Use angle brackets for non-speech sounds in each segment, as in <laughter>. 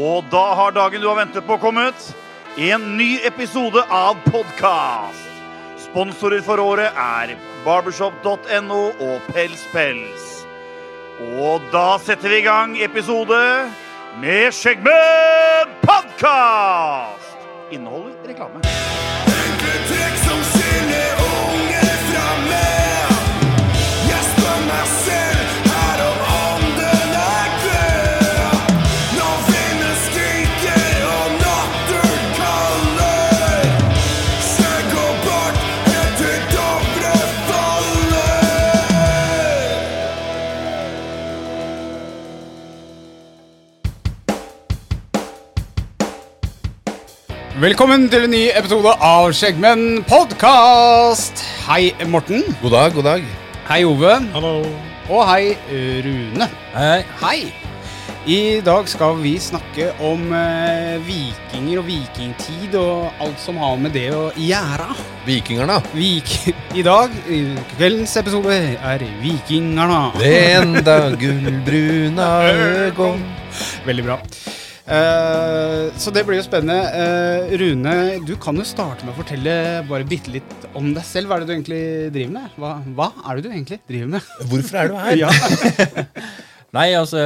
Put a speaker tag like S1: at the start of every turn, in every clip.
S1: Og da har dagen du har ventet på, kommet. En ny episode av podkast. Sponsorer for året er barbershop.no og Pels Pels. Og da setter vi i gang episode med Skjeggmenn podkast! Inneholder reklame.
S2: Trekk som skiller unge fra meg. Jeg spør meg selv her om ånden er død. Nå vinden skriker og natten kaller. Skjegg og bart helt til Dovre faller.
S3: Velkommen til en ny episode av Skjeggmenn podkast. Hei, Morten.
S4: God dag, god dag.
S3: Hei, Ove. Hallo. Og hei, Rune. Hei. I dag skal vi snakke om eh, vikinger og vikingtid og alt som har med det å gjøre.
S4: Vikingerne.
S3: Vik I dag, i kveldens episode, er vikingarna.
S4: Renda
S3: <laughs>
S4: gullbruna øgon.
S3: Veldig bra. Eh, så det blir jo spennende. Eh, Rune, du kan jo starte med å fortelle bare bitte litt om deg selv. Hva er det du egentlig driver med? Hva, hva er det du egentlig driver
S4: <laughs>
S3: med?
S4: Hvorfor er du
S5: <laughs>
S4: her?
S3: Ja.
S5: Nei, altså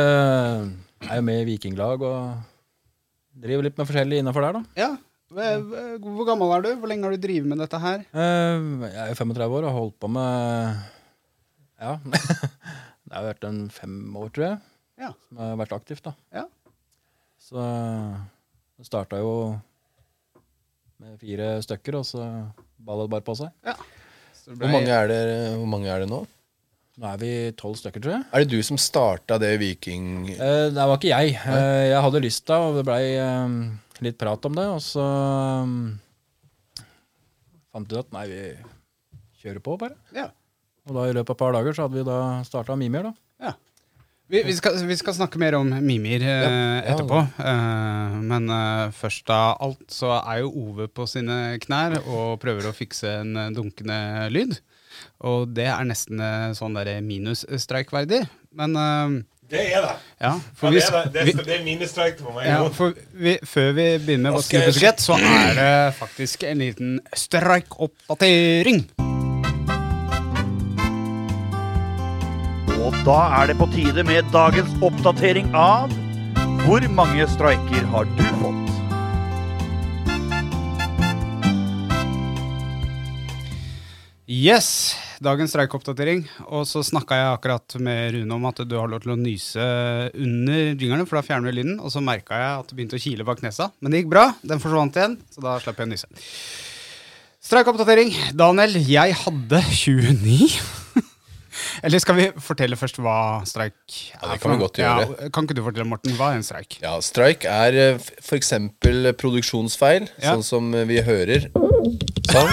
S5: Jeg er jo med i vikinglag og driver litt med forskjellig innafor der, da.
S3: <laughs> ja. Hva- hva- Hvor gammel er du? Hvor lenge har du drevet med dette her?
S5: Eh, Jeg er jo 35 år og har holdt på med Ja. <laughs> Det har vært en fem år, tror jeg,
S3: Ja.
S5: som jeg har vært aktivt, da.
S3: Ja.
S5: Så det starta jo med fire stykker, og så balla det bare på seg.
S4: Hvor mange, er det, hvor mange er det nå?
S5: Nå er vi tolv stykker, tror jeg.
S4: Er det du som starta det viking...
S5: Eh, Det var ikke jeg. Eh, Jeg hadde lysta, og det blei eh, litt prat om det. Og så eh, fant vi ut at nei, vi kjører på, bare.
S3: Ja.
S5: Og da i løpet av et par dager så hadde vi da starta Mimir, da.
S3: Vi, vi, skal, vi skal snakke mer om Mimir eh,
S4: Ja, ja.
S3: etterpå. Eh, men eh, først av alt så er jo Ove på sine knær og prøver å fikse en eh, dunkende lyd. Og det er nesten eh, sånn der minusstreikverdig. Men eh,
S6: Det er det.
S3: ja,
S6: Ja,
S3: for,
S6: det,
S3: vi,
S6: er det. Det,
S3: vi,
S6: er- det er minestreik på meg.
S3: ja,
S6: nå.
S3: for vi, før vi begynner med Vaske buskett, så er det faktisk en liten streikoppdatering.
S1: Og da er det på tide med dagens oppdatering av Hvor mange streiker har du fått?
S3: Yes! Dagens streikoppdatering. Og så snakka jeg akkurat med Rune om at du har lov til å nyse under jingerne, for da fjerner du lyden. Og så merka jeg at det begynte å kile bak nesa. Men det gikk bra. Den forsvant igjen, så da slapp jeg å nyse. Streikoppdatering. Daniel, jeg hadde 29. <laughs> Eller skal vi fortelle først hva streik er?
S4: Ja, det kan
S3: for
S4: vi
S3: noe?
S4: godt gjøre.
S3: Ja, kan ikke du fortelle, Morten, hva er en streik?
S4: Ja, Strike er eh, f.eks. produksjonsfeil,
S3: Ja.
S4: sånn som vi hører.
S3: <laughs>
S4: Sånn.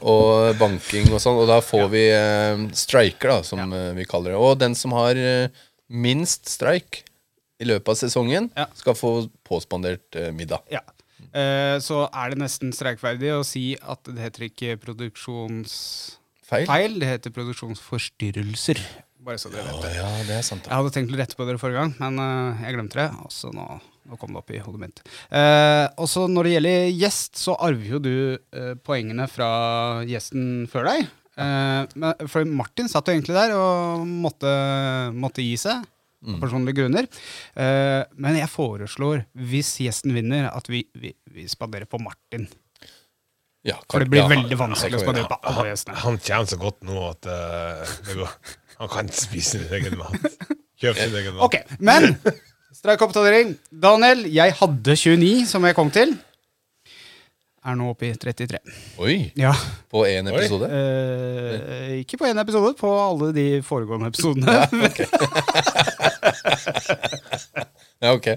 S4: og banking og sånn. Og da får vi eh, striker, da, som eh, vi kaller det. Og den som har eh, minst strike i løpet av sesongen,
S3: Ja.
S4: skal få påspandert eh, middag.
S3: Ja. Eh, så er det nesten streikverdig å si at det heter ikke produksjons...
S4: Feil?
S3: feil. Det heter produksjonsforstyrrelser. Bare så dere vet det.
S4: Ja, det er sant.
S3: Jeg hadde tenkt å rette på dere forrige gang, men eh, jeg glemte det. Og så nå, nå kom det opp i hodet mitt. Eh, og så når det gjelder gjest, så arver jo du eh, poengene fra gjesten før deg. Eh, men, for Martin satt jo egentlig der og måtte, måtte gi seg.
S4: Mm.
S3: Av personlige grunner. Eh, men jeg foreslår, hvis gjesten vinner, at vi, vi, vi spanderer på Martin.
S4: Ja,
S3: For det
S4: kan-
S3: blir
S4: ja.
S3: veldig vanskelig å spandere på alle gjestene.
S6: Han tjener så godt nå at eh, det går. han kan spise sin egen mat. Kjøp sin egen mat.
S3: Ok, men streikoppdatering. Daniel, jeg hadde 29 som jeg kom til. Er nå oppe i 33.
S4: Oi!
S3: Ja.
S4: På én episode?
S3: Eh, ikke på én episode, på alle de foregående <laughs> episodene.
S4: Ja, ok.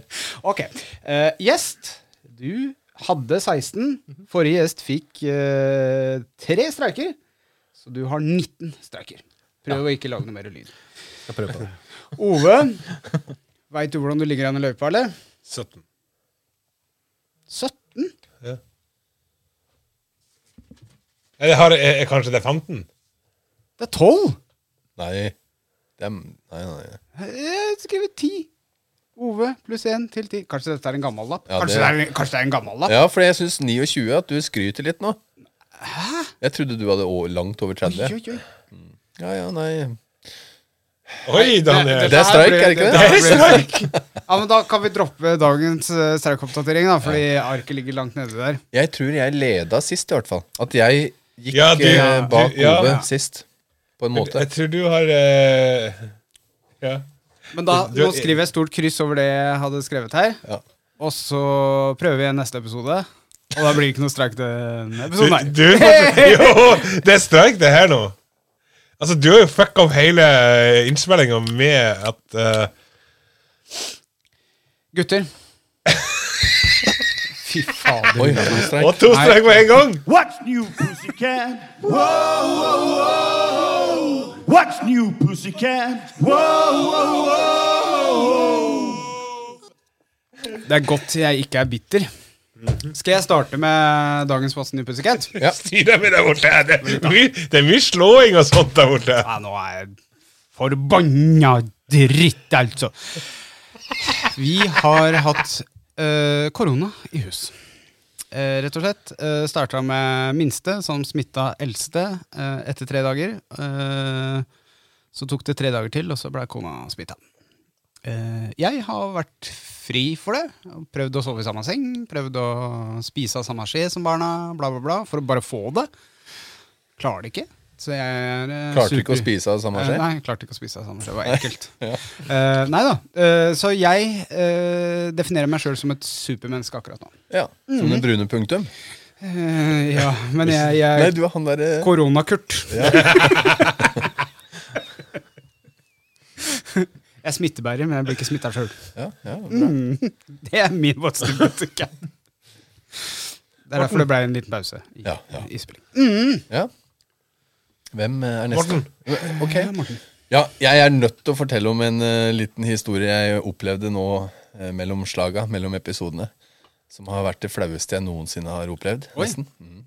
S3: Ok. Eh, gjest, du hadde 16. Forrige gjest fikk eh, tre streiker, så du har 19 streiker. Prøv å ikke lage noe mer lyd.
S5: Skal prøve på det.
S3: Ove, veit du hvordan du ligger an i løypa, eller?
S6: 17.
S3: 17?
S6: Eller har, er, er kanskje det er 15?
S3: Det er 12!
S4: Nei. Det er, nei, nei, nei.
S3: Jeg Eh, skriver ti. Ove pluss én til ti. Kanskje dette er en gammel lapp?
S4: Ja,
S3: kanskje,
S4: det-
S3: det er, en- kanskje det er en gammel lapp?
S4: Ja, for jeg syns 29 at du skryter litt nå. Jeg trodde du hadde å- langt over 30.
S3: Oi, oi, oi.
S4: Ja, ja, nei
S6: Oi, Daniel!
S4: Det er streik, er det ikke det?
S3: her
S6: Det er
S3: blir- Ja, men Da kan vi droppe dagens eh, streikoppdatering, da, fordi arket ligger langt nede der.
S4: Jeg tror jeg leda sist, i hvert fall. At jeg gikk
S6: Ja, du-
S4: eh,
S6: du-
S4: bak
S6: ja.
S4: Ove sist. På en måte.
S6: Jeg tror du har eh, Ja.
S3: Men da,
S6: Du-
S3: nå skriver jeg stort kryss over det jeg hadde skrevet her.
S4: Ja.
S3: Og så prøver vi igjen neste episode. Og da blir det ikke noe streik denne
S6: Du,
S3: episoden. Nei.
S6: du, <laughs> jo, det er streik, det her nå. Altså, du har jo fucka opp hele innspillinga med at eh,
S3: <laughs> Gutter. Fy fader.
S4: Oi, to streik.
S6: Og to streik på en gang!
S1: What's new, pussycat? <laughs> Whoa, whoa, whoa. What's new, pussycat? Whoa, whoa, whoa.
S3: Det er godt jeg ikke er bitter. Skal jeg starte med dagens What's New Pussycat?
S6: <laughs>
S4: Ja.
S6: Styrer med der borte. Det er, mye, det er mye slåing og sånt der borte.
S3: Ja, nå er jeg forbanna dritt, altså. Vi har hatt eh, korona i hus. Eh, rett og slett. Uh, Starta med minste, som smitta eldste eh, etter tre dager. Eh, så tok det tre dager til, og så ble kona smitta. jeg har vært fri for det. Prøvd å sove i samme seng, prøvd å spise av samme skje som barna, bla, bla, bla, for å bare få det. Klarer det ikke. Så jeg er eh,
S4: Klarte ikke
S3: super-
S4: å spise av samme
S3: Eh,
S4: skje?
S3: Nei, jeg klarte ikke å spise av samme skje. Det var
S4: <laughs>
S3: ekkelt. Eh, nei da. Eh, så jeg eh, definerer meg sjøl som et supermenneske akkurat nå.
S4: Ja. Som det brune punktum?
S3: Eh, ja, Mm. men jeg,
S4: Nei,
S3: jeg
S4: du er han eh, derre
S3: Koronakurt. <laughs> jeg smittebærer, men jeg blir ikke smitta sjøl.
S4: ja, ja,
S3: Mm.
S4: bra.
S3: Det er min våtstubbete. Det er derfor det ble en liten pause i,
S4: Ja, ja.
S3: i spilling.
S4: ja. Hvem eh, er neste? Morten. Ok.
S3: Ja, Morten.
S4: Ja, jeg er nødt til å fortelle om en eh, liten historie jeg opplevde nå eh, mellom slaga, mellom episodene. Som har vært det flaueste jeg noensinne har opplevd. nesten. Mm.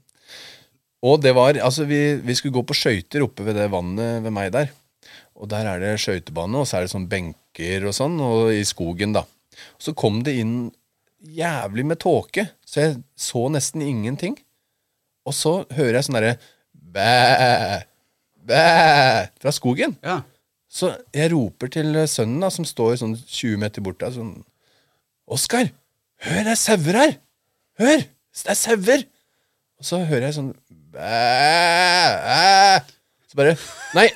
S4: Og det var, altså vi, vi skulle gå på skøyter oppe ved det vannet ved meg der. Og der er det skøytebane, og så er det sånn benker og sånn, og i skogen, da. Så kom det inn jævlig med tåke, så jeg så nesten ingenting. Og så hører jeg sånn derre bæ, bæ fra skogen.
S3: Ja.
S4: Så jeg roper til sønnen da, som står sånn 20 meter bort der, sånn Oskar, hør, det er sauer her! Hør! Det er sauer! Og så hører jeg sånn «Bæ, æ». Så bare Nei,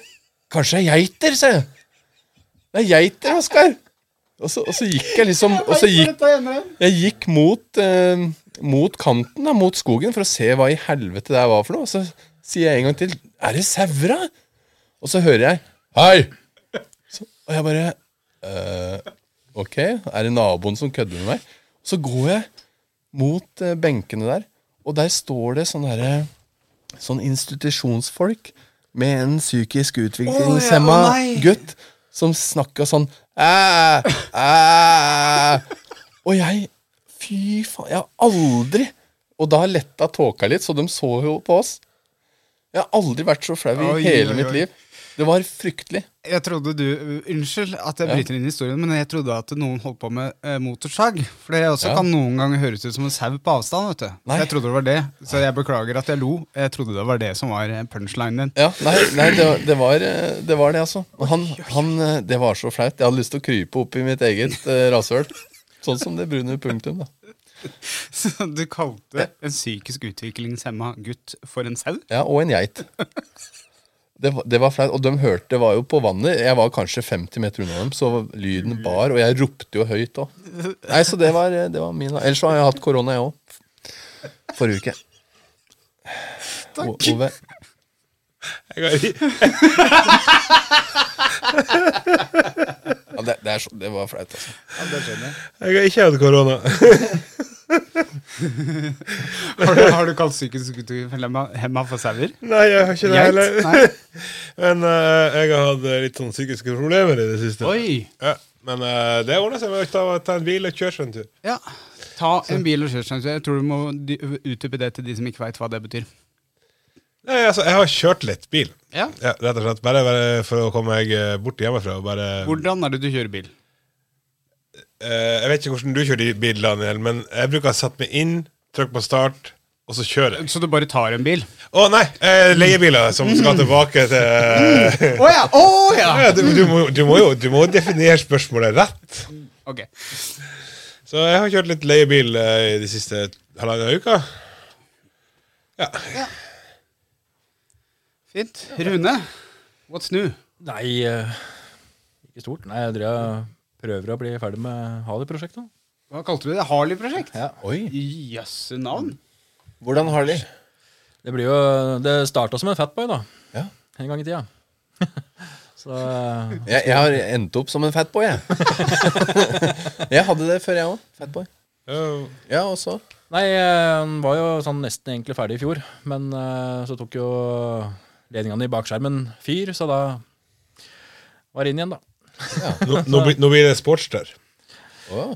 S4: kanskje det er geiter, sa jeg. Det er geiter, Oskar! Og så, og så gikk jeg liksom Og så gikk jeg gikk mot, eh, mot kanten, da, mot skogen, for å se hva i helvete det her var for noe. Og så sier jeg en gang til Er det sauer, da? Og så hører jeg Hei! Så, og jeg bare «Eh, Ok, er det naboen som kødder med meg? Så går jeg mot eh, benkene der, og der står det sånn herre Sånn institusjonsfolk med en psykisk utviklingshemma
S3: nei.
S4: gutt som snakka sånn «Æ, æ». Og jeg Fy faen, jeg har aldri Og da letta tåka litt, så de så jo på oss. Jeg har aldri vært så flau i
S3: Oi,
S4: hele
S3: oi,
S4: mitt
S3: oi.
S4: liv. Det var fryktelig.
S3: Jeg trodde du, Unnskyld at jeg bryter inn i historien, men jeg trodde at noen holdt på med eh, motorsag. For det også
S4: Ja.
S3: kan noen ganger høres ut som en sau på avstand. vet du.
S4: Nei.
S3: Så jeg trodde det var det, så jeg beklager at jeg lo. Jeg trodde det var det som var eh, punchlinen din. <laughs>
S4: Ja, nei, nei det, var- det, var, eh, det var det, altså. Og Han, han, eh, det var så flaut. Jeg hadde lyst til å krype opp i mitt eget eh, rasshøl. Sånn som det brune punktum. da
S3: Så du kalte en psykisk utviklingshemma gutt for en sau?
S4: Ja, Og en geit. Det, var- det var flaut. Og de hørte det var jo på vannet. Jeg var kanskje 50 meter unna dem, så lyden bar. Og jeg ropte jo høyt òg. Nei, så det var, eh, det var min. da. Ellers så har jeg hatt korona, jeg òg. Forrige uke. Takk. Ove.
S6: Jeg har-
S4: Ja, det, det, er så, det var flaut, altså.
S6: Jeg har ikke hatt korona.
S3: <laughs>
S6: <laughs>
S3: Har du, har du kalt psykisk utviklingshemma for sauer?
S6: Nei, jeg har ikke det
S3: Geit?
S6: heller.
S3: Nei.
S6: <laughs> Men eh, jeg har hatt litt sånn psykiske problemer i det siste.
S3: Oi!
S6: Ja, men eh, det ordner seg med å ta, ta en bil og kjøre seg en tur.
S3: Ja. Ta en bil og kjør seg en tur. Jeg tror du må dy- utdype det til de som ikke veit hva det betyr.
S6: Nei, altså, jeg har kjørt litt bil.
S3: Ja.
S6: rett og slett. Bare, bare for å komme meg eh, bort hjemmefra. og Bare,
S3: Hvordan er det du kjører bil?
S6: Eh, jeg vet ikke hvordan du kjører i bil, Daniel, men jeg bruker å sette meg inn, trykke på start, og så kjører jeg.
S3: Så du bare tar en bil?
S6: Å nei! eh, leiebiler som <clears throat> skal tilbake til eh,
S3: Å ja! å ja!
S6: ja, du, du, må, du må jo du må jo definere spørsmålet rett.
S3: Ok.
S6: Så jeg har kjørt litt leiebil eh, i de siste halvannen uka. Ja.
S3: Fint. Rune, what's new?
S5: Nei, eh, ikke stort. Nei, jeg driver, og prøver å bli ferdig med Hali-prosjektet.
S3: Hva kalte du det? Harley-prosjekt?
S5: Ja.
S4: Oi.
S3: Jøsse navn.
S4: Hvordan har de?
S5: Det, blir jo, det starta som en fatboy, da.
S4: Ja.
S5: En gang i tida. <laughs> Så eh,
S4: Jeg, jeg har endt opp som en fatboy, jeg. <laughs> jeg hadde det før, jeg òg. Fatboy.
S6: Ja,
S4: Ja, og så
S5: Nei, eh, han var jo sånn nesten egentlig ferdig i fjor, men eh, så tok jo ledningene i bakskjermen fyr, så da var det inn igjen, da.
S6: Nå, nå, blir- nå blir det sportster.
S4: Å,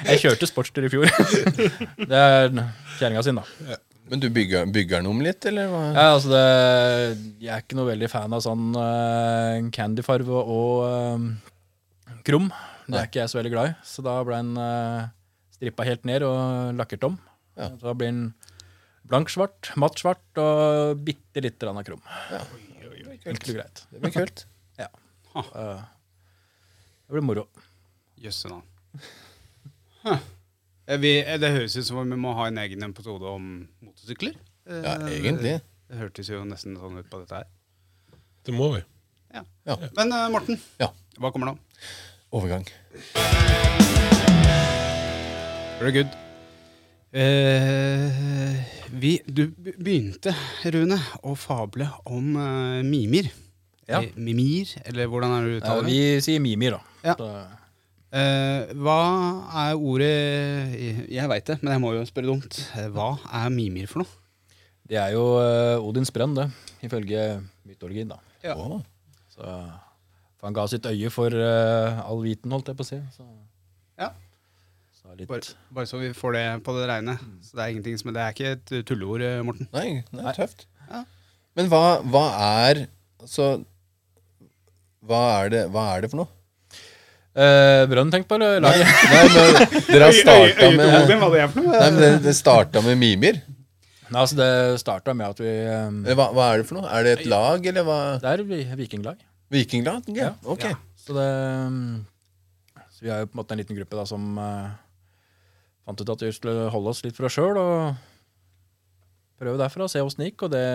S5: Jeg kjørte sportster i fjor. <laughs> Det er kjerringa sin, da.
S4: Men du bygger, bygger den om litt, eller hva?
S5: Ja, altså det, jeg er ikke noe veldig fan av sånn eh, candyfarve og eh, krum. Det er ikke jeg så veldig glad i. Så da ble den eh, strippa helt ned og lakkert om.
S4: Ja.
S5: Så da blir den blank-svart, matt-svart og bitte lite grann av krum. Enkelt og greit.
S4: Det blir kult.
S5: Ja. Eh, det blir moro.
S3: Jøsse navn. Huh. Eh, Vi, eh, det høres ut som om vi må ha en egen episode om motorsykler. Eh,
S4: Ja, egentlig.
S3: Det hørtes jo nesten sånn ut på dette her.
S6: Det må vi.
S3: Ja.
S4: Ja.
S3: Men eh, Morten,
S4: Ja.
S3: hva kommer nå?
S4: Overgang.
S3: Very good. Eh, vi, du be- begynte, Rune, å fable om eh, mimer.
S5: Ja.
S3: Eh, Mimir, eller hvordan er det du
S5: Eh,
S3: uttaler det?
S5: vi sier mimir, da.
S3: Ja.
S5: Så-
S3: Eh, hva er ordet Jeg veit det, men jeg må jo spørre dumt. Eh, Hva er mimer for noe?
S5: Det er jo eh, Odins brønn, det, ifølge mytologien, da.
S3: Ja.
S4: Å,
S5: Så, for han ga sitt øye for eh, all viten, holdt jeg på å si. Så,
S3: Ja.
S5: så litt,
S3: Bare, bare så vi får det på det reine. Så det er ingenting som Det er ikke et tulleord, eh, Morten.
S4: Nei, det er tøft.
S3: Ja.
S4: Men hva, hva er Altså hva er, det, hva er det for noe?
S5: Eh, brønn, tenk på det.
S4: Nei,
S5: Lager.
S4: nei men Dere har starta med Nei,
S3: hva det er for noe?
S4: men det, det starta med mimer.
S5: Nei, altså, det starta med at vi eh,
S4: Eller Hva, hva er det for noe? Er det et lag, eller hva?
S5: Det er vi- vikinglag.
S4: Vikinglag? Ja. Ok.
S5: Ja. Så det mm, Så vi er jo på en måte en liten gruppe da som eh, fant ut at vi skulle holde oss litt for oss sjøl og prøve derfra og se åssen det gikk. Og det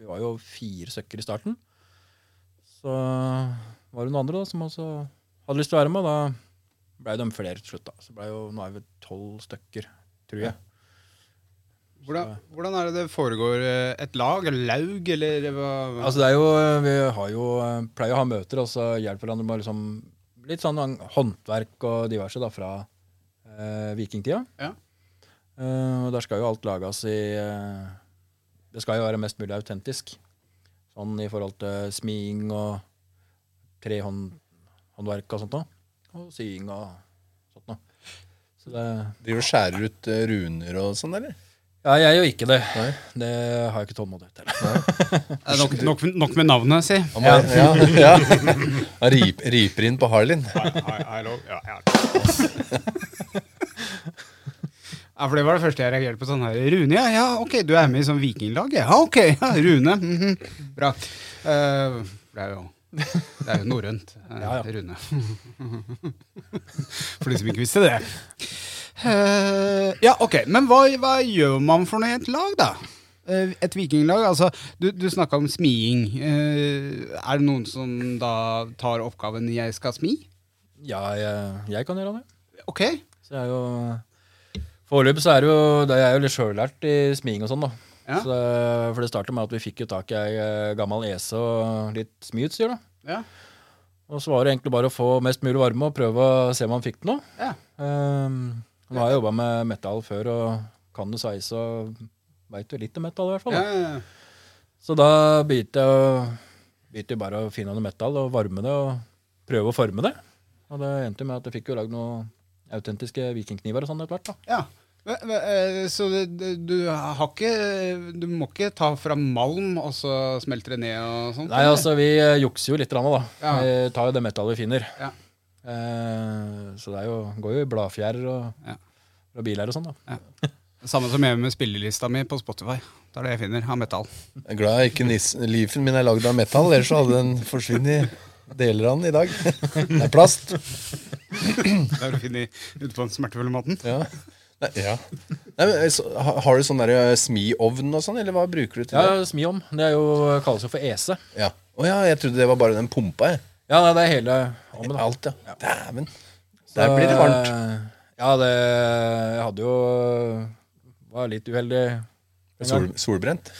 S5: Vi var jo fire stykker i starten. Så var det noen andre da som også hadde lyst til å være med, og da blei de flere til slutt. da Så ble jo, Nå er vi tolv stykker, tror jeg.
S3: Hvordan, hvordan er det det foregår? eh, Et lag, eller laug, eller hva?
S5: Altså det er jo, Vi har jo, eh, pleier å ha møter og så hjelper hverandre med liksom, litt sånn håndverk og diverse da, fra eh, vikingtida.
S3: Ja.
S5: Eh, og Der skal jo alt lages i eh, Det skal jo være mest mulig autentisk. Sånn i forhold til smiing og trehåndverk og sånt. da. Og sying og sånt noe. Så det,
S4: Driver og skjærer ut eh, runer og sånn, eller?
S5: ja, jeg gjør ikke det.
S4: Nei.
S5: Det har jeg ikke tålmodighet til. <laughs>
S3: Eh, nok, nok, nok med navnet, si.
S4: Han bare, ja. Ja, Han rip, riper inn på Harlin.
S3: Ja, for Det var det første jeg reagerte på. sånn her, Rune, ja, ja, ok, du er med i sånn vikinglag? Ja, Ja, ok, ja, Rune. mhm, Bra. Eh, det er jo, det er jo norrønt. eh,
S5: Ja, ja.
S3: Rune. <laughs> For de som ikke visste det. Eh, ja, ok, men hva, hva gjør man for noe i et lag, da? Eh, Et vikinglag? altså, Du, du snakka om smiing. Eh, er det noen som da tar oppgaven 'jeg skal smi'?
S5: Ja, jeg, jeg kan gjøre det.
S3: Ok.
S5: Så jeg er jo Foreløpig så er det jo Det er jo litt sjøllært i smiing og sånn, da.
S3: Ja.
S5: Så, for det starta med at vi fikk jo tak i ei eh, gammel ese og litt smiutstyr, da.
S3: Ja.
S5: Og så var det egentlig bare å få mest mulig varme og prøve å se om han fikk det nå.
S3: ja.
S5: Ehm, nå har jeg jobba med metal før og kan jo sveise og veit jo litt om metal, i hvert fall.
S3: ja,
S5: Da.
S3: ja, ja.
S5: Så da begynte jeg å begynte jeg bare å finne noe metal og varme det og prøve å forme det. Og det endte med at jeg fikk jo lagd noen autentiske vikingkniver og sånn etter hvert. da.
S3: Ja. Men Men- men, eh, Så det- det- du har ikke Du må ikke ta fra malm, og så smelter det ned og sånt?
S5: Nei,
S3: eller?
S5: altså, vi eh, jukser jo litt, rann, da.
S3: Ja.
S5: Vi tar jo det metallet vi finner.
S3: Ja.
S5: Eh, så det er jo, går jo i bladfjær og,
S3: Ja.
S5: og biler og sånn, da.
S3: Samme som jeg med spillelista mi på Spotify. Det er det jeg finner av metall.
S4: Jeg er glad jeg ikke nissen, lifen min er lagd av metall, ellers så hadde den forsvunnet i deler av den i dag. Det er plast.
S3: Det er å finne ute på den smertefulle måten.
S4: Ja. Nei, ja. Nei, men, så, ha- har du sånn der eh, smiovn og sånn, eller hva bruker du til det?
S5: Ja, smi om. Det er jo, kalles jo for ese.
S4: Ja. Å ja, jeg trodde det var bare den pumpa, jeg.
S5: Ja, nei, det er hele ommen. da.
S4: Alt, ja. Dæven. Der blir det varmt.
S5: Eh, Ja, det Jeg hadde jo Var litt uheldig. en
S4: eh, Sol,
S5: gang.
S4: solbrent.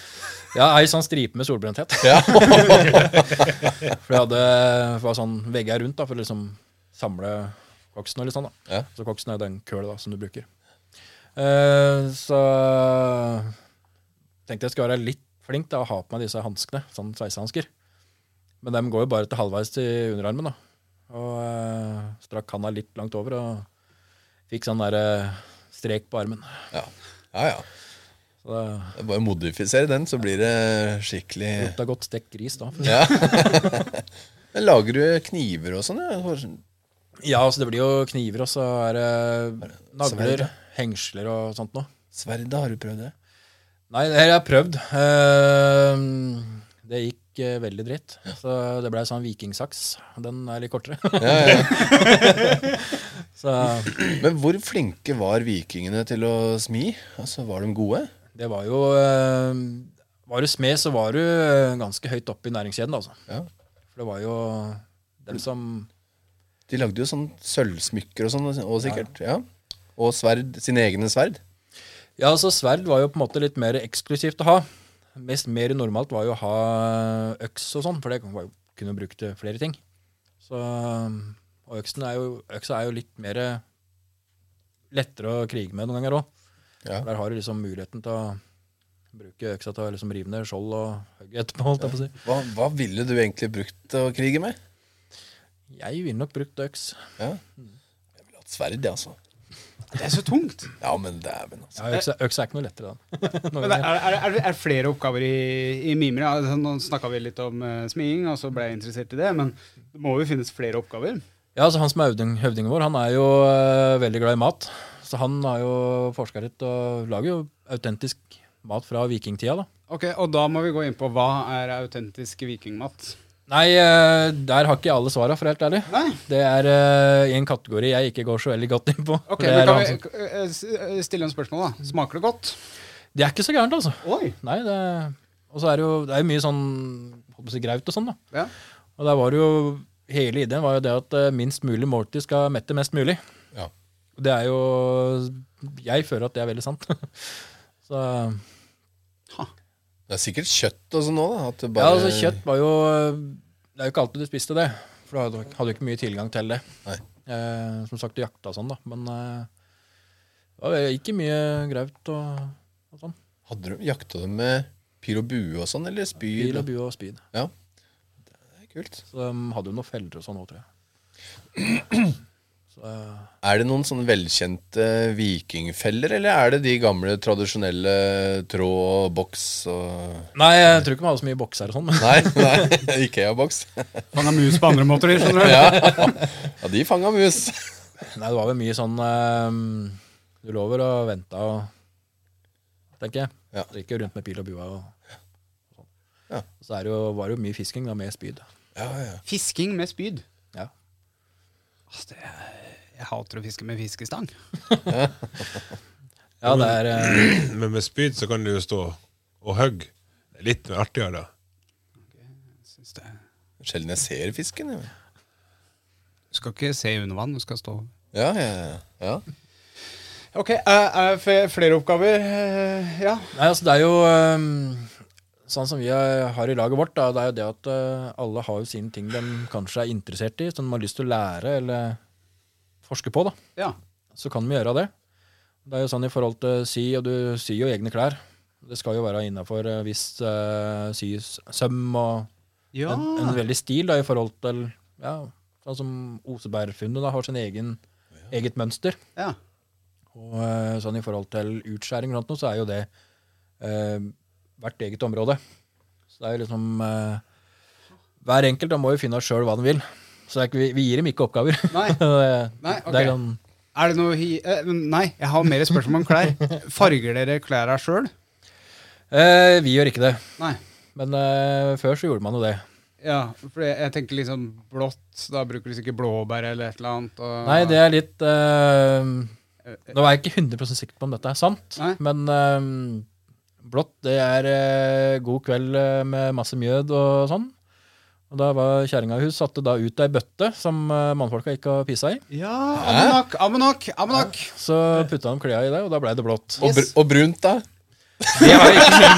S5: Ja, ei sånn stripe med solbrenthet.
S4: <laughs> Ja.
S5: <laughs> For jeg hadde det var sånn vegger rundt da, for å liksom samle koksen. og litt sånn da.
S4: Ja.
S5: Så koksen er jo den køla da, som du bruker. Eh, så tenkte jeg skulle være litt flink da, og ha på meg disse hanskene, sånn sveisehansker. Men dem går jo bare til halvveis til underarmen. da. Og eh, strakk handa litt langt over og fikk sånn der eh, strek på armen.
S4: ja. Ja, ja.
S5: Så det
S4: Det er bare å modifisere den, så blir det skikkelig
S5: lukta godt stekt gris da.
S4: Ja. Men lager du kniver og sånn? ja? Hår-
S5: Ja, altså det blir jo kniver, og så er det
S4: Sverd,
S5: nagler,
S4: da.
S5: hengsler og sånt noe.
S4: Sverd, har du prøvd det?
S5: Nei, det har jeg prøvd. Ehm, Det gikk eh, veldig dritt. Så det ble sånn vikingsaks. Den er litt kortere. <laughs> så
S4: Men hvor flinke var vikingene til å smi? Altså, Var de gode?
S5: det var jo ehm, Var du smed, så var du eh, ganske høyt oppe i næringskjeden, altså.
S4: Ja.
S5: For det var jo dem som
S4: De lagde jo sånn sølvsmykker og sånn, og sikkert. Ja. Og sverd, sine egne sverd.
S5: Ja, altså sverd var jo på en måte litt mer eksklusivt å ha. Mest mer normalt var jo å ha øks og sånn, for det var jo, kunne du bruke til flere ting. Så, og øksen er jo, øksa er jo litt mer lettere å krige med noen ganger òg.
S4: Ja.
S5: Der har du liksom muligheten til å bruke øksa til å liksom rive ned skjold og hogge etterpå. holdt jeg på å si.
S4: Hva, hva ville du egentlig brukt til å krige med?
S5: Jeg ville nok brukt øks.
S4: Ja. Jeg ville hatt sverd, jeg, altså.
S3: Det er så tungt.
S4: Ja, men dæven, altså.
S5: Ja, øksa, øksa er ikke noe
S3: <laughs>
S5: lettere, den. Noen
S3: Men det
S5: ganger.
S3: er, er, er, er flere oppgaver i, i mimer? Ja, Altså, nå snakka vi litt om uh, smiing, og så ble jeg interessert i det. Men det må jo finnes flere oppgaver.
S5: Ja, altså Han som er høvding, høvdingen vår, han er jo eh, veldig glad i mat. Så han har jo forska litt og lager jo autentisk mat fra vikingtida. da.
S3: Ok, Og da må vi gå inn på hva er autentisk vikingmat?
S5: Nei, eh, der har ikke jeg alle svara, for å være helt ærlig.
S3: Nei.
S5: Det er eh, i en kategori jeg ikke går så veldig godt inn på.
S3: Ok,
S5: det,
S3: men
S5: er
S3: Kan
S5: han
S3: vi
S5: som-
S3: k- eh, s- eh, stille en spørsmål, da? Smaker det godt?
S5: det er ikke så gærent, altså.
S3: Oi!
S5: Nei, det, Og så er det jo det er jo mye sånn holdt på å si, graut og sånn, da.
S3: Ja.
S5: Og der var det jo Hele ideen var jo det at eh, minst mulig måltid skal mette mest mulig.
S4: Ja.
S5: Og det er jo Jeg føler at det er veldig sant. <laughs> så
S4: Det er sikkert kjøtt og sånn òg, da. At det
S5: Ja,
S4: bare...
S5: altså kjøtt var jo Det er jo ikke alltid du spiste det. For du hadde- hadde jo ikke mye tilgang til det.
S4: Nei.
S5: Eh, som sagt, du jakta og sånn, da. Men eh, det var ikke mye graut og, og sånn.
S4: Hadde du jakta dem med pil og bue og sånn, eller spyd?
S5: Bil og bue og spyd.
S4: Ja. Det er kult.
S5: Så de hadde jo noen feller og sånn òg, tror jeg. Så, eh,
S4: Er det noen sånne velkjente vikingfeller, eller er det de gamle, tradisjonelle tråd og boks og
S5: nei, jeg tror ikke de hadde så mye bokser og sånn. men- <laughs>
S4: Nei, nei, <laughs> Ikea-boks.
S3: Fanga mus på andre måter, skjønner du.
S4: <laughs> Ja, de fanga mus.
S5: Nei, det var vel mye sånn eh, Du lå vel og venta og Tenker jeg.
S4: Ja.
S5: Det gikk jo rundt med pil og bue og, og sånn.
S4: Ja.
S5: Så er det jo, var det jo mye fisking da, med spyd.
S4: Ja, ja.
S3: Fisking med spyd.
S5: Ja.
S3: Altså, det er, jeg hater å fiske med fiskestang.
S5: Ja, det er eh,
S6: <clears throat> Men med spyd så kan du jo stå og hogge. Det er Litt mer artigere da.
S3: Syns det.
S4: Sjelden jeg ser fisken. jeg.
S3: Du skal ikke se under vann, du skal stå
S4: Ja, ja, ja. ja.
S3: Ok, eh, eh, fe- flere oppgaver. eh, ja.
S5: Nei, altså, det er jo eh, Sånn som vi er- har i laget vårt, da, det er jo det at eh, alle har jo sine ting de kanskje er interessert i, som de har lyst til å lære eller forske på. da.
S3: ja.
S5: Så kan de gjøre det. Det er jo sånn i forhold til sy, og du syr jo egne klær. Det skal jo være innafor viss eh, sysøm og
S3: Ja.
S5: en, en veldig stil da, i forhold til ja, sånn som Osebergfunnet da, har sin egen eget mønster.
S3: ja.
S5: Og eh, sånn i forhold til utskjæring blant noe, så er jo det eh, hvert eget område. Så det er jo liksom eh, Hver enkelt da må jo finne ut sjøl hva den vil. Så det er ikke, vi, vi gir dem ikke oppgaver.
S3: Nei.
S5: <laughs> Det-
S3: Nei, ok.
S5: det er sånn,
S3: Er det noe hi... eh, nei, jeg har mer spørsmål om klær. Farger dere klærne sjøl?
S5: eh, vi gjør ikke det.
S3: Nei.
S5: Men eh, før så gjorde man jo det.
S3: Ja, for jeg, jeg tenker liksom blått, da bruker du sikkert blåbær eller et eller annet. Og...
S5: Nei, det er litt eh, Nå er jeg ikke 100 sikker på om dette er sant,
S3: Nei.
S5: men eh, blått det er eh, god kveld eh, med masse mjød og sånn. Og da var kjerringa i hus, satte da ut ei bøtte som eh, mannfolka gikk og pissa i.
S3: Ja, ammonakk, ammonakk, ammonakk!
S5: Så putta de klærne i det, og da blei det blått.
S4: Og, br og brunt, da?
S5: Det har jeg ikke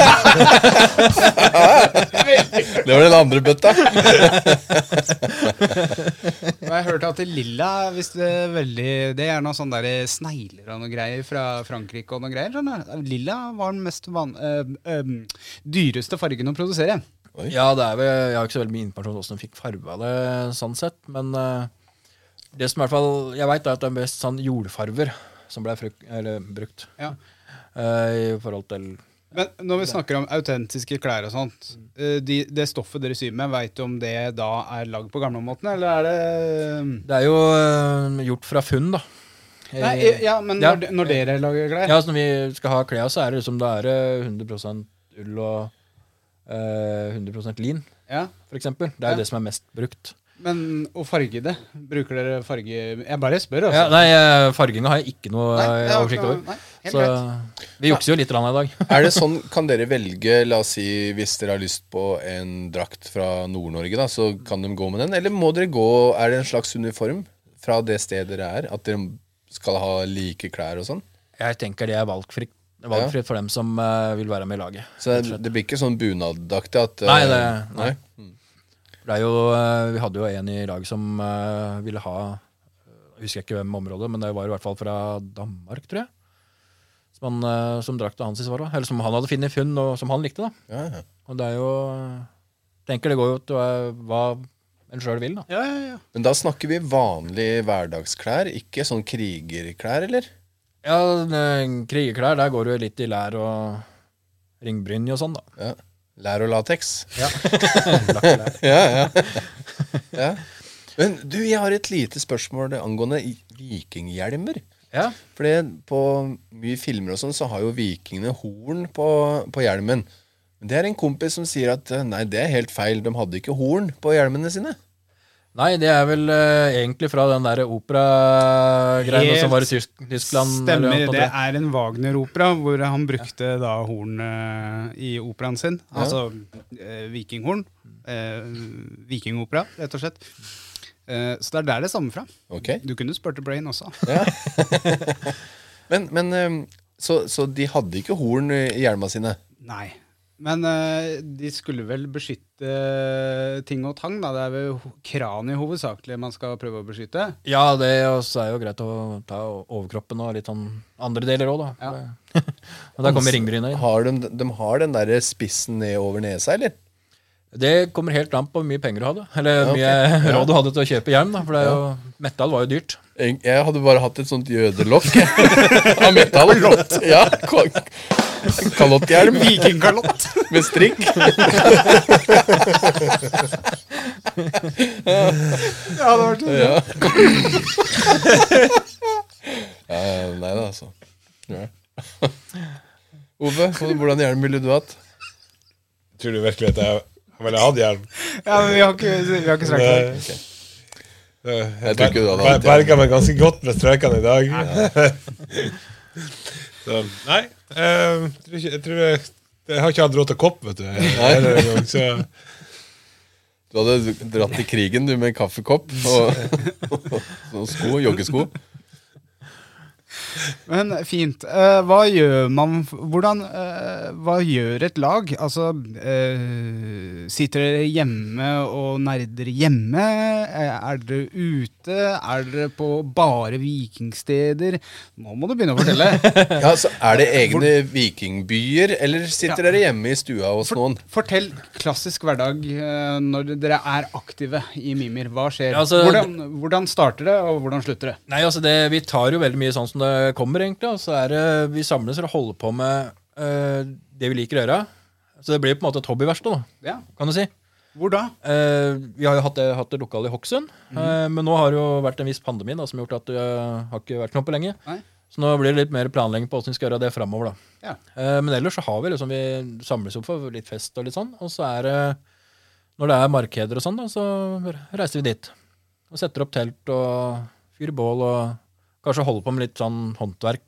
S4: Det var den andre bøtta.
S3: Og jeg hørte at det lilla hvis det er eh, veldig Det er noe sånn der snegler og noe greier fra Frankrike og noe greier. skjønner du? Lilla var den mest van, øhm, øhm, dyreste fargen å produsere.
S5: Ja, det er vel, jeg har ikke så veldig mye informasjon om hvordan de fikk farga det, sånn sett. Men eh, det som i hvert fall jeg veit, er at det er mest sånn jordfarver som ble fruk eller, brukt.
S3: Ja.
S5: eh, I forhold til
S3: Men når vi snakker om autentiske klær og sånt, eh, de, det stoffet dere syr med, veit du om det da er lagd på gamlemåten, eller er det
S5: Det er jo eh, gjort fra funn, da. I-
S3: Nei, eh, ja, men
S5: Ja.
S3: Når, de- når dere lager klær?
S5: Ja, så når vi skal ha klær, så er det liksom da er det 100 ull og eh, 100 lin,
S3: Ja.
S5: for eksempel. Det er
S3: Ja.
S5: jo det som er mest brukt.
S3: Men å farge det? Bruker dere farge Jeg bare spør,
S5: Ja,
S3: altså.
S5: nei, eh, farginga har jeg ikke noe
S3: Nei,
S5: eh,
S3: ja,
S5: oversikt over.
S3: nei, helt
S5: Så vi jukser jo litt rann i dag.
S3: <laughs>
S4: Er det sånn, Kan dere velge, la oss si, hvis dere har lyst på en drakt fra Nord-Norge, da, så kan de gå med den? Eller må dere gå, er det en slags uniform fra det stedet dere er? At dere skal ha like klær og sånn?
S5: Jeg tenker det er valgfritt, valgfritt for dem som eh, vil være med i laget.
S4: Så det, det blir ikke sånn bunadaktig at
S5: Nei, det,
S4: eh,
S5: nei. Mm. Det er jo, eh, vi hadde jo en i laget som eh, ville ha Jeg husker ikke hvem området, men det var i hvert fall fra Danmark, tror jeg. Som, han, eh, som drakta hans i svar, da. Eller som han hadde funnet i funn, og som han likte. da.
S4: Ja, ja.
S5: Og det er jo eh, tenker det går jo til eh, hva en sjøl vil, da.
S3: Ja, ja, ja.
S4: Men da snakker vi vanlige hverdagsklær, ikke sånn krigerklær, eller?
S5: Ja, eh, Krigerklær, der går det jo litt i lær og ringbrynje og sånn, da.
S4: Ja. Lær og lateks. <laughs>
S5: Lagt i lær.
S4: ja, ja. ja. Men du, jeg har et lite spørsmål angående i- vikinghjelmer.
S5: Ja.
S4: For det- på mye filmer og sånn, så har jo vikingene horn på, på hjelmen. Men det er en kompis som sier at eh, nei, det er helt feil, de hadde ikke horn på hjelmene sine.
S5: Nei, det er vel eh, egentlig fra den der operagreiene
S3: Helt
S5: som var i Tysk Tyskland. eller
S3: Stemmer.
S5: noe sånt,
S3: Det
S5: tror jeg.
S3: er en Wagner-opera hvor han brukte da hornet eh, i operaen sin. Altså eh, vikinghorn. Eh, vikingopera, rett og slett. Eh, så det er der det stammer fra.
S4: Ok.
S3: Du kunne spurt The Brain også.
S4: Men, men eh, så, så de hadde ikke horn i hjelma sine.
S3: <laughs> Nei. Men eh, de skulle vel beskytte ting og tang, da. Det er vel ho- kraniet hovedsakelig man skal prøve å beskytte.
S5: Ja, det også er jo greit å ta overkroppen og litt sånn andre deler òg, da.
S3: Ja.
S5: Det- <laughs> Og der kommer ringbrynet inn.
S4: Har de, de har den der spissen ned over nesa, eller?
S5: Det kommer helt an på hvor mye penger du hadde. Eller hvor
S4: ok.
S5: mye råd du hadde til å kjøpe hjelm, da. For det er jo, metall var jo dyrt.
S4: Jeg jeg hadde bare hatt et sånt jødelokk
S3: <laughs>
S4: av metall. <laughs> Ja, ka- Kalotthjelm
S3: Vikingkalott!
S4: med strikk.
S3: <laughs> ja, det var sånn.
S4: Ja. ja, nei da, altså. Ja. Ove, hvordan hjelm ville du hatt?
S6: Tror du virkelig at jeg jeg ville hatt hjelm?
S3: ja, men vi har ikke, vi har ikke snakket om det.
S6: Det- det-
S4: Jeg tror ikke du hadde hatt
S6: ber-
S4: hjelm.
S6: Berga meg ganske godt med strekene i dag. <laughs> så, nei, eh, jeg tror ikke, jeg, tror jeg, jeg har ikke hatt råd til kopp, vet du. Eller en gang, så
S4: Du hadde dratt til krigen du med en kaffekopp og, <laughs> og sko, joggesko.
S3: Men fint. Eh, hva gjør man f- Hvordan eh, Hva gjør et lag? Altså, eh, sitter dere hjemme og nerder hjemme? Eh, er dere ute? Er dere på bare vikingsteder? Nå må du begynne å
S5: <laughs>
S3: fortelle.
S4: Ja, så Er det egne vikingbyer, eller sitter dere hjemme i stua hos noen?
S5: Sånn.
S3: Fortell klassisk hverdag eh, når dere er aktive i Mimir. Hva skjer?
S5: Ja, altså-
S3: hvordan, hvordan starter det, og hvordan slutter det?
S5: Nei, altså det, Vi tar jo veldig mye sånn som det eh, kommer, egentlig. Og så er det, vi samles og holder på med eh, det vi liker å gjøre. Så det blir på en måte et hobbyverksted, da,
S3: Ja.
S5: kan du si.
S3: Hvor da?
S5: Eh, vi har jo hatt det, hatt det lokale i Hokksund,
S3: Mm.
S5: eh, men nå har det jo vært en viss pandemi da, som har gjort at det eh, har ikke vært noe på lenge.
S3: Nei.
S5: Så nå blir det litt mer planlegging på hvordan vi skal gjøre det framover.
S3: Ja.
S5: Eh, men ellers så har vi liksom, vi samles opp for litt fest og litt sånn, og så er det når det er markeder og sånn, da, så reiser vi dit. Og setter opp telt og fyrer bål og kanskje holder på med litt sånn håndverk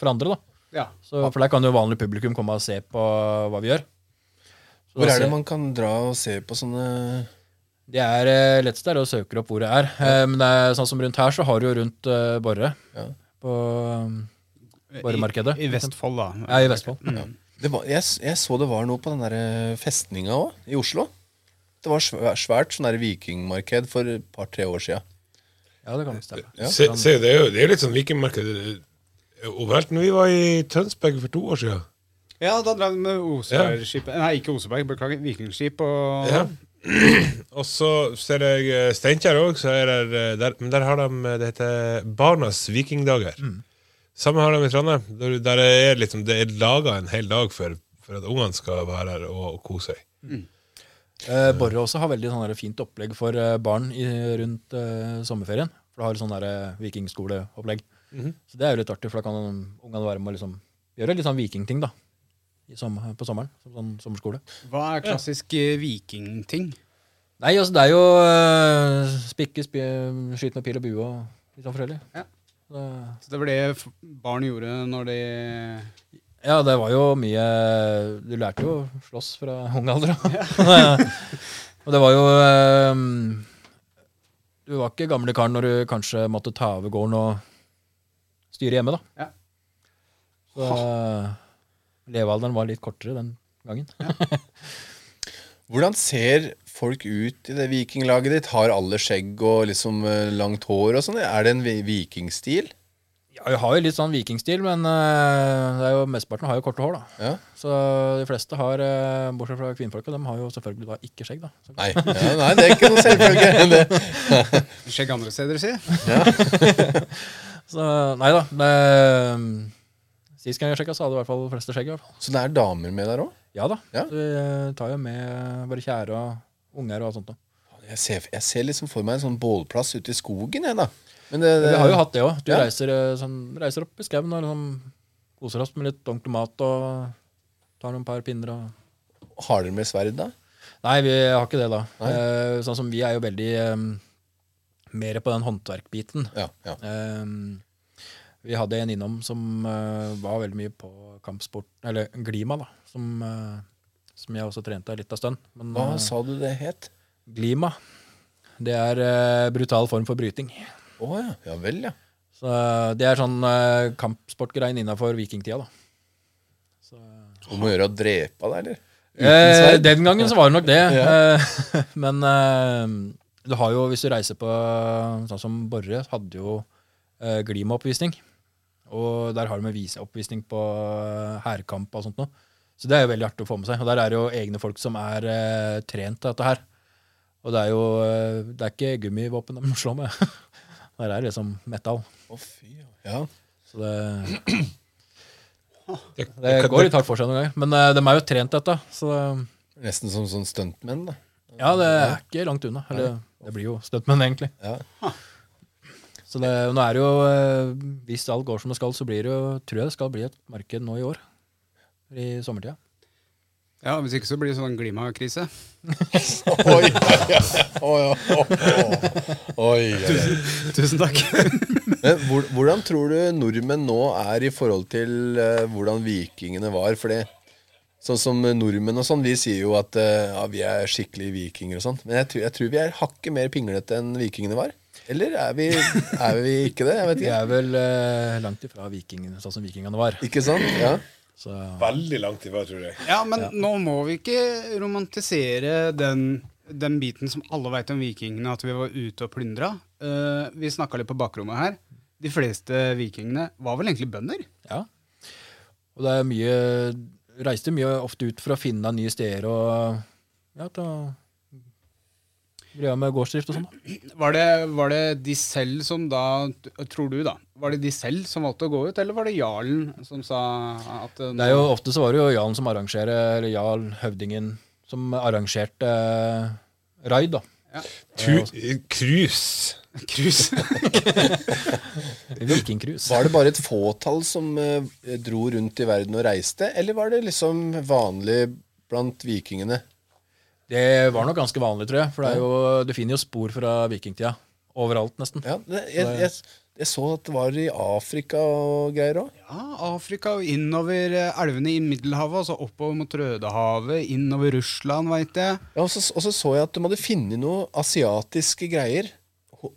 S5: for andre. da.
S3: Ja.
S5: Så, for der kan jo vanlig publikum komme og se på hva vi gjør. Så
S4: Hvor
S5: da
S4: er
S5: ser-
S4: det man kan dra og se på sånne
S5: det er eh, lettest der å søke opp hvor det er. Eh, men det er sånn som rundt her, så har du jo rundt eh, Borre.
S4: Ja.
S5: På eh, Borremarkedet.
S3: I, I Vestfold, da.
S5: Ja, i Vestfold.
S4: Mm. det var, jeg, s- jeg så det var noe på den der eh, festninga òg, i Oslo. Det var svært, svært sånn der vikingmarked for et par-tre år sia.
S5: Ja, det kan nok stemme.
S4: <laughs> Ja.
S6: Se, se, det, er jo, det er jo litt sånn vikingmarked eh, overalt. Når vi var i Tønsberg for to år siden
S3: Ja, da drev de med Osebergskipet Nei, ikke Oseberg, beklager. Vikingskip og
S6: ja. <clears throat> Og så ser jeg eh, Steinkjer òg, så er det eh, der, men der har de eh, Det heter Barnas vikingdager. Samme har de i Trondheim. Der, der er liksom, det er laga en hel dag for, for at ungene skal være her og, og kose seg.
S5: Eh, Borre også har veldig sånn der fint opplegg for eh, barn i, rundt eh, sommerferien. For det har sånn der eh, vikingskoleopplegg. Så det er jo litt artig, for da kan ungene være med og liksom gjøre litt sånn vikingting da. I som, på sommeren. Som sånn sommerskole.
S3: Hva er klassisk eh, vikingting?
S5: Nei, altså det er jo eh, spikke, spi, skyte med pil og bue og litt sånn forskjellig.
S3: Ja.
S5: Det,
S3: Så det var det f- barn gjorde når de
S5: Ja, det var jo mye Du lærte jo å slåss fra ung alder. <laughs> da. og det var jo ehm, Du var ikke gamle karen når du kanskje måtte ta over gården og styre hjemme,
S3: Ja.
S5: da. Så eh, levealderen var litt kortere den gangen.
S4: Hvordan ser folk ut i det vikinglaget ditt? Har alle skjegg og liksom eh, langt hår og sånn? Er det en vi- vikingstil?
S5: Ja, Vi har jo litt sånn vikingstil, men eh, det er jo, mesteparten har jo korte hår. da.
S4: Ja.
S5: Så de fleste har, eh, bortsett fra kvinnfolka, de har jo selvfølgelig da ikke skjegg. da. Så
S4: <laughs> Nei, ja, nei, det er ikke noe selvfølge. Det.
S3: Skjegg andre steder, si.
S5: Så nei da. Det, sist gang jeg sjekka, så hadde i hvert fall de fleste skjegg. i hvert fall.
S4: Så det er damer med der òg?
S5: Ja da.
S4: Ja.
S5: Så vi eh, tar jo med våre kjære og unger og alt sånt. Da.
S4: Jeg ser, jeg ser liksom for meg en sånn bålplass ute i skogen, jeg, da. Men eh, det,
S5: Vi har jo hatt det òg. Du
S4: Ja.
S5: reiser, eh, sånn, reiser opp i skauen og liksom koser oss med litt ordentlig mat og tar noen par pinner og
S4: Har dere med sverd, da?
S5: Nei, vi har ikke det, da. Eh, sånn som vi er jo veldig eh, mer på den håndverkbiten.
S4: Ja, ja.
S5: Eh, vi hadde en innom som eh, var veldig mye på kampsport, eller Glima, da, som, eh, som jeg også trente litt av stund. Men
S4: Hva
S5: eh,
S4: sa du det het?
S5: Glima, det er eh, brutal form for bryting.
S4: Å ja. Ja vel, ja.
S5: Så eh, det er sånn eh, kampsportgrein innafor vikingtida, da. Så,
S4: Om å gjøre å drepe deg, eller?
S5: eh,
S4: sverd?
S5: den gangen så var det nok det. eh, <laughs> men eh, du har jo, hvis du reiser på sånn som Borre, hadde jo eh, Glima-oppvisning. Og der har de en viseoppvisning på eh, hærkamp og sånt noe. Så det er jo veldig artig å få med seg. Og der er det jo egne folk som er eh, trent til dette her. Og det er jo eh, Det er ikke gummivåpen de <laughs> slår med. der er det liksom metall.
S4: Å fy, ja. ja.
S5: Så det,
S6: Det,
S5: det
S6: det-
S5: går litt hardt for seg noen ganger. Men eh, de er jo trent til dette. Så det-
S4: Nesten som sånn stuntmenn, da.
S5: ja, det er ikke langt unna. Eller det blir jo stuntmenn, egentlig.
S4: Ja.
S5: Så det, og nå er det jo, eh, hvis alt går som det skal, så blir det jo, tror jeg det skal bli et marked nå i år. I sommertida.
S3: Ja, Hvis ikke så blir det sånn glimakrise.
S4: Oi, ja, ja. Å, ja. Å, å. Oi, ja, ja.
S3: Tusen takk.
S4: Men hvor- Hvordan tror du nordmenn nå er i forhold til eh, hvordan vikingene var? Fordi sånn som nordmenn og sånn, vi sier jo at eh, ja, vi er skikkelig vikinger og sånn. Men jeg, tror- jeg tror vi er hakket mer pinglete enn vikingene var. Eller er vi, er vi ikke det? Jeg vet
S5: Vi
S4: ikke.
S5: er vel eh, langt ifra vikingene, sånn som vikingene var.
S4: Ikke sant? Ja.
S5: Så,
S6: Veldig langt ifra, tror jeg.
S3: <laughs> Ja, men nå må vi ikke romantisere den, den biten som alle veit om vikingene, at vi var ute og plyndra. Eh, vi snakka litt på bakrommet her. De fleste vikingene var vel egentlig bønder?
S5: ja. Og det er mye Reiste mye ofte ut for å finne nye steder og ja, ta Greia med gårdsdrift og sånn. da.
S3: Var det, var det de selv som da Tror du, da. Var det de selv som valgte å gå ut, eller var det jarlen som sa at eh,
S5: Det er jo, ofte så var det jo jarlen som arrangerer, eller jarl høvdingen, som arrangerte eh, raid, da.
S6: eh, Cruise.
S3: Krus.
S5: Vikingcruise.
S4: Var det bare et fåtall som eh, dro rundt i verden og reiste, eller var det liksom vanlig blant vikingene?
S5: Det var nok ganske vanlig, tror jeg. For det er jo, du finner jo spor fra vikingtida. Overalt, nesten.
S4: Ja, det, jeg, jeg, jeg så at det var i Afrika og greier òg.
S3: Ja, Afrika og innover eh, elvene i Middelhavet, altså oppover mot Rødehavet, innover Russland, veit jeg.
S4: Ja, og, så- og så så jeg at de hadde funnet noe asiatiske greier ho-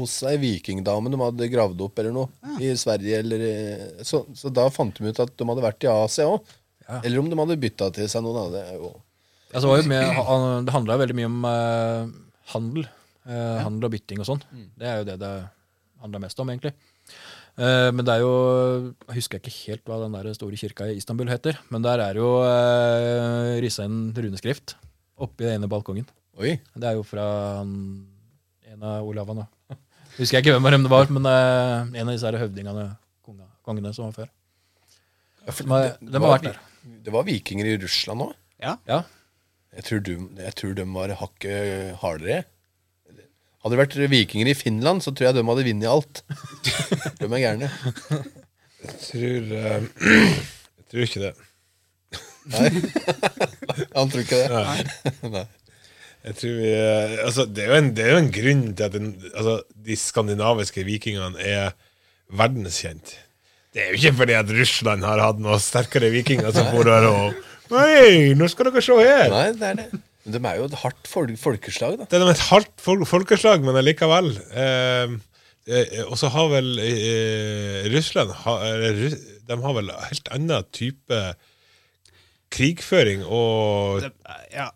S4: hos ei vikingdame de hadde gravd opp eller noe
S5: Ah.
S4: i Sverige. Eller, i- så, så da fant de ut at de hadde vært i Asia òg. Eller om de hadde bytta til seg noen. Da. Det er jo-
S5: Altså, det var jo mye- ha- det handla veldig mye om eh, handel. Eh, handel og bytting og sånn. Det er jo det det handla mest om, egentlig. Eh, men det er jo Jeg husker ikke helt hva den der store kirka i Istanbul heter, men der er jo uh, rissa en runeskrift oppi den ene balkongen.
S4: Oi.
S5: Det er jo fra han- en av olavene. <laughs> Husker jeg ikke hvem av dem det var, men eh, en av disse her høvdingene, konga, kongene, som var før. De har, de har vært der.
S4: Det var vikinger i Russland òg.
S5: Ja.
S4: Jeg tror, du, jeg tror de var hakket hardere. Hadde det vært vikinger i Finland, så tror jeg de hadde vunnet
S5: <laughs>
S4: alt. De er gærne.
S6: Tror eh, <clears throat> Jeg tror ikke det.
S4: Han tror ikke det. <laughs>
S6: Jeg tror vi, eh, altså, det, er jo en, det er jo en grunn til at den, altså, de skandinaviske vikingene er verdenskjent. Det er jo ikke fordi at Russland har hatt noen sterkere vikinger som bor der og Nei, nå skal dere se her!
S4: Nei, det er det. Men de er jo et hardt fol folkeslag, da.
S6: Det er de et halvt fol folkeslag, men allikevel. Eh, eh, og så har vel eh, Russland ha, eller, Ru- De har vel helt annen type krigføring og
S3: Det, ja,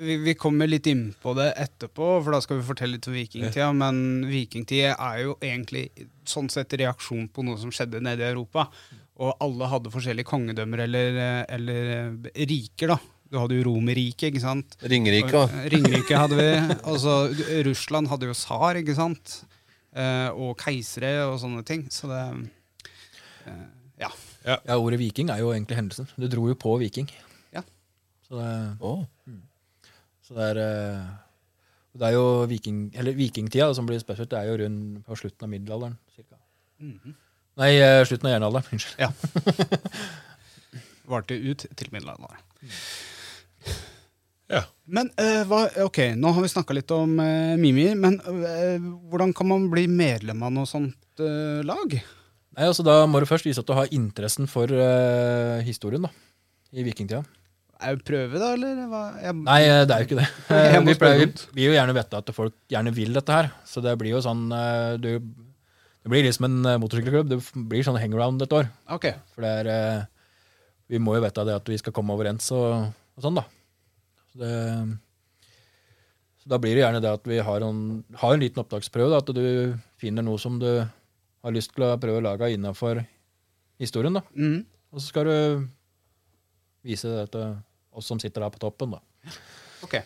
S3: vi, vi kommer litt inn på det etterpå, for da skal vi fortelle litt om vikingtida. Men vikingtida er jo egentlig sånn sett reaksjon på noe som skjedde nede i Europa. Og alle hadde forskjellige kongedømmer eller, eller eh, riker, da. Du hadde jo Romerriket, ikke sant.
S4: Ringerike
S3: Og-
S4: og
S3: Ringerike hadde vi. Altså, Russland hadde jo tsar, ikke sant. Eh, og keisere og sånne ting. Så det eh, Ja.
S5: ja, ordet viking er jo egentlig hendelsen. Du dro jo på viking.
S3: Ja.
S5: Så det,
S4: Å,
S5: så det er eh, Det er jo viking, eller vikingtida da, som blir spesielt, det er jo rundt på slutten av middelalderen. Cirka. Nei, eh, slutten av jernalderen. <laughs> Unnskyld.
S3: ja. Varte ut til middelalderen.
S6: Ja.
S3: Men eh, hva, ok, nå har vi snakka litt om eh, Mimir, men eh, hvordan kan man bli medlem av noe sånt eh, lag?
S5: Nei, altså Da må du først vise at du har interessen for eh, historien da, i vikingtida.
S3: Er det prøve, da, eller? Hva? Jeg,
S5: Nei, eh, det er jo ikke det.
S3: <laughs> Jeg må
S5: Vi
S3: spørre
S5: pleier,
S3: dumt.
S5: vi vil jo gjerne vite at folk gjerne vil dette her. Så det blir jo sånn eh, du, Det blir liksom en eh, motorsykkelklubb. Det f- blir sånn hangaround et år.
S3: Ok,
S5: For det er eh, Vi må jo vite det at vi skal komme overens og, og sånn, da. Så det så Da blir det gjerne det at vi har en, har en liten opptaksprøve. Da, at du finner noe som du har lyst til å prøve å lage innafor historien. da.
S3: Mhm.
S5: Og så skal du vise det til oss som sitter der på toppen, da.
S3: ok.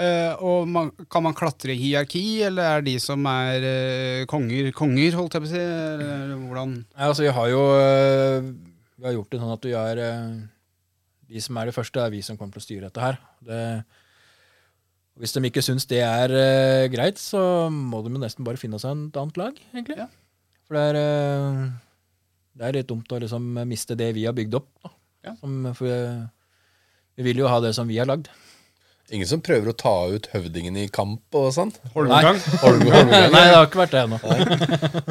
S3: Eh, og man, kan man klatre i hierarki, eller er de som er eh, konger, konger, holdt jeg på å si? Eller, eller hvordan?
S5: Nei, altså, vi har jo øh, Vi har gjort det sånn at vi er øh, De som er det første, er vi som kommer til å styre dette her. Det, og hvis de ikke syns det er øh, greit, så må de jo nesten bare finne seg et annet lag, egentlig.
S3: Ja.
S5: For det er øh, Det er litt dumt å liksom miste det vi har bygd opp. Da.
S3: Ja.
S5: Som, for øh, vi vil jo ha det som vi har lagd.
S4: Ingen som prøver å ta ut høvdingene i kamp og sånn?
S5: Holmgang?
S4: Holm-
S5: Nei,
S4: Holmgang,
S5: det
S4: ja.
S5: har ikke vært det ennå.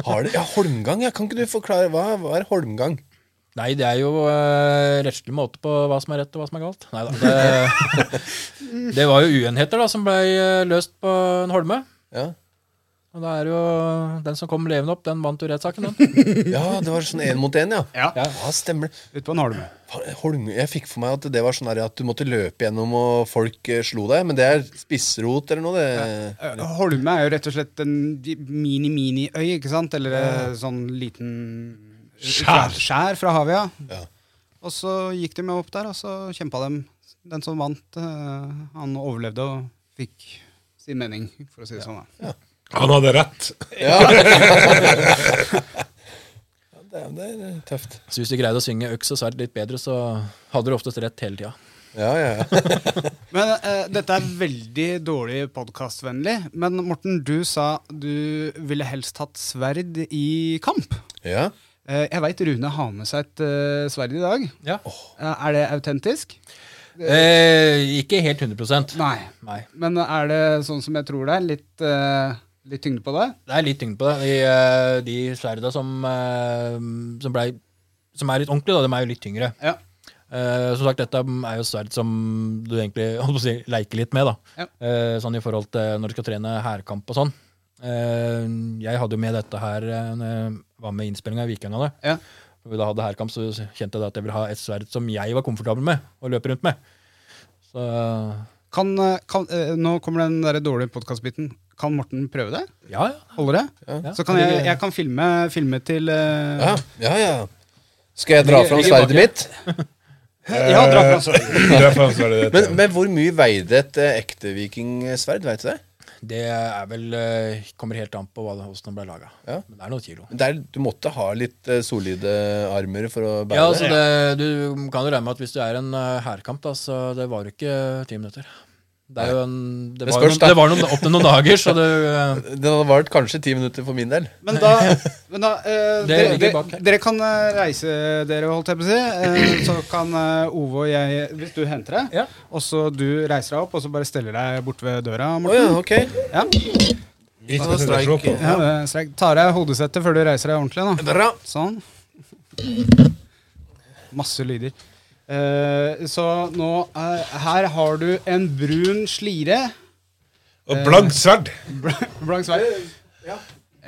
S4: Har det, ja, Holmgang, ja. Kan ikke du forklare hva, hva er holmgang?
S5: Nei, det er jo eh, rettslig måte på hva som er rett og hva som er galt. Neida, det, det var jo uenigheter da, som ble eh, løst på en holme.
S4: Ja.
S5: Og da er jo den som kom levende opp, den vant jo rettssaken. den.
S4: ja, det var sånn én mot én, ja.
S3: Ja.
S4: Ja, stemmer det.
S3: Ut på en halm.
S4: Fa- Holm, jeg fikk for meg at det var sånn her at du måtte løpe gjennom og folk eh, slo deg, men det er spissrot eller noe, det.
S3: Eh, Holme er jo rett og slett en mini-mini-øy, ikke sant? Eller eh, sånn liten
S6: Skjær.
S3: skjær fra havet, ja.
S4: Ja.
S3: Og så gikk de jo opp der, og så kjempa de. Den som vant, eh, han overlevde og fikk sin mening, for å si det sånn. da.
S6: Han hadde rett.
S4: Det, er- det er tøft.
S5: Så hvis du greide å synge øks og sverd litt bedre, så hadde du oftest rett hele tida.
S4: Ja, ja, ja.
S3: Men eh, Dette er veldig dårlig podkastvennlig. Men Morten, du sa du ville helst hatt sverd i kamp.
S4: ja.
S3: Eh, jeg veit Rune har med seg et eh, sverd i dag.
S5: Ja.
S3: Eh, er det autentisk?
S5: Eh, ikke helt 100
S3: Nei.
S5: Nei.
S3: Men er det sånn som jeg tror det er? Litt, eh, litt tyngde på det?
S5: Det er litt tyngde på det. De, eh, de sverda som, eh, som, blei, som er litt ordentlige, da, de er jo litt tyngre.
S3: Ja.
S5: Eh, som sagt, dette er jo sverd som du egentlig <laughs> holdt på å si, leker litt med. da.
S3: Ja.
S5: Eh, sånn i forhold til når du skal trene hærkamp og sånn. Eh, jeg hadde jo med dette her eh, når jeg var med i innspillinga i Vikingene.
S3: Ja.
S5: Når vi da hadde hærkamp, så kjente jeg da at jeg ville ha et sverd som jeg var komfortabel med å løpe rundt med. Så
S3: Kan, eh, kan, eh, nå kommer den der dårlige podkastbiten. Kan Morten prøve det?
S5: ja, ja.
S3: Holder det?
S5: Ja.
S3: Så kan jeg, jeg kan filme, filme til eh,
S4: ja, ja, ja. Skal jeg dra fram sverdet mitt?
S3: Ja, dra fra sverdet.
S6: Det er faen svaret
S4: Men,
S6: ditt.
S4: men hvor mye veide et eh, ekte vikingsverd, veit du det?
S5: Det er vel eh, Kommer helt an på hva det, hvordan det ble laga.
S4: Ja.
S5: Men det er noen kilo.
S4: Det er- du måtte ha litt eh, solide armer for å bære
S5: Ja, altså
S4: det.
S5: det, Du kan jo regne med at hvis du er en eh, hærkamp, da, så det var jo ikke ti minutter. Det, er jo en, det,
S4: Det
S5: var, jo
S4: spørs,
S5: noen,
S4: da.
S5: det var noen, opp til noen dager, så det eh,
S4: Den hadde vart kanskje ti minutter for min del.
S3: Men da,
S5: <laughs>
S3: men da eh,
S5: Det
S3: dere,
S5: ligger
S3: dere,
S5: bak her.
S3: dere kan eh, reise dere, holdt jeg på å si. eh, så kan eh, Ove og jeg, hvis du henter deg,
S5: Ja.
S3: og så du reiser deg opp og så bare steller deg borte ved døra,
S4: Å ja,
S3: Morten.
S4: ok.
S3: ja.
S6: Ikke noe å slå på.
S3: Ja, det er strek. Tar av deg hodesettet før du reiser deg ordentlig. da
S4: Bra.
S3: Sånn. Masse lyder. Eh, så nå eh, Her har du en brun slire.
S6: Og blankt sverd.
S3: Blank sverd. Ja.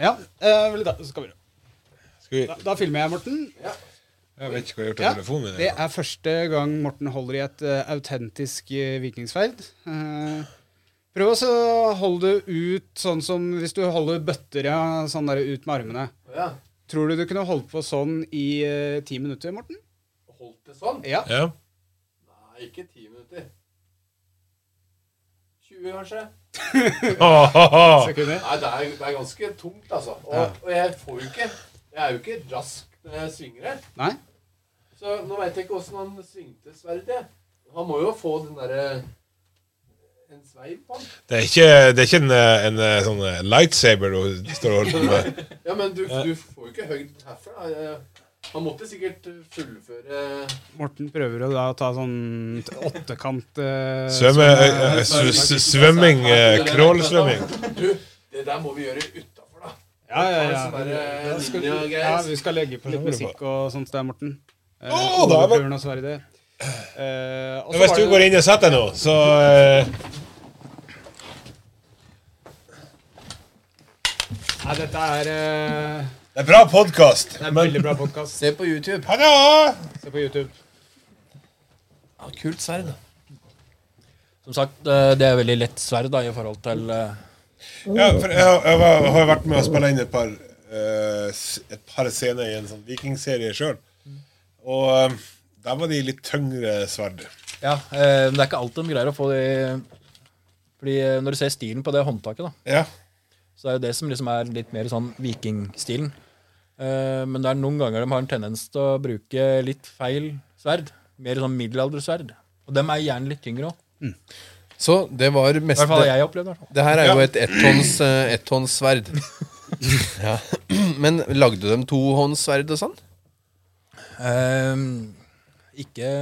S3: eh, vel, da, skal vi,
S6: Skal vi,
S3: da, da filmer jeg, Morten.
S6: jeg vet ikke hva jeg har gjort
S3: Ja,
S6: av telefonen min.
S3: Det er første gang Morten holder i et eh, autentisk eh, vikingsverd. Eh, prøv også å holde det ut sånn som hvis du holder bøtter ja, sånn der ut med armene. Tror du du kunne holdt på sånn i eh, ti minutter, Morten?
S4: Holdt det sånn?
S3: Ja.
S6: Ja. <laughs>
S4: Nei, ikke ti minutter. 20, kanskje?
S6: Ah, ah, ah.
S3: Sekunder.
S4: Nei, det er, ganske tungt, altså. Og, jeg får jo ikke Jeg er jo ikke rask når jeg svinger her.
S3: Nei?
S4: Så nå veit jeg ikke åssen han svingte sverdet. Han må jo få den derre En sveiv på han.
S6: Det er ikke, det er ikke en, eh, en eh, sånn eh, lightsaber du står og holder på
S3: <laughs>
S6: med.
S4: Ja, men du, du får jo ikke høyd herfra. Eh, Han måtte sikkert eh, fullføre
S3: Morten prøver å da ta sånn t- åttekant eh,
S6: Svømme, eh, eh, s- s- svømming. eh, Crawlsvømming.
S4: Du, det der må vi gjøre utafor, da.
S3: Ja, ja, ja.
S4: Sånn der, eh,
S3: Vi skal,
S4: linje og greier.
S3: ja, vi skal legge på litt musikk og sånt der, Morten. Eh,
S6: Å, da er det-
S3: Bjørn og Sverre. Eh, og så
S6: Hvis
S3: var
S6: du
S3: det-
S6: går inn og setter deg nå, så eh,
S3: Nei, dette er eh,
S6: Det er bra podkast.
S3: Det er en veldig bra podkast.
S4: Se på YouTube.
S6: Hallo!
S3: Se på YouTube.
S4: Ja, kult sverd.
S5: Som sagt, eh, det er veldig lett sverd da, i forhold til eh,
S6: Ja, for jeg, har- jeg var, har vært med å spille inn et par, eh, s- et par scener i en sånn vikingserie sjøl.
S3: Mm.
S6: Og eh, der var de litt tyngre sverd.
S5: Ja, eh, men det er ikke alltid de greier å få de Fordi eh, Når du ser stilen på det håndtaket, da,
S6: Ja.
S5: så er jo det som liksom er litt mer sånn vikingstilen. Eh, men det er noen ganger de har en tendens til å bruke litt feil sverd. Mer sånn middelaldersverd. Og dem er gjerne litt tyngre òg.
S4: Så det var
S5: I hvert fall har
S4: meste
S5: jeg opplevd. i hvert fall.
S4: Det her er jo et ettånds eh, <laughs> ettåndssverd. ja. Men lagde du dem tohåndssverd og sånn?
S5: Eh, ikke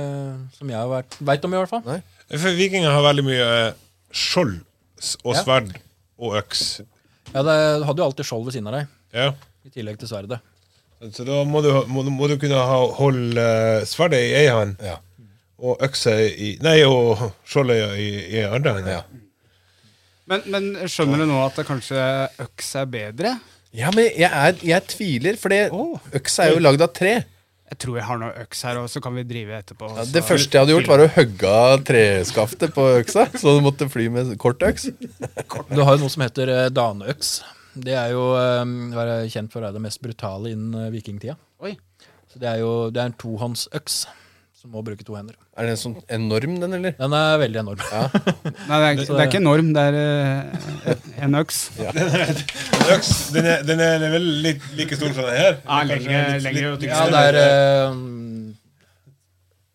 S5: som jeg har vært veit om, i hvert fall.
S4: Nei.
S6: For vikinger har veldig mye eh, skjold s- og
S5: Ja.
S6: sverd og øks.
S5: Ja, det, Du hadde jo alltid skjold ved siden av deg,
S6: Ja.
S5: i tillegg til sverdet.
S6: Så da må du, må, du- må du kunne ha, holde eh, sverdet i ei hånd
S4: Ja.
S6: og øksa i Nei, og skjoldet i, i andre hånd.
S4: Ja.
S3: Men, men skjønner du nå at det kanskje øks er bedre?
S4: Ja, men jeg, er, jeg tviler, for det,
S3: Åh.
S4: øksa er jo lagd av tre.
S3: Jeg tror jeg har noe øks her òg, så kan vi drive etterpå.
S4: Ja,
S3: så-
S4: det første jeg hadde gjort, var å hogge av treskaftet på øksa. Så du måtte fly med kort øks.
S5: Du har jo noe som heter eh, daneøks. Det er jo eh, være kjent for å være det mest brutale innen eh, vikingtida.
S3: Oi.
S5: Så det er jo det er en tohåndsøks. som må bruke to hender.
S4: Er den sånn enorm, den, eller?
S5: Den er veldig enorm.
S3: Nei, det er, ikke- det er ikke en norm, det er eh, en øks.
S6: Øks, den er, den er vel litt like stor som den her?
S3: Ja,
S6: Eller kanskje
S3: lengre-
S6: litt-
S3: lengre og
S6: litt-
S5: Ja, det er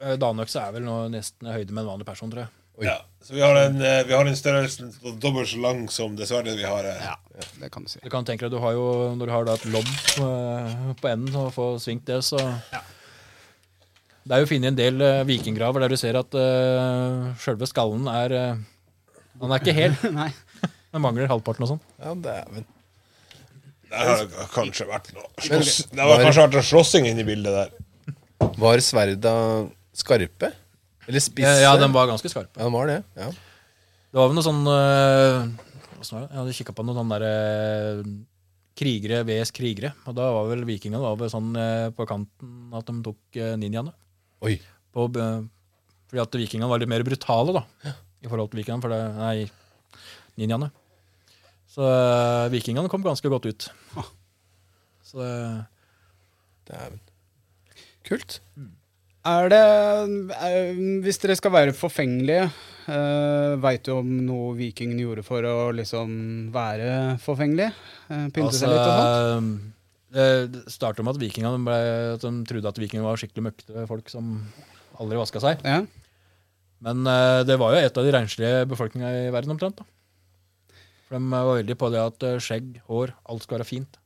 S5: eh, Danøkse er vel nå nesten i høyde med en vanlig person, tror jeg.
S6: Ja, så vi har en, eh, vi har en størrelse dobbelt så lang som dessverre vi har her.
S3: Ja, det kan du si.
S5: Du kan tenke deg, du har jo, når du har da et lodd eh, på enden og får svingt det, så Det er jo funnet en del eh, vikinggraver der du ser at uh, sjølve skallen er eh, Han er ikke <laughs> hel.
S3: Nei.
S5: Den mangler halvparten og sånn.
S4: Ja, dæven.
S6: Der har det kanskje vært noe slåss. Det har kanskje vært en slåssing inne i bildet der.
S4: Var sverda skarpe? Eller
S5: Ja,
S4: spisse?
S5: Eh, ja, den var ganske skarp.
S4: Ja, den var det. Ja.
S5: Det var vel noe sånn eh, Hvordan var det? Jeg hadde kikka på noen sånne der, eh, krigere vs. krigere. Og da var vel vikingene var vel sånn eh, på kanten at de tok eh, ninjaene.
S4: Oi.
S5: På, eh, fordi at vikingene var litt mer brutale da, i forhold til vikingene. For det, nei, ninjaene. Så eh, vikingene kom ganske godt ut. Så eh, det-
S4: Dæven. Kult.
S5: Mm.
S3: Er det er, Hvis dere skal være forfengelige, uh, veit du om noe vikingene gjorde for å liksom være forfengelige? Eh, pynte seg litt og sånt?
S5: altså, eh, Det startet med at vikingene ble, at de trodde at vikingene var skikkelig møkkete folk som aldri vaska seg.
S3: Ja.
S5: Men eh, det var jo et av de renslige befolkninga i verden omtrent. da. For De var veldig på det at eh, skjegg, hår, alt skal være fint.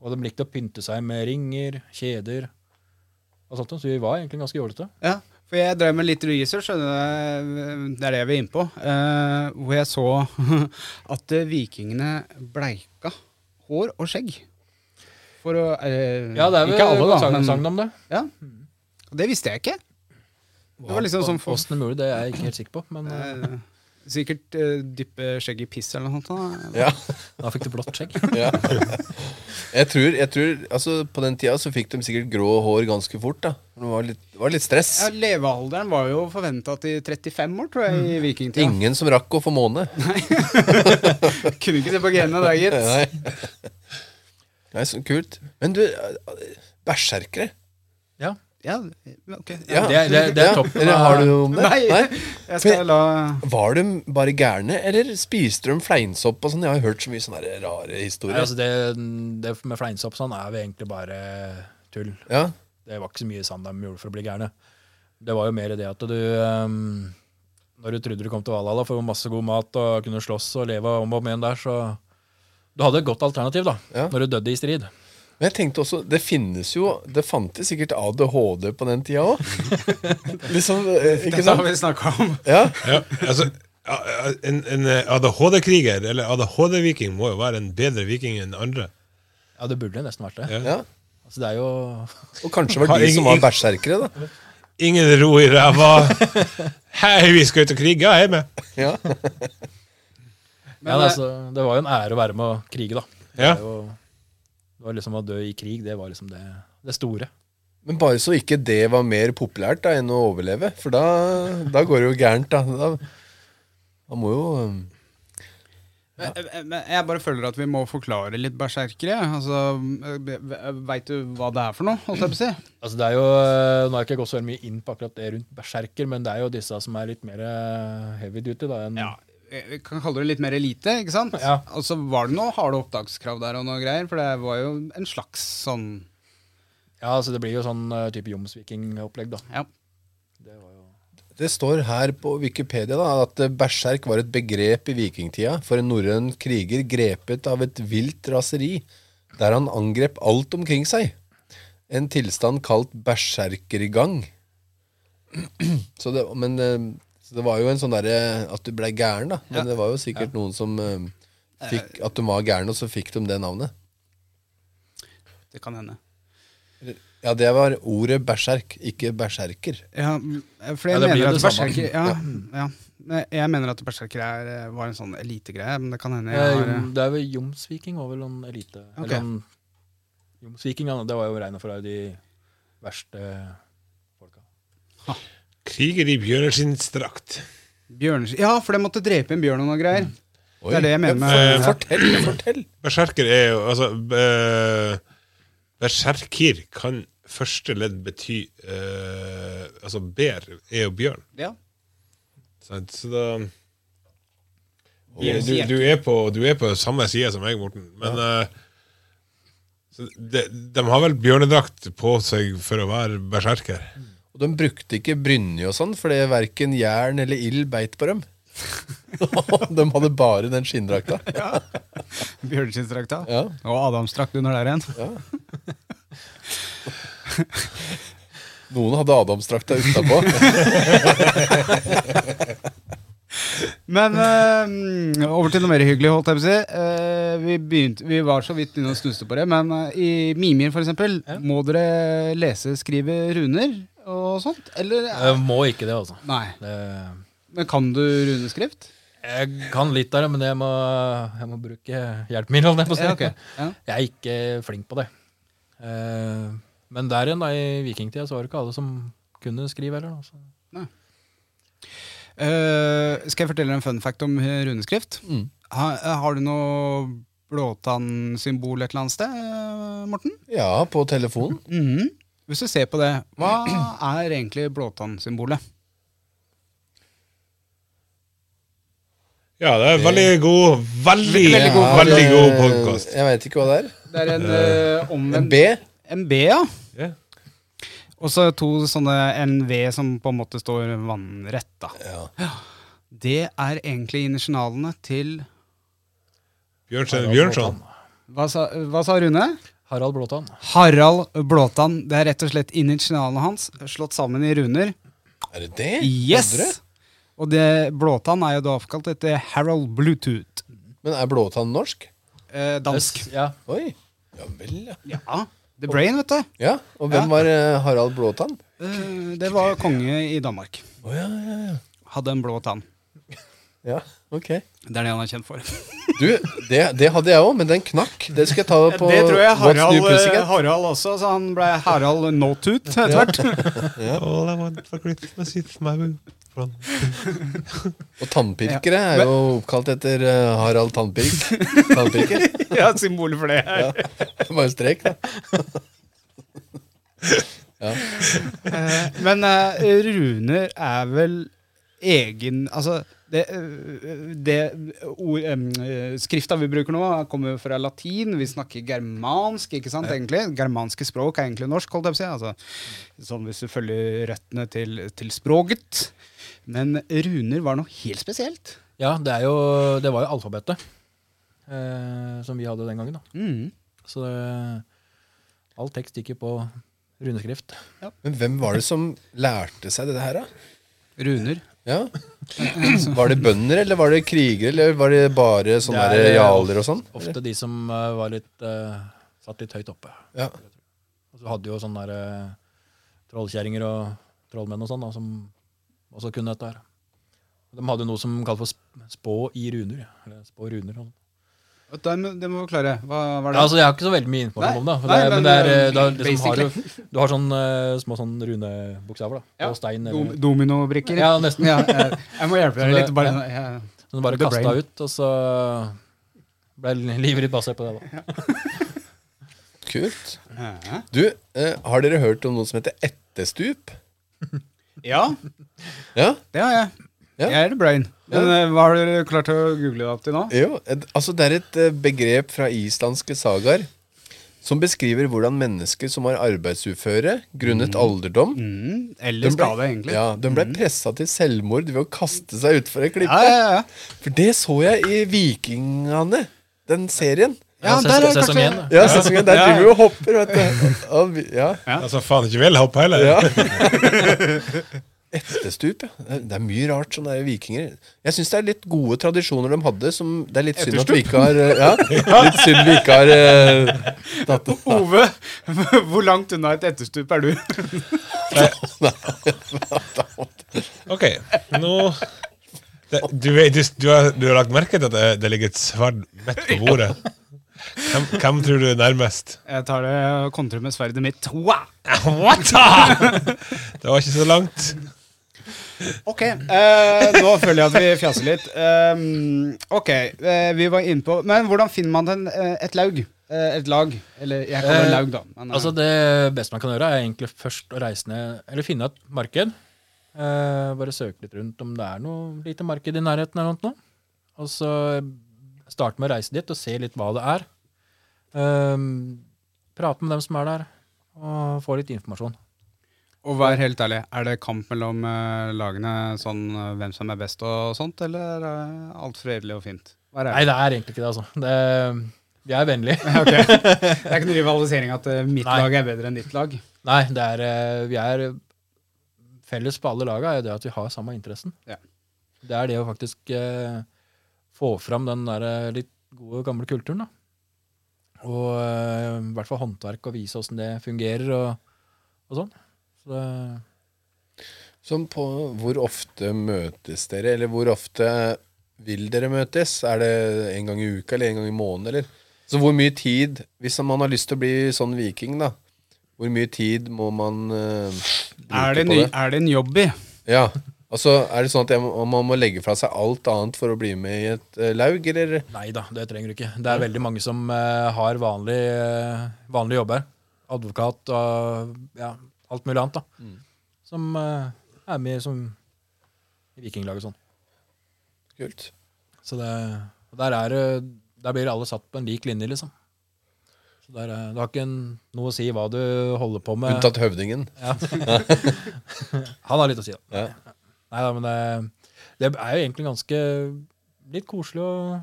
S5: Og de likte å pynte seg med ringer, kjeder og sånt. Så vi var egentlig ganske jålete.
S3: Ja, for jeg drev med litt research, skjønner du. Det er det vi er inne på. Eh, hvor jeg så <laughs> at eh, vikingene bleika hår og skjegg. For å eh,
S5: Ja, det er vel
S3: Ikke alle, da.
S5: sagn,
S3: Men,
S5: sagn om det.
S3: ja. Og det visste jeg ikke. Det var liksom sånn for,
S5: Åssen de gjorde det, er jeg ikke helt sikker på. Men eh,
S3: eh, Sikkert eh, dyppe skjegget i piss eller noe sånt. da.
S4: Ja.
S5: da fikk de blått skjegg.
S3: <laughs>
S4: ja. <laughs> Jeg tror, jeg tror altså, På den tida så fikk de sikkert grå hår ganske fort. da Det var litt, det var litt stress.
S3: Ja, levealderen var jo forventa til 35 år, tror jeg, i vikingtida.
S4: Mm. Ingen som rakk å få måne.
S3: <laughs> Kunne ikke se på genene da, gitt.
S4: <laughs> Nei. Nei, så kult. Men du, bæsjerkere?
S5: Ja.
S3: Ja, ok.
S4: Ja.
S5: Det er- det er- det er
S4: Ja.
S5: toppen
S4: Eller
S5: av-
S4: har du noe om det?
S3: Nei, jeg skal la
S4: Var de bare gærne, eller spiste de fleinsopp og sånn? Jeg har hørt så mye sånne der rare
S5: Nei,
S4: historier.
S5: altså det, det med fleinsopp sånn er vi egentlig bare tull.
S4: ja.
S5: Det var ikke så mye sand de gjorde for å bli gærne. Det var jo mer det at du ehm, Når du trodde du kom til Valhalla for masse god mat og kunne slåss og leve om og om igjen der, så Du hadde et godt alternativ da,
S4: Ja.
S5: når du døde i strid.
S4: Men jeg tenkte også, det finnes jo Det fantes sikkert ADHD på den tida òg.
S6: <laughs>
S4: liksom, eh, ikke
S3: Dette har
S4: sant?
S3: vi snakka om.
S4: Ja.
S6: Ja, altså, ja, ja, en, en eh, ADHD-kriger, eller ADHD-viking, må jo være en bedre viking enn andre.
S5: Ja, det burde nesten vært det.
S6: Ja.
S4: ja.
S5: Altså, det er jo
S4: Og kanskje var
S6: Har
S4: de
S6: ingen-
S4: som var bæsjerkere, da.
S6: Ingen ro i ræva. Hei, vi skal ut og krige, jeg er med.
S4: Ja.
S5: ja, det, er altså, det var jo en ære å være med å krige, da. Det,
S6: Ja.
S5: er jo, det var liksom Å dø i krig, det var liksom det, det store.
S4: Men bare så ikke det var mer populært da enn å overleve, for da, da går det jo gærent, da. Da, da må jo eh,
S3: Men- men Jeg bare føler at vi må forklare litt berserkere. Altså, Veit du hva det er for noe? Holdt jeg på å si.
S5: Altså det er jo, eh, Nå har jeg ikke gått så veldig mye inn på akkurat det rundt berserker, men det er jo disse som er litt mer eh, heavy duty. da. Enn,
S3: Ja, vi kan kalle det litt mer elite, ikke sant?
S5: Ja.
S3: Og så var det noe harde opptakskrav der og noe greier, for det var jo en slags sånn
S5: Ja, altså Det blir jo sånn eh, type jomsviking-opplegg. da.
S3: Ja.
S5: Det var jo...
S4: Det står her på Wikipedia da, at eh, berserk var et begrep i vikingtida for en norrøn kriger grepet av et vilt raseri, der han angrep alt omkring seg. En tilstand kalt berserkergang. <clears throat> Så det, men eh, så det var jo en sånn derre at du blei gæren, da. Men det var jo sikkert noen som eh, fikk at de var gærne, og så fikk de det navnet.
S3: Det kan hende.
S4: Ja, det var ordet berserk, ikke berserker.
S3: Ja, m- for jeg
S5: Ja, det blir
S3: mener
S5: det
S3: at
S5: samme.
S3: berserker ja, ja. Nei, Jeg mener at berserker er, eh, var en sånn elitegreie, men det kan hende
S5: Eh,
S3: jeg har eh,
S5: jom, det er jo jomsviking var vel en elite.
S3: Ok.
S5: Eller en, jomsvikingene, det var jo regna for de verste folka.
S6: Kriger i bjørneskinns drakt.
S3: bjørnes... Ja, for de måtte drepe en bjørn og noe greier. Det er det jeg mener
S6: Eh,
S3: med
S4: Fortell, fortell!
S6: Berserker er jo Altså, eh, berserker kan første ledd betyr eh, Altså ber er jo bjørn.
S3: Ja.
S6: Sant? Så da du,
S3: Yes.
S6: du, du, er på, du er på samme side som meg, Morten. Men eh, så de, de har vel bjørnedrakt på seg for å være berserker.
S4: Og de brukte ikke brynje og sånn, fordi verken jern eller ild beit på dem. <laughs> de hadde bare den skinndrakta.
S3: Bjørneskinnsdrakta.
S4: Ja.
S3: Og Adamsdrakt under der igjen.
S4: Noen hadde Adamsdrakta utapå.
S3: Men eh, over til noe mer hyggelig, holdt jeg på å si. Eh, vi, begynte, vi var så vidt inne og snuste på det, men eh, i Mimir for eksempel, må dere lese, skrive runer og sånt? Eller?
S5: Jeg må ikke det, altså.
S3: Nei.
S5: Det,
S3: Men kan du runeskrift?
S5: jeg kan litt av det, men jeg må, jeg må bruke hjelpemidler. holdt jeg på å si.
S3: Ja, ok. Ja.
S5: <laughs> Jeg er ikke flink på det. Eh, men der igjen, da, i vikingtida, så var det ikke alle som kunne skrive heller. da, så-
S3: Eh, skal jeg fortelle en fun fact om eh, runeskrift?
S4: Mm.
S3: Ha, eh, har du noe blåtannsymbol et eller annet sted, eh, Morten?
S4: Ja, på telefonen.
S3: Mhm. Hvis du ser på det, <clears throat> hva er egentlig blåtannsymbolet?
S6: Ja, det er veldig god Veldig,
S3: Veldig god.
S6: veldig god
S4: Eh,
S6: podkast.
S4: Jeg veit ikke hva det er.
S3: Det er en eh,
S4: En
S3: omvendt
S4: B.
S3: En B, ja.
S6: Ja.
S3: Og så to sånne en V som på en måte står vannrett, da. Det er egentlig initialene til
S6: Bjørnsen, Bjørnson.
S3: hva sa, hva sa Rune?
S5: Harald Blåtann.
S3: Harald Blåtann. Det er rett og slett initialene hans slått sammen i runer.
S4: Er det det? Andre?
S3: Yes! Og det, Blåtann er jo da oppkalt etter Harold Bluetooth.
S4: Men er blåtann norsk?
S3: Eh, dansk.
S5: Ja,
S4: Oi. Ja vel, ja.
S3: Ja. The Brain, vet du.
S4: ja. Og hvem
S3: Ja.
S4: var eh, Harald Blåtann?
S3: Eh, det var konge i Danmark.
S4: Å ja, ja, ja.
S3: Hadde en blå tann.
S4: Ja, ok.
S3: Det er det han er kjent for.
S4: Du, det, det hadde jeg òg, men den knakk. Det skal jeg ta på
S3: det tror jeg
S4: What's New
S3: Harald, eh,
S4: Pussycat.
S3: Harald også, så han ble Harald Nåtut etter hvert.
S6: All I want for Christmas is my boyfriend.
S4: Og tannpirkere er jo oppkalt etter eh, Harald
S5: <laughs>
S4: Tannpirk. Tannpirker.
S3: <laughs> ja, symbolet for det her.
S4: Bare strek, da.
S3: Men eh, runer er vel egen Altså, det, eh, det ord, em, eh, skrifta vi bruker nå, kommer fra latin. Vi snakker germansk, ikke sant, egentlig? Germanske språk er egentlig norsk, holdt jeg på å si. Altså, sånn hvis du følger røttene til, til språket. Men runer var noe helt spesielt.
S5: ja det, er jo, det var jo alfabetet eh, som vi hadde den gangen. da.
S3: Mm.
S5: Så det, all tekst gikk jo på runeskrift.
S4: Men hvem var det som lærte seg dette her, da?
S3: Runer.
S4: Ja. Var det bønder, eller var det krigere, eller var det bare sånne
S5: Det
S4: der
S5: er- eh,
S4: jaler og sånn?
S5: Ofte de som eh, var litt eh, satt litt høyt oppe.
S4: Ja.
S5: Og så hadde jo sånne der, eh, trollkjerringer og trollmenn og sånn, da, som også kunne dette her. De hadde jo noe som kalles for sp- spå i runer. ja. Eller spå runer. og sånn.
S3: Det må det må forklare. Hva var
S5: Ja,
S3: det?
S5: altså, jeg har ikke så veldig mye
S3: Nei,
S5: informasjon om det. For
S3: nei,
S5: det men,
S3: men,
S5: det er, eh, da,
S3: eh,
S5: liksom, har du,
S3: <laughs>
S5: du har sånn eh, små sånn runebokstaver da,
S3: Ja.
S5: og stein.
S3: Dom
S5: Eller,
S3: Dominobrikker?
S5: ja, nesten.
S3: Ja, jeg, jeg må hjelpe deg
S5: Så det-
S3: litt. Bare, sånn,
S5: ja.
S3: jeg,
S5: Så du bare
S3: The
S5: kasta
S3: brain.
S5: ut, og så ble livet ditt basert på det. da.
S4: Kult.
S3: Hæ?
S4: Du, eh, har dere hørt om noe som heter etterstup?
S3: ja,
S4: Ja?
S3: det har jeg.
S4: Ja.
S3: Jeg er the brain. Men eh, hva har dere klart å google det opp til nå?
S4: Jo, et, altså det er et eh, begrep fra islandske sagaer som beskriver hvordan mennesker som var arbeidsuføre grunnet alderdom
S3: Mm,
S4: de
S3: eller
S4: ble-
S3: skade, egentlig.
S4: Ja, De ble pressa til selvmord ved å kaste seg utfor ei klippe.
S3: ja, ja. ja.
S4: For det så jeg i Vikingene, den serien.
S3: Ja,
S5: ses-
S3: der er
S5: sesong
S3: kanskje-
S5: én, da.
S4: Ja, sesongen der driver vi og hopper, vet du. Og vi- Ja,
S6: Altså, faen ikke vil hoppe
S3: <laughs>
S6: heller.
S4: ja. Etterstup, ja. Det er mye rart sånn der vikinger. Jeg syns det er litt gode tradisjoner de hadde, som det er litt synd at vi ikke har eh, Ja,
S3: <laughs>
S4: litt synd vi ikke har eh, tatt det.
S3: Ove, <laughs> hvor langt unna et etterstup er du?
S6: Ok, nå det, du, vet, du, du, har, du har lagt merke til at det, det ligger et sverd midt på bordet. Hvem, hvem tror du er nærmest?
S3: Jeg tar det og kontrer med sverdet mitt. Wow!
S6: What the? Det var ikke så langt.
S3: Ok, eh, nå føler jeg at vi Ehm, fjaser litt. Um, ok, eh, vi var inne på Men hvordan finner man en, eh, et laug? Eh, eh, et lag. Eller jeg kaller det
S5: Eh,
S3: laug, da. Men, eh,
S5: Altså Det beste man kan gjøre, er egentlig først å reise ned Eller finne et marked. Eh, bare søke litt rundt om det er noe lite marked i nærheten. eller noe. Og så starte med å reise dit og se litt hva det er. Eh, prate med dem som er der, og få litt informasjon.
S3: og vær helt ærlig, er det kamp mellom eh, lagene sånn eh, hvem som er best og sånt, eller er det alt fredelig og fint? Vær
S5: Nei,
S3: ærlig.
S5: det er egentlig ikke det, altså. Det, vi er vennlige.
S3: Ok. Det er ikke noen rivalisering at eh, mitt
S5: Nei.
S3: lag er bedre enn ditt lag.
S5: Nei, det er, eh, vi er Felles på alle laga er jo det at vi har samme interessen.
S3: Ja.
S5: Det er det å faktisk eh, få fram den der eh, litt gode, gamle kulturen. da. Og eh, i hvert fall håndverk, og vise åssen det fungerer og, og sånn. Så det,
S4: Sånn på hvor ofte møtes dere, eller hvor ofte vil dere møtes? Er det en gang i uka, eller en gang i måneden, eller? Så hvor mye tid, hvis man har lyst til å bli sånn viking, da, hvor mye tid må man eh, bruke
S3: Er det,
S4: på
S3: ny,
S4: det?
S3: er det en jobb i?
S4: Ja, altså er det sånn at jeg må, man må legge fra seg alt annet for å bli med i et eh, laug, eller?
S5: nei da, det trenger du ikke. Det er veldig mange som eh, har vanlig, eh, vanlige jobber. Advokat og ja, alt mulig annet. da. Som eh, er med som i vikinglaget og sånn.
S4: Kult.
S5: Så det, og der, er, det- der blir alle satt på en lik linje, liksom. Så der, er- det har ikke en, noe å si hva du holder på med.
S4: Unntatt høvdingen.
S5: Han har litt å si, da.
S4: Ja.
S5: Neida, men det, det er jo egentlig ganske litt koselig. Og,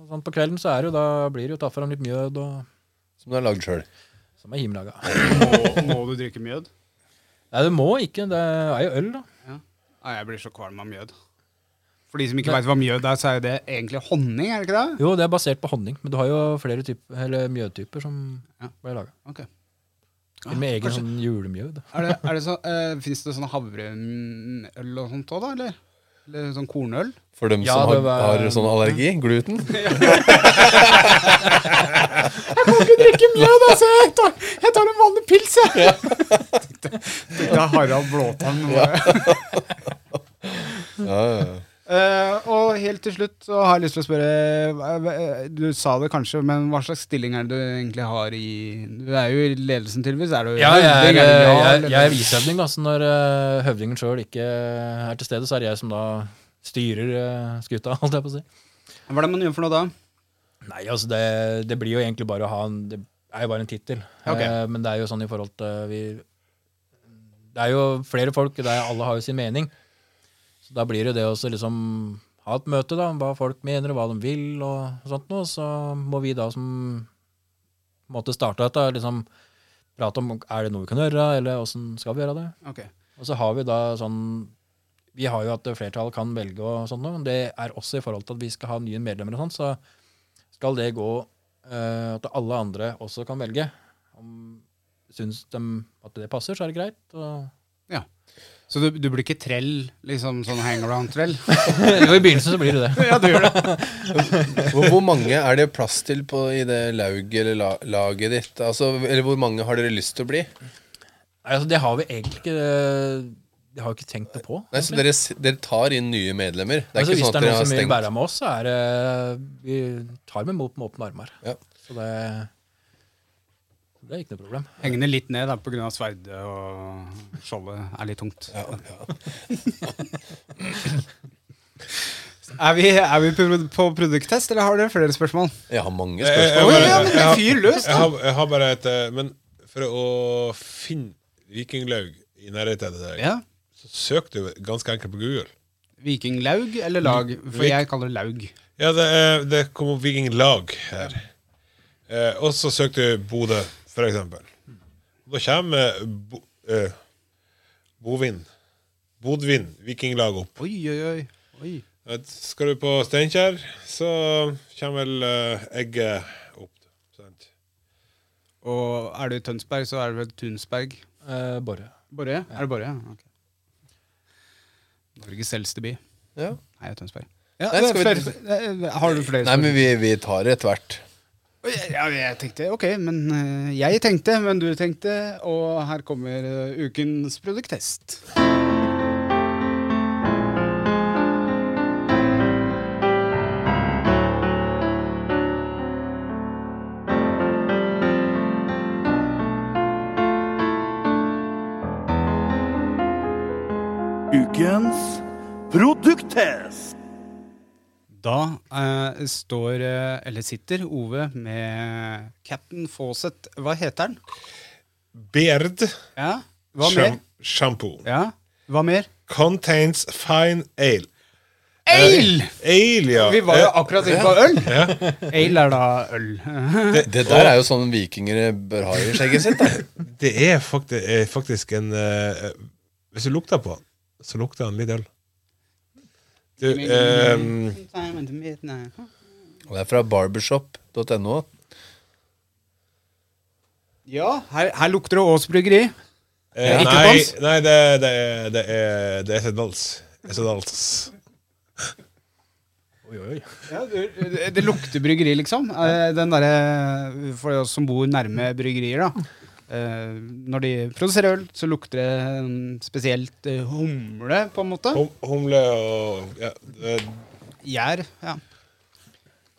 S5: og sånn på kvelden så er det jo, da blir det jo tatt fram litt mjød, og,
S4: Som du har lagd sjøl.
S5: som er himlaga.
S3: Må, må du drikke mjød?
S5: Nei, det må ikke. Det er jo øl, da.
S3: Nei, jeg blir så kvalm av mjød. For de som ikke veit hva mjød er, så er jo det egentlig honning, er det ikke det?
S5: Jo, det er basert på honning, men du har jo flere typer, eller mjødtyper som
S3: Ja.
S5: ble laga.
S3: Ok. Ah,
S5: Med egen
S3: kanskje-
S5: sånn julemjød.
S3: Er det, er det så, eh, Fins det sånn havreøl og sånt òg, da? Eller? eller sånn kornøl?
S4: For dem
S5: Ja,
S4: som
S5: det
S4: har,
S5: var-
S4: har sånn allergi. Gluten.
S3: drikke mjød, altså! Jeg tar, jeg tar en vanlig pils, jeg! <laughs> Det er Harald Blåtann.
S4: Ja, ja.
S3: Eh, og helt til slutt så har jeg lyst til å spørre eh, Du sa det kanskje, men hva slags stilling er det du egentlig har i Du er jo i ledelsen, tydeligvis. Er du
S5: Ja, jeg
S3: høvding,
S5: er,
S3: er du jarl,
S5: jeg,
S3: eller-
S5: jeg er vishøvding. da, så Når eh, høvdingen sjøl ikke er til stede, så er det jeg som da styrer eh, skuta. <laughs> holdt jeg på å si.
S3: Hva er det man gjør for noe da?
S5: Nei, altså det, det blir jo egentlig bare å ha en Det er jo bare en tittel.
S3: Ok.
S5: Eh, men det er jo sånn i forhold til vi Det er jo flere folk, det er, alle har jo sin mening. Så da blir det det også liksom ha et møte, da, om hva folk mener, og hva de vil, og sånt noe. Så må vi da som måtte starte dette, liksom prate om er det noe vi kan gjøre, eller åssen skal vi gjøre det.
S3: Ok.
S5: Og så har vi da sånn Vi har jo at flertallet kan velge og sånt noe. Det er også i forhold til at vi skal ha nye medlemmer og sånn, så skal det gå eh, at alle andre også kan velge. Om syns de at det passer, så er det greit. Og
S3: Ja. Så du, du blir ikke trell, liksom sånn hangaround-trell?
S5: Jo, <laughs> I begynnelsen så blir det det.
S3: ja, du gjør det.
S4: Hvor, hvor mange er det plass til på, i det lauget eller la, laget ditt? Altså, eller hvor mange har dere lyst til å bli?
S5: Nei, altså, det har vi egentlig ikke Det har vi ikke tenkt noe på.
S4: Nei, så
S5: egentlig.
S4: dere, s- dere tar inn nye medlemmer? Det er
S5: altså,
S4: ikke
S5: hvis
S4: sånn at dere
S5: det er noen
S4: har
S5: som vil
S4: stengt
S5: være med oss, så er det Vi tar dem imot med åpne armer.
S4: Ja.
S5: Så det, det er ikke noe problem.
S3: Hengende litt ned da, på grunn av sverdet og skjoldet er litt tungt. <laughs> er, vi, er vi på- på produkttest, eller har dere flere spørsmål?
S4: Jeg har mange
S6: Jeg-
S4: spørsmål.
S6: jeg-
S3: Å, ja, men det er
S6: jeg-
S3: fyr løs, da.
S6: Jeg har, jeg har bare et eh, Men for å finne vikinglaug i nærheten av deg,
S3: Ja.
S6: så søk du ganske enkelt på Google.
S3: Vikinglaug eller lag? For
S6: Vik-
S3: jeg kaller det laug.
S6: Ja, det, er- det kom opp vikinglag her. Eh, og så søkte du Bodø, for eksempel. Og da kommer eh, bo, eh, Bovin. Bodvin vikinglag opp.
S3: Oi, oi, oi. oi.
S6: Et- Skal du på Steinkjer, så kommer vel eh, Egge opp. Sant?
S3: Og er du i Tønsberg, så er det vel Tunsberg.
S5: Eh, Borre.
S3: Borre? Er det Borre? Ja, ok. Norges eldste by.
S4: Ja.
S3: Nei, Tønsberg. Ja,
S4: Nei, skal vi-
S3: flere, eh, har du flere
S4: Nei, men vi, vi tar det etter hvert.
S3: Oi, Ja, jeg tenkte, ok, men eh, jeg tenkte, men du tenkte, og her kommer eh, ukens produkttest.
S1: ukens produkttest.
S3: Da eh, står, eh, eller sitter, Ove med Captain Fawcett. Hva heter den?
S6: Beard
S3: Ja, hva mer?
S6: sjam- shampoo.
S3: Ja, hva mer?
S6: Contains fine ale.
S3: Ale!
S6: Ale, ja.
S3: Vi var jo
S6: Eh,
S3: akkurat inne på øl. Ale er da øl.
S4: Det der er jo sånn vikinger bør ha i skjegget sitt. Da.
S6: Eh, Det er faktisk, er faktisk en eh, Hvis du lukter på den, så lukter den litt øl. Du, ehm,
S4: Og det er fra barbershop.no.
S3: Ja, her, her lukter det Ås bryggeri.
S6: eh,
S3: Ikke
S6: nei,
S3: dans?
S6: nei, det, det, er- det er Det er Sedals. Sedals.
S5: Oi, oi, oi.
S3: Ja, det, det- det lukter bryggeri, liksom. Eh, Den derre eh, For oss som bor nærme bryggerier, da. Eh, Når de produserer øl, så lukter det en spesielt eh, humle, på en måte.
S6: Hum, humle og ja, det,
S3: Gjær, ja.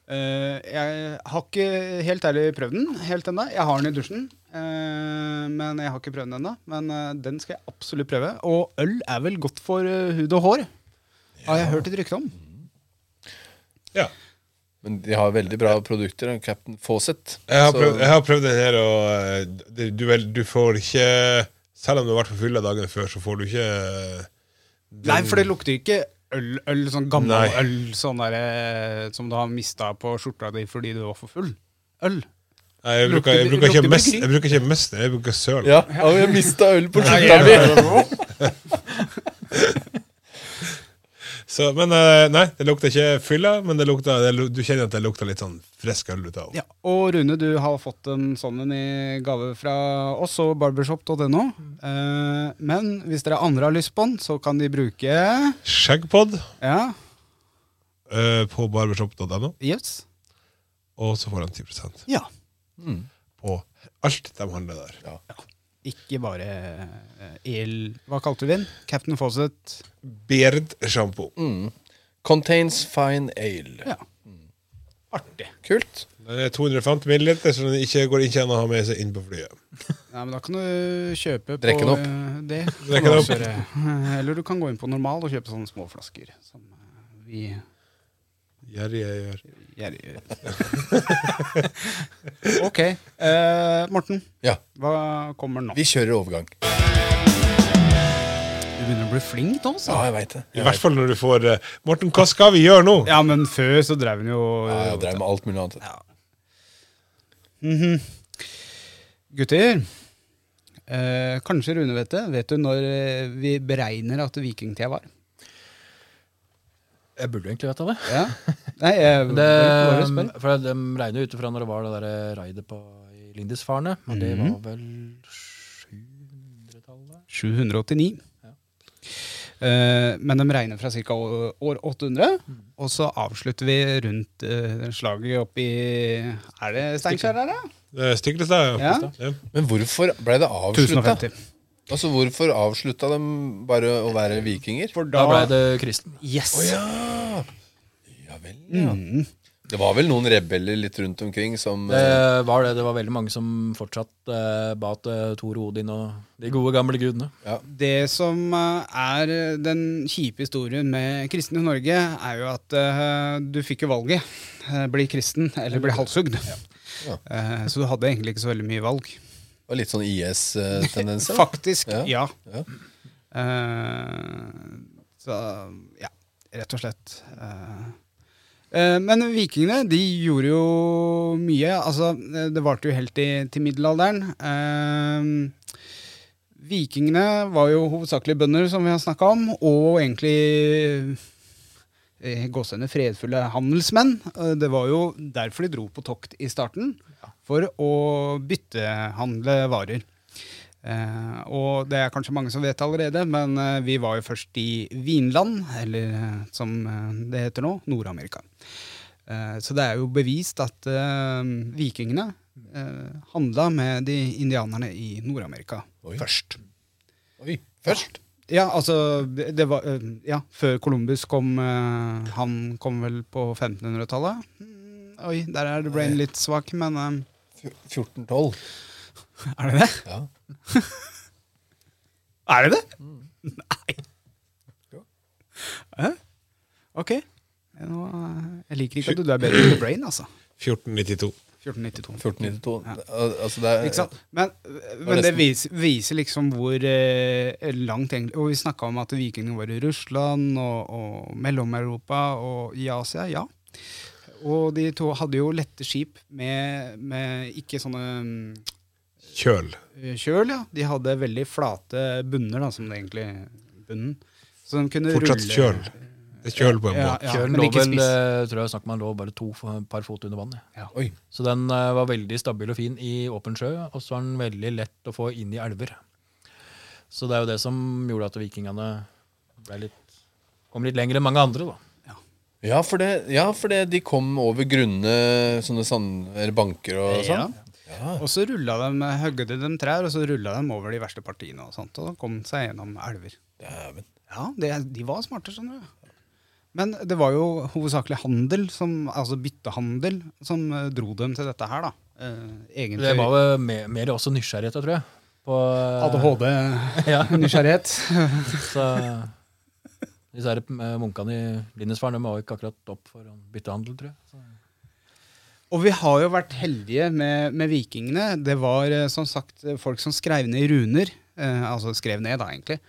S3: Eh, jeg har ikke helt ærlig prøvd den helt ennå. Jeg har den i dusjen, eh, men jeg har ikke prøvd den ennå. Men eh, den skal jeg absolutt prøve. Og øl er vel godt for eh, hud og hår, har jeg hørt et rykte om.
S6: ja.
S4: Men de har veldig bra produkter. og Captain Fawcett.
S6: Jeg har,
S4: Så-
S6: prøvd, jeg har prøvd den her, og eh, det- du, vel- du får ikke Selv om du har vært på fylla dagen før, så får du ikke eh, den-
S3: Nei, for det lukter ikke øl, øl sånn gammel
S6: Nei.
S3: øl sånn der, eh, som du har mista på skjorta di fordi du var for full. Øl.
S6: Nei, jeg, bruker, jeg,
S3: lukter-
S6: bruker ikke
S3: lukter
S6: mest,
S3: bryggeri.
S6: jeg bruker ikke mest, jeg bruker søl.
S4: Ja, og jeg mista øl på skjorta mi!
S6: Så, men eh, nei, det lukter ikke fylla, men det lukter, det, lu- du kjenner at det lukter litt sånn frisk øl ut av den.
S3: Ja, og Rune, du har fått en sånn en i gave fra oss og barbershop.no. Eh, men hvis dere andre har lyst på den, så kan de bruke
S6: Skjeggpod
S3: Ja,
S6: eh, på barbershop.no,
S3: yes.
S6: og så får de 10
S3: Ja.
S6: på alt de handler der.
S3: Ikke bare eh, el... Hva kalte du den? Captain Fawcett?
S6: Beard shampoo.
S3: Mm.
S4: Contains fine ale.
S3: Ja. Artig.
S4: Kult.
S6: Den er 250 milliliter, så den ikke går ikke an å ha med seg inn på flyet.
S3: Nei, men da kan du kjøpe på
S4: Drekke den opp.
S3: eh, Det.
S6: Drekke den opp.
S3: Kan du også gjøre. Eller du kan gå inn på normal og kjøpe sånne små flasker. Som eh, vi
S6: Gjerrig jeg gjør.
S3: gjerne gjør. ok. eh, Morten,
S4: Ja,
S3: hva kommer nå?
S4: vi kjører overgang.
S3: Du begynner å bli flink nå,
S4: Ja,
S3: altså.
S4: jeg veit det.
S6: I hvert fall når du får eh, Morten, hva skal vi gjøre nå?
S3: Ja, men før så drev hun jo
S4: Ja, jeg drev med alt mulig annet.
S3: Mhm. Gutter, eh, kanskje Rune vet det. Vet du når eh, vi beregner at vikingtida var?
S5: Jeg burde jo egentlig vite det.
S3: Ja? Nei, jeg
S5: <laughs> Det,
S3: bare spør.
S5: for De regner jo ut ifra når det var det der eh, raidet på i Lindisfarne. Men det var vel 700-tallet?
S3: 789. Eh, men de regner fra ca. år 800,
S5: Mm.
S3: og så avslutter vi rundt eh, slaget oppi Er det Steinkjer her, da?
S6: Eh, Stiklestad?
S3: Ja.
S6: Ja.
S4: Men hvorfor ble det avslutta?
S3: 1050.
S4: Altså, hvorfor avslutta de bare å være vikinger?
S3: For
S5: Da ble
S3: da
S5: det kristen.
S3: Yes!
S4: ja. ja vel, ja.
S3: Mm.
S4: Det var vel noen rebeller litt rundt omkring som eh,
S5: Det var det. Det var veldig mange som fortsatt eh, ba til Thor og Odin og de gode, gamle gudene.
S3: Det som eh, er eh, den kjipe historien med kristne i Norge, er jo at eh, du fikk jo valget. Eh, Bli kristen eller bli halshugd.
S4: Ja.
S3: Eh, Så du hadde egentlig ikke så veldig mye valg.
S4: var litt sånn IS-tendenser.
S3: Faktisk,
S4: Ja.
S3: ja.
S4: Ja.
S3: Eh, Så ja, rett og slett. Eh, eh, Men vikingene de gjorde jo mye. Altså, eh, det varte jo helt til, til middelalderen. Eh, Vikingene var jo hovedsakelig bønder, som vi har snakka om, og egentlig eh, gåsehudene fredfulle handelsmenn. Eh, Det var jo derfor de dro på tokt i starten, for å byttehandle varer. Eh, og det er kanskje mange som vet allerede, men eh, vi var jo først i Vinland, eller eh, som eh, det heter nå, Nord-Amerika. Eh, så det er jo bevist at eh, vikingene eh, handla med de indianerne i Nord-Amerika
S4: Oi.
S3: først.
S4: Oi, først.
S3: Ja, altså det det var, eh, Ja, før Columbus kom eh, Han kom vel på 1500-tallet. Mm, Oi, der er det brain litt svak, men eh,
S4: Fj- 1412.
S3: Er det det?
S4: Ja.
S3: Mm. Er det det? Nei. Hæ? Ok. Nå, eh, jeg liker ikke at du, du er bedre på brain, altså.
S6: 1492.
S3: 1492.
S4: 1492.
S3: Ja.
S4: Al- Altså, det er,
S3: Ikke sant? Men, men det viser, viser liksom hvor eh, langt egentlig Og vi snakka om at vikingene var i Russland og, og Mellom-Europa og i Asia. Ja. Og de to hadde jo lette skip med, med ikke sånne mm,
S6: Kjøl.
S3: eh, kjøl, ja. De hadde veldig flate bunner, da, som det egentlig bunnen. Så de kunne
S6: Fortsatt
S3: rulle
S6: kjøl. Det er kjøl på en
S3: Ja,
S6: båt.
S3: ja,
S5: Kjølen
S3: men
S5: lå
S3: ikke
S5: vel,
S3: spiss.
S5: eh, tror jeg snakk om han lå bare to f- par fot under vann. Ja.
S3: Ja.
S4: Oi.
S5: Så den eh, var veldig stabil og fin i åpen sjø, og så er den veldig lett å få inn i elver. Så det er jo det som gjorde at vikingene ble litt, kom litt lenger enn mange andre. da.
S4: Ja, for det, ja, for det de kom over grunne sånne sand, eller banker
S3: Ja.
S4: og sånn.
S3: Og så rulla de, høgde de trær, og så rulla de over de verste partiene. Og sånt, og kom seg gjennom elver.
S4: Dæven.
S3: Ja, det, de var smarte, skjønner du. Men det var jo hovedsakelig handel, som, altså byttehandel, som eh, dro dem til dette her, da. Eh, egentlig
S5: Det var jo mer, mer også nysgjerrighet, da, tror jeg. På, eh, <laughs> Ja.
S3: ADHD-nysgjerrighet.
S5: Så disse her eh, munkene i Lindesfaren de var jo ikke akkurat opp for en byttehandel, tror jeg. Så,
S3: Og vi har jo vært heldige med, med vikingene. Det var eh, som sagt eh, folk som skrev ned runer. Eh, altså skrev ned, da, egentlig.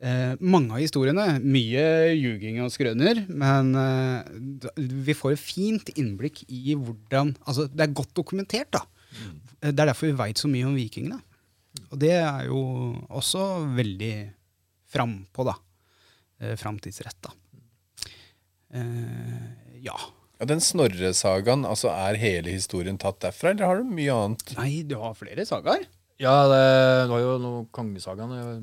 S3: Eh, mange av historiene. Mye ljuging og skrøner. Men eh, d- vi får et fint innblikk i hvordan Altså, det er godt dokumentert, da. Eh, Det er derfor vi veit så mye om vikingene. Og det er jo også veldig frampå, da. Eh, Framtidsretta. Eh, ja.
S4: Ja, den Snorre-sagaen, altså er hele historien tatt derfra, eller har du mye annet?
S3: Nei, du har flere sagaer?
S5: ja, det, det var jo noen kongesagaene, jeg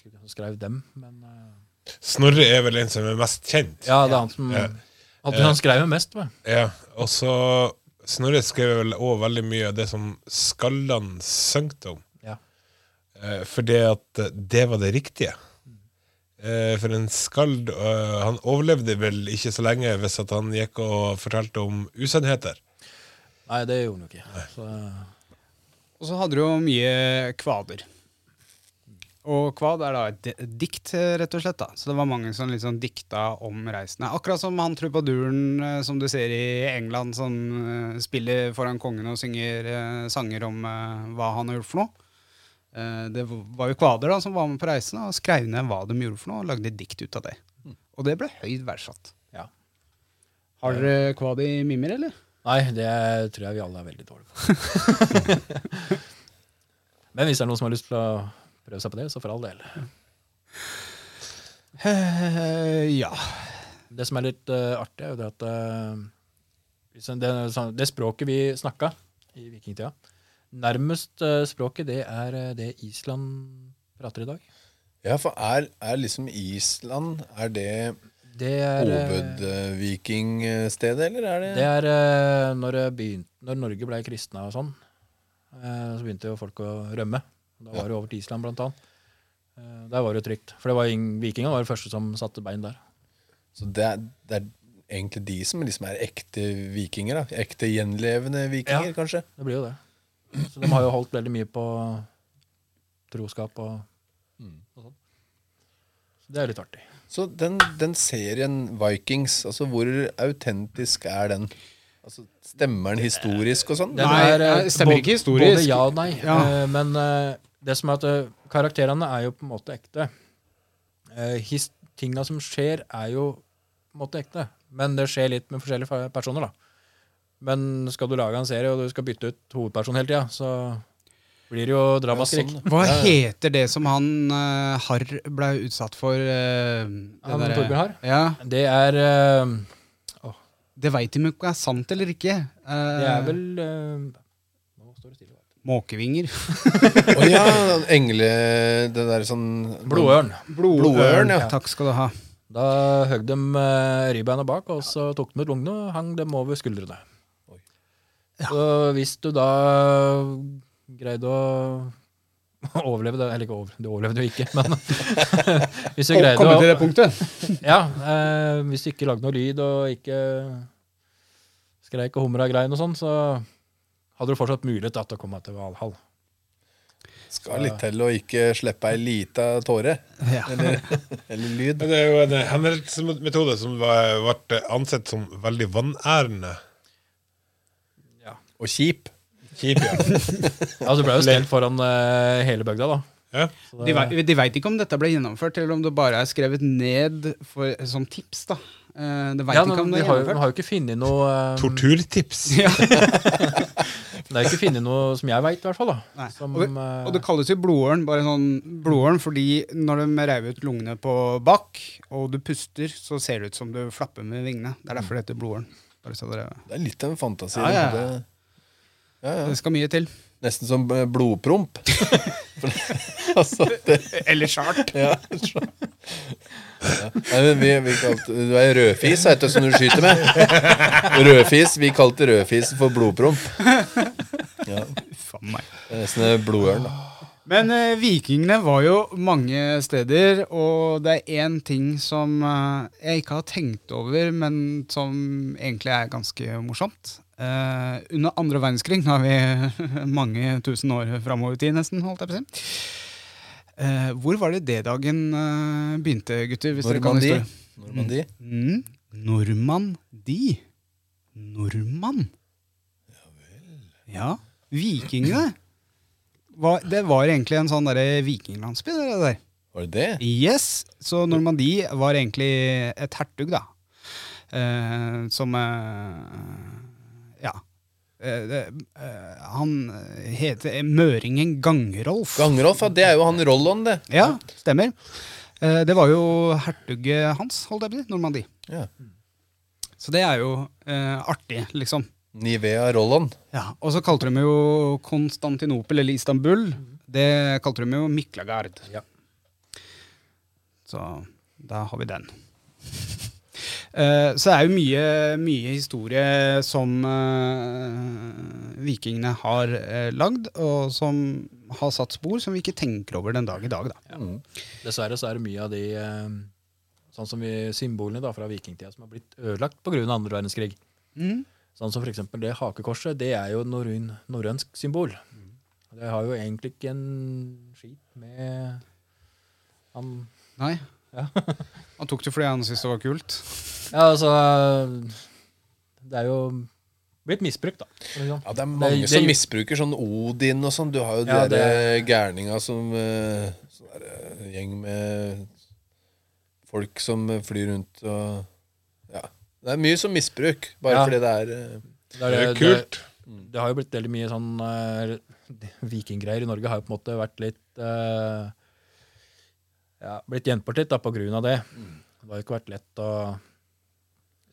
S5: husker ikke hvem som skrev dem, men eh,
S6: Snorre er vel en som er mest kjent.
S5: Ja, det er han som
S6: Ja.
S5: han- Han skrev jo mest, vel.
S6: Ja, og så Snorre skrev vel òg veldig mye av det som skallene søngte om.
S5: Ja.
S6: Eh, fordi at det var det riktige. Eh, for en skald eh, Han overlevde vel ikke så lenge hvis at han gikk og fortalte om usannheter.
S5: Nei, det gjorde han jo ikke. Så,
S3: Og så hadde du jo mye kvader. Og kvad er da et di- dikt, eh, rett og slett. da. Så det var mange som liksom dikta om reisene. Akkurat som han trubaduren eh, som du ser i England, som eh, spiller foran kongen og synger eh, sanger om eh, hva han har gjort for noe. Eh, Det var jo kvader da som var med på reisene og skrev ned hva de gjorde for noe, og lagde et dikt ut av det. Og det ble høyt verdsatt.
S5: ja.
S3: Har dere kvad i mimmer, eller?
S5: Nei, det tror jeg vi alle er veldig dårlige på. <laughs> Men hvis det er noen som har lyst til å prøve seg på det, så for all del.
S3: ja.
S5: Det som er litt eh, artig, er jo det at eh, hvis en- det, sånn- det språket vi snakka i vikingtida Nærmest eh, språket, det er eh, det Island prater i dag.
S4: Ja, for er, er liksom Island, er det
S5: Det er, eh,
S4: hovedvikingstedet, eller er det,
S5: Det er eh, når, det begynte, når Norge ble kristna og sånn, eh, så begynte jo folk å rømme. Da var det over til Island, blant annet. Eh, Der var det trygt. For det var ing- vikingene var de første som satte bein der.
S4: Så det er, det er egentlig de som liksom er ekte vikinger, da. Ekte gjenlevende vikinger,
S5: Ja.
S4: kanskje.
S5: Det blir jo det. Så de har jo holdt veldig mye på troskap og, og sånn. Så det er litt artig.
S4: Så den, den serien Vikings, altså hvor autentisk er den? Altså, stemmer den historisk og sånn?
S5: Den
S3: Nei,
S5: eh,
S3: det stemmer
S5: både-
S3: ikke historisk.
S5: Både ja og nei.
S3: Ja.
S5: Eh, Men eh, det som er at eh, karakterene er jo på en måte ekte. Eh, his- Tinga som skjer, er jo på en måte ekte. Men det skjer litt med forskjellige fa- personer, da. Men skal du lage en serie, og du skal bytte ut hovedpersonen hele tida, så blir det jo dramaskrik.
S4: sånn,
S3: Hva heter det som han uh, Harr ble utsatt for? eh, det
S5: Han
S3: derre-
S5: Torbjørn Harr?
S3: Ja,
S5: Det er eh,
S3: Det veit de jo ikke er sant eller ikke. Eh,
S5: Det er vel eh, Nå står det stille.
S3: Måkevinger.
S4: Å ja, engle... Det der sånn
S5: Blodørn.
S4: Blodørn, ja.
S3: Takk skal du ha.
S5: Da høgg de eh, ribbeina bak, og så tok de ut lungene og hang dem over skuldrene. Så hvis du da greide å overleve det Eller ikke over, du overlevde jo ikke, <laughs> men hvis du greide å
S3: punktet.
S5: ja, eh, Hvis du ikke lagde noe lyd og ikke skreik og humra og grein og sånn, så hadde du fortsatt mulighet da, til å komme deg til Valhall.
S4: Skal litt til å ikke slippe ei lita tåre.
S3: Ja.
S4: Eller, eller lyd.
S6: Men Det er jo en henrettelsesmetode som var- ble ansett som veldig vanærende.
S4: Og kjip.
S6: Kjip, ja.
S5: <laughs> Ja, Du ble jo stelt foran eh, hele bygda, da.
S6: ja.
S5: Så
S3: De,
S5: det,
S3: vei- de veit ikke om dette ble gjennomført, eller om det bare er skrevet ned for, som tips. da. Eh, De veit
S5: ja,
S3: ikke
S5: men
S3: om
S5: de
S3: det er
S5: har, jo- de
S3: gjennomført.
S5: har jo ikke funnet noe eh,
S6: Torturtips.
S3: <laughs>
S5: Det er jo ikke funnet noe som jeg veit, i hvert fall. da
S3: Nei.
S5: som, eh,
S3: og, det, og det kalles jo blodåren, bare sånn blodåren fordi når de reiv ut lungene på bak, og du puster, så ser det ut som du flapper med vingene. Det er derfor det heter blodåren. Bare så dere...
S4: Det er litt av en fantasi.
S3: Ja, ja, ja.
S4: Det- Ja, ja.
S3: Det skal mye til.
S4: Nesten som eh, blodpromp. altså, det,
S3: Eller chart.
S4: ja. så- Ja. Nei, men vi, vi kalte, du er rødfis, vet du, som du skyter med. Rødfis. Vi kalte rødfisen for blodpromp. Ja, det er nesten en blodørn, da.
S3: Men eh, vikingene var jo mange steder, og det er én ting som eh, jeg ikke har tenkt over, men som egentlig er ganske morsomt. Eh, under andre verdenskrig, nå er vi <laughs> mange tusen år framover i tid nesten, holdt jeg på å si. Eh, hvor var det D-dagen eh, begynte, gutter? Hvis dere kan
S4: Normandie.
S3: historie?
S4: Normandie.
S3: Mm. Nordmann de. Nordmann. Ja Vikingene. Var, det var egentlig en sånn derre vikinglandsby. Det der.
S4: Var det det?
S3: Yes, Så Normandie var egentlig et hertug, da. Eh, som eh, Ja. Eh, det, eh, han heter Møringen Gangrolf.
S4: Gangrolf, ja. Det er jo han Rollon, det.
S3: ja, stemmer. Eh, det var jo hertuget hans, holdt jeg på å si. Normandie.
S4: Ja.
S3: Så det er jo eh, artig, liksom.
S4: Nivea Rollon.
S3: Ja, Og så kalte de jo Konstantinopel, eller Istanbul, det kalte de jo Miklagard.
S5: Mhm. Ja.
S3: Så da har vi den. <laughs> Eh, Så det er jo mye, mye historie som eh, vikingene har eh, lagd, og som har satt spor som vi ikke tenker over den dag i dag. da.
S5: Dessverre så er det mye av de eh, sånn som vi, symbolene da, fra vikingtida som har blitt ødelagt pga. andre verdenskrig.
S3: Mm.
S5: Sånn som for eksempel det hakekorset, det er jo et norrøn- norrønsk symbol.
S3: Mm.
S5: Det har jo egentlig ikke en skit med han
S3: Nei.
S5: Ja.
S3: Han tok det fordi han syntes det var kult.
S5: Ja, altså Det er jo blitt misbrukt, da. for å si det sånn.
S4: Ja, det er mange
S5: det-
S4: som misbruker sånn Odin og sånn. Du har jo de
S5: Ja,
S4: der gærninga som eh, Sånn der, eh, gjeng med folk som eh, flyr rundt og Ja. Det er mye som misbruk, bare
S5: Ja.
S4: fordi det er eh,
S5: er-
S6: Det er kult.
S5: Det, det har jo blitt veldig mye sånn eh, Vikinggreier i Norge har jo på en måte vært litt eh, ja, Blitt gjenpartitt da, på grunn av det. Det har jo ikke vært lett å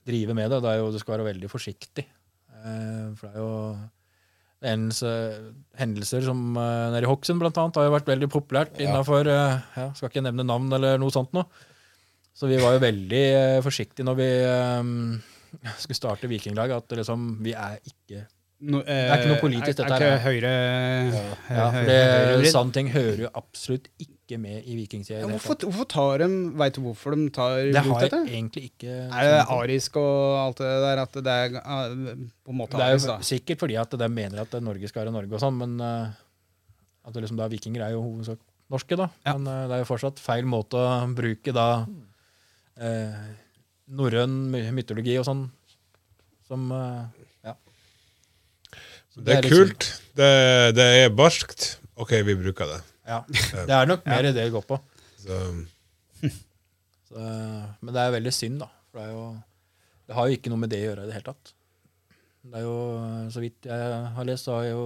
S5: drive med det. det er jo, du skal være veldig forsiktig. Eh, for det er jo det er hendelse- hendelser som eh, nede i Hokksund blant annet har jo vært veldig populært innenfor eh, ja, Skal ikke nevne navn eller noe sånt noe. Så vi var jo veldig eh, forsiktige når vi eh, skulle starte Vikinglaget. At liksom, vi er ikke
S3: No, eh,
S5: er ikke noe politisk, dette
S3: er,
S5: her.
S3: er ikke høyre...
S5: ja,
S3: høyre-
S5: for det,
S3: høyrevridd.
S5: Sånne ting hører jo absolutt ikke med i vikingtida.
S3: Ja,
S5: i det hele
S3: hvorfor,
S5: tatt.
S3: hvorfor tar de Veit du hvorfor de tar i
S5: det
S3: bruk
S5: har
S3: dette?
S5: jeg egentlig ikke sånn
S3: Er det arisk og alt det der? At det er eh, på en måte
S5: Det er
S3: arisk,
S5: <laughs> jo
S3: da?
S5: sikkert fordi at de mener at Norge skal være Norge og sånn, men eh, at det liksom da vikinger er jo hovedsak norske, da.
S3: Ja.
S5: Men eh, det er jo fortsatt feil måte å bruke da uh, norrøn my- mytologi og sånn som eh, Ja. Så
S6: Det er
S5: liksom-
S6: kult. Det, det er barskt. OK, vi bruker det.
S3: <laughs>
S5: Ja. Det er nok mer det det går på.
S6: Så,
S5: Så, eh, men det er veldig synd, da. For det, er jo, det har jo ikke noe med det å gjøre i det hele tatt. Det er jo, Så vidt jeg har lest, så har jo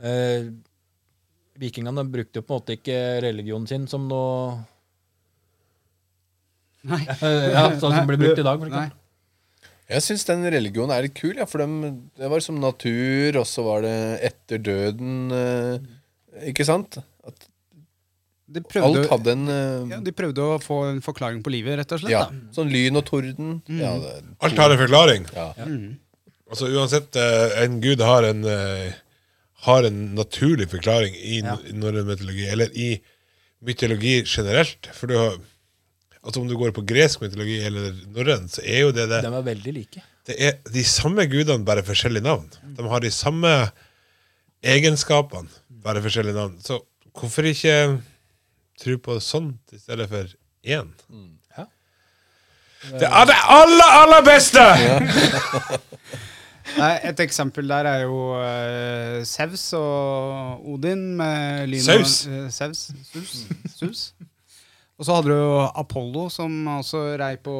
S5: eh, Vikingene brukte jo på en måte ikke religionen sin som noe
S3: Nei.
S5: eh, <laughs> ja, Sånn som blir brukt i dag. For
S3: Nei.
S5: eksempel.
S4: Jeg syns den religionen er litt kul, ja, for dem, det var som natur, og så var det etter døden eh, Ikke sant? At
S3: De
S4: alt
S3: prøvde,
S4: hadde en eh,
S3: ja, de prøvde å få en forklaring på livet, rett og slett.
S4: ja,
S3: da. Mm.
S4: Sånn lyn og torden. Ja, det,
S6: alt har en forklaring.
S4: Ja.
S6: Altså uansett, eh, en gud har en eh, Har en naturlig forklaring i ja. norrøn mytologi, eller i mytologi generelt. For du har Altså Om du går på gresk mytologi eller norrøn, så er jo det det.
S5: De er veldig like.
S6: Det er de samme gudene, bare forskjellige navn. De har de samme egenskapene, bare forskjellige navn. Så hvorfor ikke tro på sånt i stedet for én?
S5: Ja.
S6: Det er det aller, aller beste!
S3: Nei, et eksempel der er jo eh, Sevs og Odin med lyn og-
S6: Saus.
S3: eh, Sevs. Sus. Sus. Og så hadde du jo Apollo, som også rei på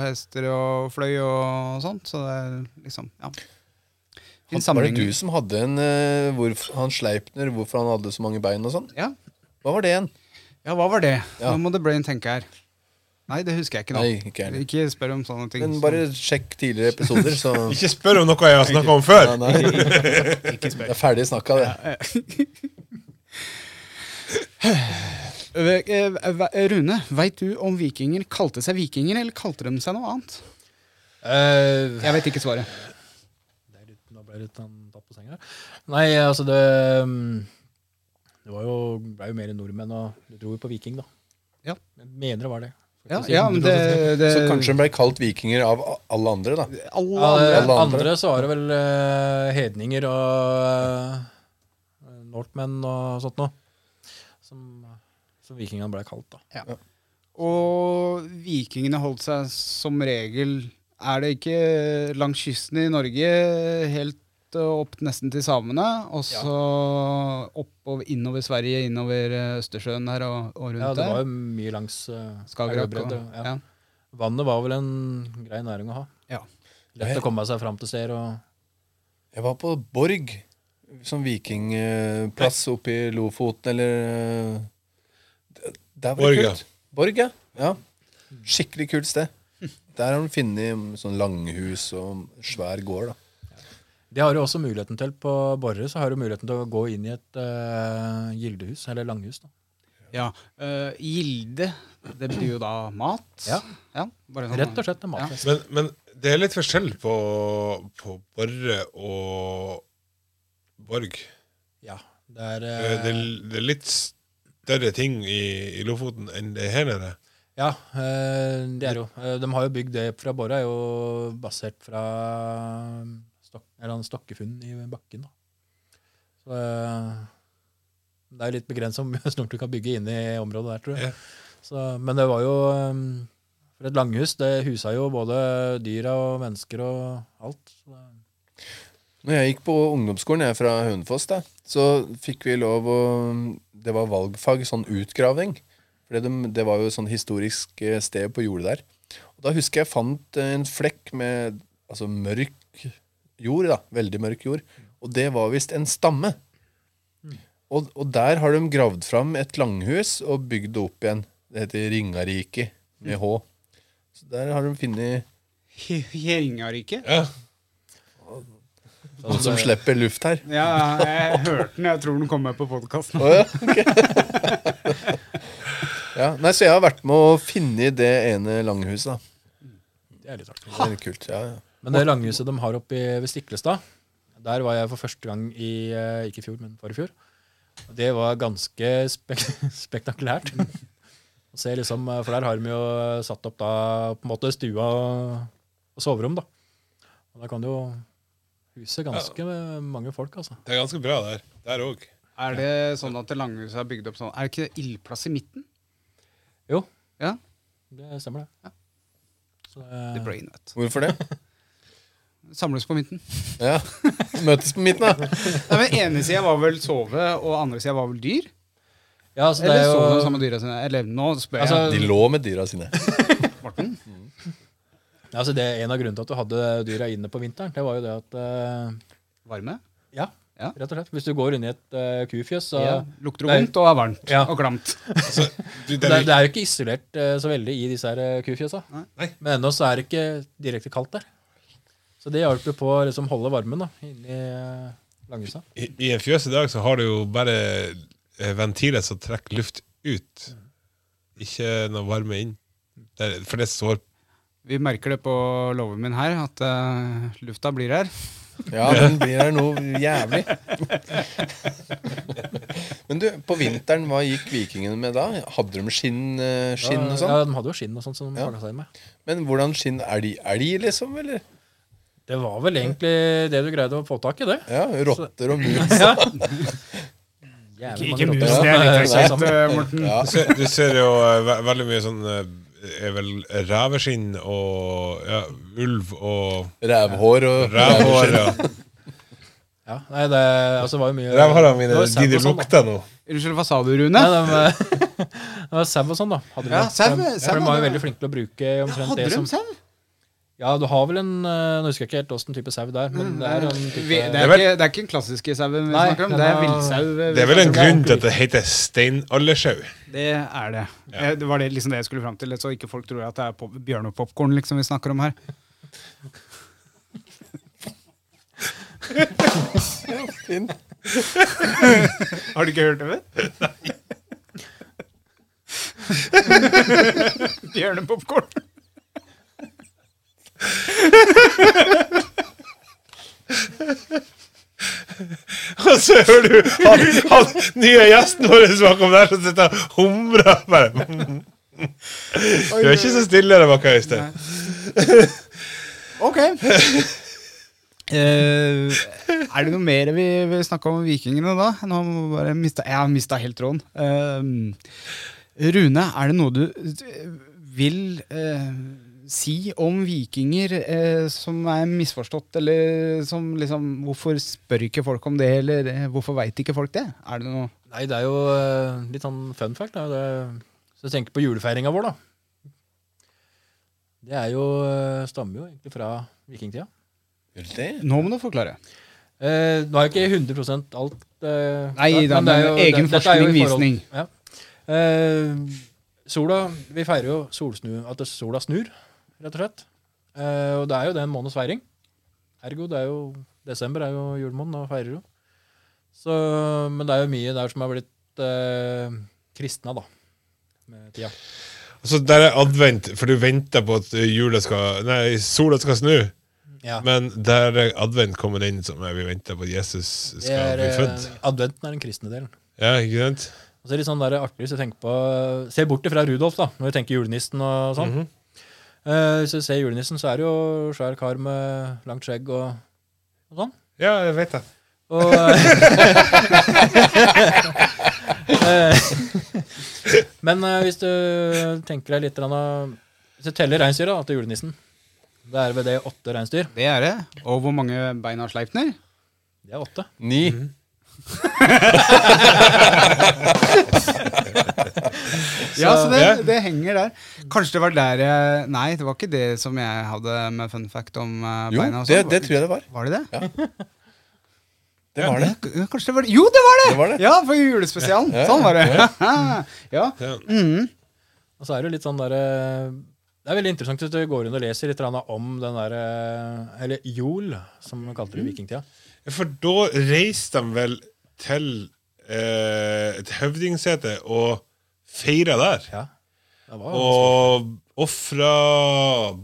S3: hester og fløy og sånt. Så det er liksom Ja. Fin
S4: Var det du
S3: sammenligning.
S4: som hadde en eh, hvorf- Han Sleipner, hvorfor han hadde så mange bein og sånn?
S3: Ja.
S4: Hva var det igjen?
S3: ja, hva var det?
S4: Ja.
S3: Nå må det brain tenke her. Nei, det husker jeg ikke nå.
S4: Nei, ikke jeg heller.
S3: Ikke spør om sånne ting.
S4: Men bare sjekk tidligere episoder, så <laughs>
S6: Ikke spør om noe jeg har snakka om før.
S4: Nei, nei. Det er ferdig snakka, det.
S3: Eh, eh, eh, Rune, veit du om vikinger kalte seg vikinger, eller kalte de seg noe annet?
S5: Eh,
S3: Jeg vet ikke svaret.
S5: det er litt, nå ble jeg litt sånn tatt på senga. Nei, altså det mm, Det var jo, ble jo mer nordmenn, og du dro jo på viking, da.
S3: Ja.
S5: Jeg mener det var det.
S3: Ja, ja men det, det
S4: Så kanskje han ble kalt vikinger av a- alle andre, da.
S3: alle
S5: Ja, det-
S4: Alle andre.
S5: andre så var det vel eh, hedninger og uh, nordmenn og sånt noe. Som, som vikingene ble kalt, da.
S3: Og vikingene holdt seg som regel Er det ikke langs kysten i Norge helt eh, opp nesten til samene, og så oppover, innover Sverige, innover eh, Østersjøen her og, og rundt
S5: Ja, det var
S3: der?
S5: jo mye langs uh,
S3: Skagerrak og
S5: ja.
S3: ja.
S5: Vannet var vel en grei næring å ha.
S3: Ja.
S5: Lett å komme seg fram til steder og
S4: Jeg var på Borg, sånn vikingplass oppe i Lofoten, eller eh, d- Der var
S6: Borg,
S4: det
S6: ja.
S4: kult. Borg, ja. ja. Skikkelig kult sted. Der har de funnet sånn langhus og svær gård, da.
S5: Det har du også muligheten til på Borre. Så har du muligheten til å gå inn i et eh, gildehus, eller langhus. da.
S3: ja. Eh, gilde, det betyr jo da mat.
S5: Ja.
S3: bare sånn,
S5: Rett og slett en matfest.
S6: Men, men det er litt forskjell på, på Borre og Borg.
S5: Ja. Det er,
S6: Det,
S5: eh,
S6: det, det er litt større ting i, i Lofoten enn det her nede.
S5: ja, eh, det er jo. Eh, de har jo bygd det fra Borre, er jo basert fra eh, stok, eller en stokkefunn i bakken. da. Så eh, det er litt begrenset hvor mye <laughs> snort du kan bygge inne i området der, tror
S6: Ja.
S5: jeg. Så, men det var jo eh, For et langhus, det husa jo både dyra og mennesker og alt. Så det,
S4: Når jeg gikk på ungdomsskolen, jeg er fra Hønefoss, da, så fikk vi lov å Det var valgfag, sånn utgraving. For det, det var jo sånn historisk eh, sted på jordet der. Og da husker jeg fant eh, en flekk med altså mørk jord, da. Veldig mørk jord. Og det var visst en stamme. Og, og der har de gravd fram et langhus og bygd det opp igjen. Det heter Ringarike med H. Så der har de funnet
S3: Hjerringarike?
S6: Ja.
S4: noen som slipper luft her.
S3: Ja, jeg hørte den. Jeg tror den kom med på podkasten.
S4: Å, ja. ok. ja. Nei, så jeg har vært med å finne det ene langhuset. da.
S5: det er litt artig.
S4: Det er kult, ja, ja.
S5: Men det langhuset de har oppe i- ved Stiklestad, der var jeg for første gang i eh, Ikke i fjor, men forrige fjor. Og det var ganske spek <laughs> spektakulært. Å se liksom, eh, For der har de jo eh, satt opp da, på en måte stua og, og soverom, da. Og da kan du jo huse ganske mange folk, altså.
S6: Det er ganske bra der. Der òg.
S3: Er det sånn at det langhuset er bygd opp sånn? Er det ikke ildplass i midten?
S5: Jo,
S3: Ja,
S5: det stemmer, det. Så,
S3: The
S5: eh,
S3: brain, vet
S4: Hvorfor det?
S3: du. Samles på midten.
S4: Ja. Møtes på midten, da.
S3: Nei, men Ene sida var vel sove, og andre sida var vel dyr?
S5: ja, så det
S3: Eller
S5: er
S3: sov de samme
S5: jo
S3: dyra sine? Eller nå spør jeg.
S5: Altså-
S4: De lå med dyra sine.
S3: Morten.
S5: ja, så altså, det er En av grunnene til at du hadde dyra inne på vinteren, det var jo det at eh,
S3: Varme?
S5: Ja,
S3: Ja.
S5: rett og slett. Hvis du går inn i et eh, kufjøs, så
S3: Ja. Lukter
S5: Nei.
S3: vondt og er varmt
S5: Ja.
S3: og klamt.
S6: Altså, du,
S5: det,
S6: det
S5: er,
S6: er,
S5: det er jo ikke isolert eh, så veldig i disse her eh, kufjøsa.
S6: Nei.
S5: Men ennå så er det ikke direkte kaldt der. Så det hjalp jo på å liksom, holde varmen da, inni eh, langhusa.
S6: i, I en fjøs i dag så har du jo bare eh, ventiler som trekker luft ut. Ikke noe varme inn. Det er, for det står
S3: Vi merker det på låven min her, at eh, lufta blir her.
S4: Ja, den blir her noe jævlig. Men du, på vinteren, hva gikk vikingene med da? Hadde de skinn, eh, skinn og sånn?
S5: Ja, de hadde jo skinn og sånt som de
S4: Ja.
S5: pakka seg inn med.
S4: Men hvordan skinn? Elg, elg liksom? Eller?
S5: Det var vel egentlig det du greide å få tak i, det.
S4: Ja, Rotter og mus.
S5: Ja. Jævlig
S3: Ikke
S5: mange
S3: mus,
S5: rotter.
S3: det er litt
S5: Ja,
S3: greit, eh, Morten.
S4: Ja.
S6: Du ser, du ser jo eh, ve veldig mye sånn eh, er vel reveskinn og ja, ulv og
S4: Rævhår og
S6: revhår. Ja. <laughs>
S5: Ja, nei, det, altså, det var jo mye
S6: Revhårene
S5: det
S6: mine
S5: var sau
S6: de, de
S5: og sånn, da.
S6: lukter nå.
S3: Unnskyld, hva sa du, Rune?
S5: Nei, de, det var <laughs> sau og sånn, da. Hadde
S3: Ja,
S5: de.
S3: sau-
S5: For de-
S3: sau
S5: For de var jo
S3: hadde-
S5: veldig flinke til å bruke omtrent
S3: Hadde
S5: det
S3: de
S5: som
S3: sau?
S5: Ja, du har vel en eh, Nå husker jeg ikke helt åssen type sau der, men det er en type
S3: Mm. Vi- Det er
S6: Det er vel-
S3: ikke, det er ikke den klassiske sauen vi
S5: Nei,
S3: snakker om,
S5: den
S3: det er
S5: er-
S3: villsau. vi
S6: Det er vel en
S3: snakker om.
S6: grunn til at det heter steinaldersjau.
S3: Det er det. Eh, Det var det, liksom det jeg skulle fram til, så ikke folk tror at det er pop- bjørnepopkorn liksom, vi snakker om her.
S4: Fin.
S3: Har du ikke hørt det før? Nei. <laughs> Bjørnepopkorn.
S6: <laughs> Og så hører du <laughs> han, han nye gjesten vår som kom der, som sitter og humrer. Bare. <laughs> mm. Du er ikke så stille der bak her i sted.
S3: Ok. <laughs> Eh, er det noe mer vi vil snakke om vikingene da? Nå må jeg bare mista, jeg har mista helt tråden. Eh, Rune, er det noe du eh, vil eh, si om vikinger eh, som er misforstått, eller som liksom Hvorfor spør ikke folk om det, eller eh, hvorfor veit ikke folk det? Er det noe
S5: Nei, det er jo eh, litt sånn fun fact. Da. Det, så jeg tenker på julefeiringa vår, da. Det er jo, eh, stammer jo egentlig fra vikingtida.
S4: Gjør det?
S3: Nå må du forklare.
S5: Eh, nå er jo ikke 100 alt eh,
S3: Nei
S5: klart,
S3: da,
S5: det
S3: men
S5: er jo-
S3: egen
S5: dette er jo i
S3: forskning,
S5: forhold-
S3: visning.
S5: Ja. Eh, sola Vi feirer jo solsnu, at det- sola snur, rett og slett. Eh, og det er jo det en måneds feiring. Ergo, det er jo desember er jo julemåneden, og feirer jo. Så, men det er jo mye der som har blitt eh, kristna, da. Med tida.
S6: Og så der er advent, for du venter på at jula skal Nei, sola skal snu.
S5: Ja.
S6: Men der er advent kommer inn, som er vi venter på at Jesus
S5: Det
S6: skal
S5: er,
S6: bli
S5: eh,
S6: født.
S5: adventen er den kristne delen.
S6: Ja, ikke sant?
S5: Og så er det litt sånn der artig hvis jeg tenker på Se bort ifra Rudolf, da, når vi tenker julenissen og sånn. Eh, hvis du ser julenissen, så er det jo svær kar med langt skjegg og, og sånn.
S6: Ja, jeg vet det.
S5: Og <laughs> eh, <laughs> Men eh, hvis du tenker deg litt grann av- Hvis du teller reinsdyra da, til julenissen Det er ved det åtte reinsdyr.
S3: Det er det. Og hvor mange bein har Sleipner?
S5: Det er åtte.
S4: Ni.
S3: <laughs> Ja, så
S6: Ja.
S3: det, det henger der. Kanskje det var der jeg Nei, det var ikke det som jeg hadde med fun fact om eh,
S4: Jo,
S3: beina. og
S4: det,
S3: sånn.
S4: det tror jeg det var.
S3: Var det det?
S4: Det var det.
S3: K- Kanskje det var det? Jo, det var det!
S4: Det var det.
S3: Ja, for julespesialen.
S4: Ja, ja,
S3: Sånn var det. <laughs> ja.
S6: Ja.
S3: Mhm.
S5: Og så er det jo litt sånn der eh, Det er veldig interessant hvis du går inn og leser litt grann om den der eh, Eller jol, som man kalte det i vikingtida.
S6: For da reiste de vel til eh, et høvdingsete og feira der.
S5: Ja. Det var,
S6: Og ofra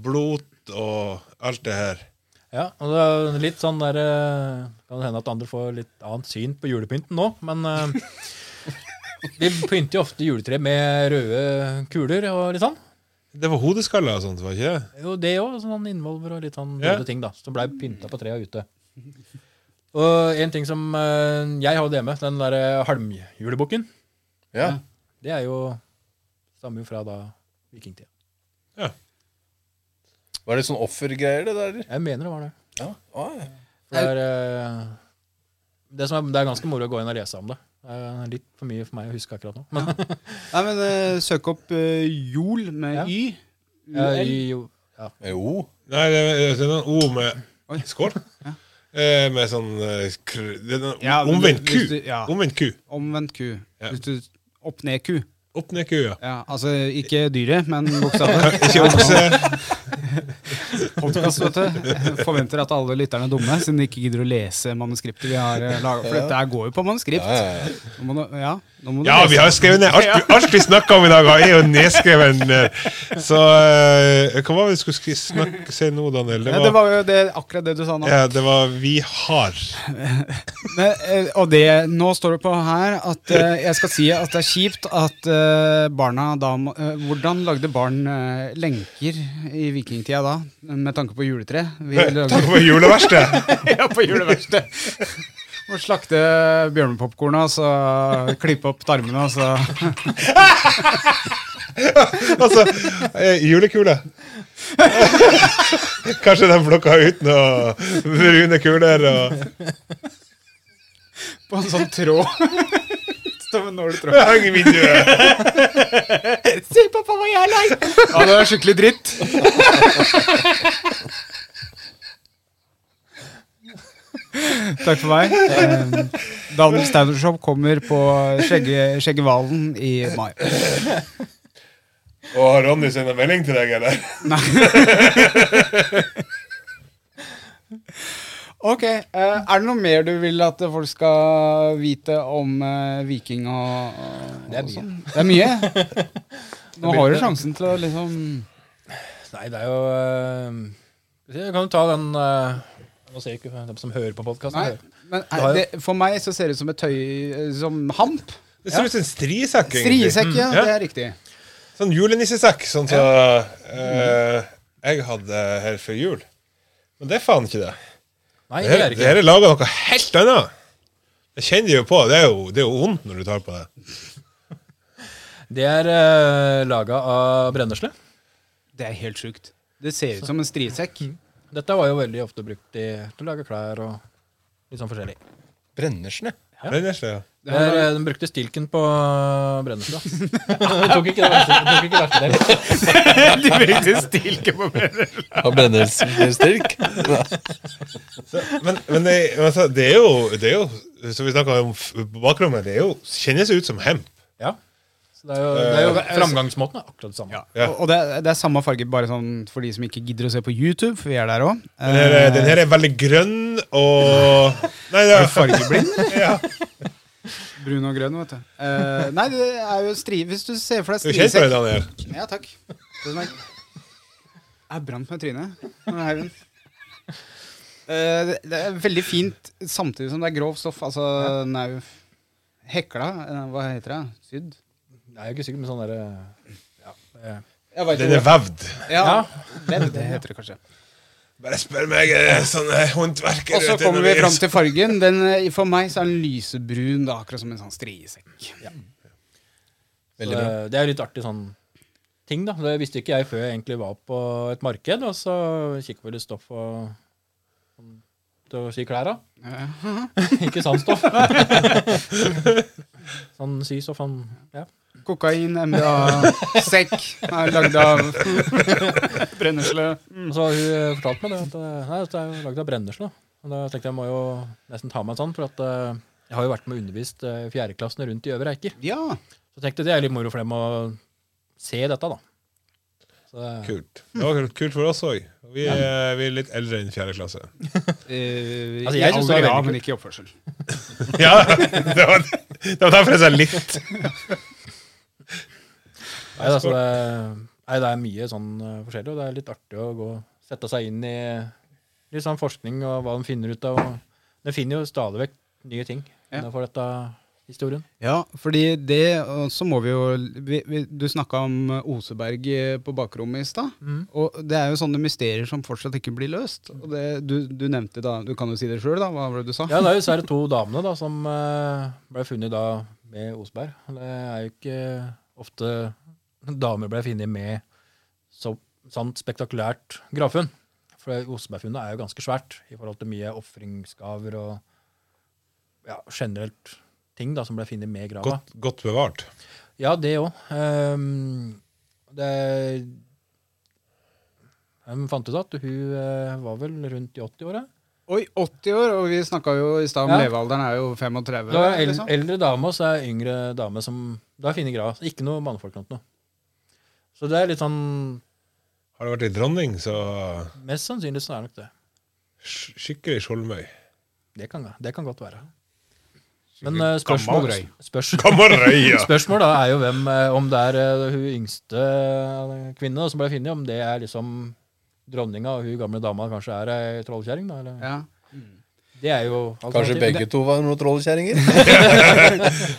S6: blot og alt det her.
S5: ja, og det er litt sånn der eh, Kan hende at andre får litt annet syn på julepynten nå, men eh, Vi pynter jo ofte juletre med røde kuler og litt sånn.
S6: Det var hodeskaller og sånt, var ikke det?
S5: Jo, det òg. Sånn innvolver og litt sånn
S6: Ja.
S5: røde ting da, som blei pynta på trea ute. Og en ting som eh, jeg hadde hjemme, den derre halmjulebukken.
S4: Ja.
S5: Det er jo stammer jo fra da vikingtida.
S4: Var det sånn offergreier, det der? eller?
S5: Jeg mener det var det.
S4: Ja. Ah, ja.
S5: For det, er, eh, det, som er, det er ganske moro å gå inn og lese om det. Det er litt for mye for meg å huske akkurat nå. Men
S3: Nei, men eh, søk opp eh, Jol med
S5: Ja.
S3: Y.
S5: eh,
S3: UL.
S5: jo,
S4: <laughs> Jo.
S6: Nei, det er, det er noen O med
S3: Oi.
S6: Skål. Eh, med sånn eh, kr, det er noen,
S3: Ja, men
S6: Omvendt
S3: du-
S6: ku.
S3: hvis du- ja.
S6: Omvendt ku.
S3: Omvendt ku.
S6: Ja.
S3: Hvis du Opp ned ku.
S6: Opp ned kua.
S3: Ja, altså ikke dyret,
S4: <laughs>
S3: men bokstaven.
S6: Ikke okse.
S3: Podcast, vet du. Forventer at alle lytterne er dumme, siden de ikke gidder å lese manuskriptet vi har laga. For dette her går jo på
S4: Ja,
S3: manuskript.
S4: ja, ja.
S3: Nå må du, ja, nå må du
S6: Ja,
S3: lese.
S6: vi har skrevet ned alt, alt vi snakka om i dag, er jo nedskrevet. ned. Så eh, hva var det vi skulle skri- snakke, si nå, Daniel?
S3: Ja, det var jo det, akkurat det du sa nå.
S6: ja, det var 'vi har'.
S3: Men, eh, og det, nå står det på her at eh, jeg skal si at det er kjipt at eh, barna da må- eh, Hvordan lagde barn eh, lenker i vikingtida da, med tanke på juletre? Vi lagde <laughs>
S5: <laughs>
S6: Takk for juleverkstedet!
S3: ja, på juleverkstedet. Må slakte bjørnepopkornet, og så klippe opp tarmene, og så
S6: Altså, eh, julekule. Kanskje de plukka ut noen brune kuler og
S3: på en sånn tråd. <laughs> Som en nåletråd.
S6: hang i vinduet.
S3: Se, pappa, hva jeg har lagd! Ja, det var skikkelig dritt. Takk for meg. Eh, Daniel Staudershop kommer på Skjegge- Skjeggehvalen i mai.
S6: Og har Ronny sendt en melding til deg, eller?
S3: Ok, eh, Er det noe mer du vil at folk skal vite om eh, viking og, og
S5: Det er mye.
S3: sånn? Det er mye? <laughs> Nå har du sjansen til å liksom
S5: Nei, det er jo eh, Jeg kan jo ta den eh, Nå ser jeg ikke dem som hører på
S3: Nei.
S5: podkasten.
S3: Men
S5: Du har
S3: er,
S5: jo-
S3: det, for meg så ser det ut som et tøy Som hamp.
S6: Det ser ut som en strisekk. egentlig.
S3: Striesekk, ja.
S6: Mm.
S3: Det er riktig.
S6: Sånn julenissesekk, sånn som eh, jeg hadde her før jul. Men det er faen ikke det.
S5: Nei,
S6: Det
S5: det
S6: her,
S5: er
S6: det
S5: ikke.
S6: her er laga noe helt annet. Det kjenner de jo på. Det er jo, det er jo vondt når du tar på det.
S5: Det er uh, laga av brennesle.
S3: Det er helt sjukt. Det ser ut som en <laughs> striesekk.
S5: Dette var jo veldig ofte brukt i, til å lage klær og litt sånn forskjellig.
S4: Brennesle.
S5: Ja.
S6: Brennesle, ja.
S5: Det er, eh, den brukte stilken på eh, brennesle. Du tok ikke det verste, tok ikke det verste del.
S3: De brukte stilke på <laughs> meg.
S4: Har brennesle stilk?
S6: Men, men det, men altså, det er jo, det er jo Som vi snakka om f- på bakrommet, det er jo, kjennes ut som hemp.
S5: Ja. Så det er jo, det er jo framgangsmåten er akkurat det samme.
S6: Ja.
S3: Og og det er, det er samme farge, bare sånn for de som ikke gidder å se på YouTube, for vi er der òg.
S6: Den her,
S3: Eh.
S6: er- den her er veldig grønn
S3: <laughs>
S6: og Nei, det er <laughs>
S3: fargeblind?
S6: Ja.
S3: Brun og grønn, vet du. Eh, nei, det er jo stri... Hvis du ser for deg
S6: Du er kjent med det,
S3: strisekk
S6: Daniel?
S3: Ja, takk. Tusen takk. Jeg brant meg i trynet. Nå er Eivind. Eh, det- det er veldig fint, samtidig som det er grov stoff. Altså, den er jo f- hekla eh, Hva heter det? Sydd?
S5: Jeg er ikke sikker, men sånn derre ja. eh,
S3: Jeg vet
S6: Den er
S3: ikke.
S6: vevd.
S3: Ja,
S5: Ja.
S3: vevd, det heter det kanskje.
S6: Bare spør meg, jeg er sånn eh, håndverker.
S3: Og så
S6: vet du,
S3: kommer
S6: når
S3: vi
S6: er
S3: fram til fargen. Den, eh, for meg så er den lysebrun, da, akkurat som en sånn striesekk.
S5: Så det, det er jo litt artig sånn ting, da. Det visste ikke jeg før jeg egentlig var på et marked, og så kikket vi litt stoff og sånn, til å sy klær av. <laughs> ikke sandstoff. <laughs> sånn systoff, sånn ja.
S3: Kokain, MDA, sekk er lagd av <laughs> brennesle.
S5: Og Så har hun fortalt meg det, at eh, nei, dette er jo lagd av brennesle. Og da tenkte jeg jeg må jo nesten ta meg en sånn, for at eh, jeg har jo vært med og undervist eh, fjerdeklassene rundt i Øvre Eiker.
S3: Ja.
S5: Så tenkte jeg det er litt moro for dem å se dette, da. Så, eh, det-
S6: Kult. Det var kult for oss òg. Vi, er- vi er litt eldre enn fjerde klasse.
S3: Eh,
S5: Altså, jeg
S3: i
S5: synes det
S3: alder,
S5: var
S3: ja,
S5: veldig
S3: men ikke i oppførsel.
S6: <laughs> Ja, det var, det var derfor jeg sa litt.
S5: Nei, altså, det, nei, det er mye sånn eh, forskjellig, og det er litt artig å gå, sette seg inn i litt sånn forskning og hva de finner ut av. Og de finner jo stadig vekk nye ting
S3: Ja.
S5: innenfor dette historien.
S3: Ja, fordi det Og så må vi jo vi, vi, Du snakka om Oseberg eh, på bakrommet i stad. Og det er jo sånne mysterier som fortsatt ikke blir løst. Og det, du, du nevnte da Du kan jo si det sjøl, da. Hva var det du sa?
S5: Ja, det er jo disse her to damene da, som eh, ble funnet da med Osberg. Det er jo ikke ofte damer ble funnet med så, sånt spektakulært gravfunn. For det Osebergfunnet er jo ganske svært i forhold til mye ofringsgaver og ja, generelt ting da, som ble funnet med i grava.
S6: Godt, godt bevart.
S5: Ja, det òg. Um, det Jeg fant ut at hun eh, var vel rundt i 80-åra.
S3: Oi, 80 år, og vi snakka jo i stad om
S5: Ja.
S3: levealderen er jo 35.
S5: Det var el
S3: liksom.
S5: eldre dame, og så er det yngre dame som Da er fine grava. Ikke noe mannfolk eller noe. Så det er litt sånn
S6: Har det vært ei dronning, så
S5: Mest sannsynlig så er det nok det.
S6: sk- skikkelig skjoldmøy.
S5: Det kan, det kan godt være. Men eh, spørsmål,
S3: gammel røy.
S5: spørs,
S6: <laughs> Kammerøya!
S5: spørsmål da er jo hvem eh, Om det er eh, hun yngste eh, kvinne da, som ble funnet, om det er liksom dronninga og hun gamle dama kanskje er ei trollkjerring, da? Eller?
S3: Ja.
S5: Det er jo
S4: Kanskje
S5: alternativet.
S4: begge to var noen trollkjerringer?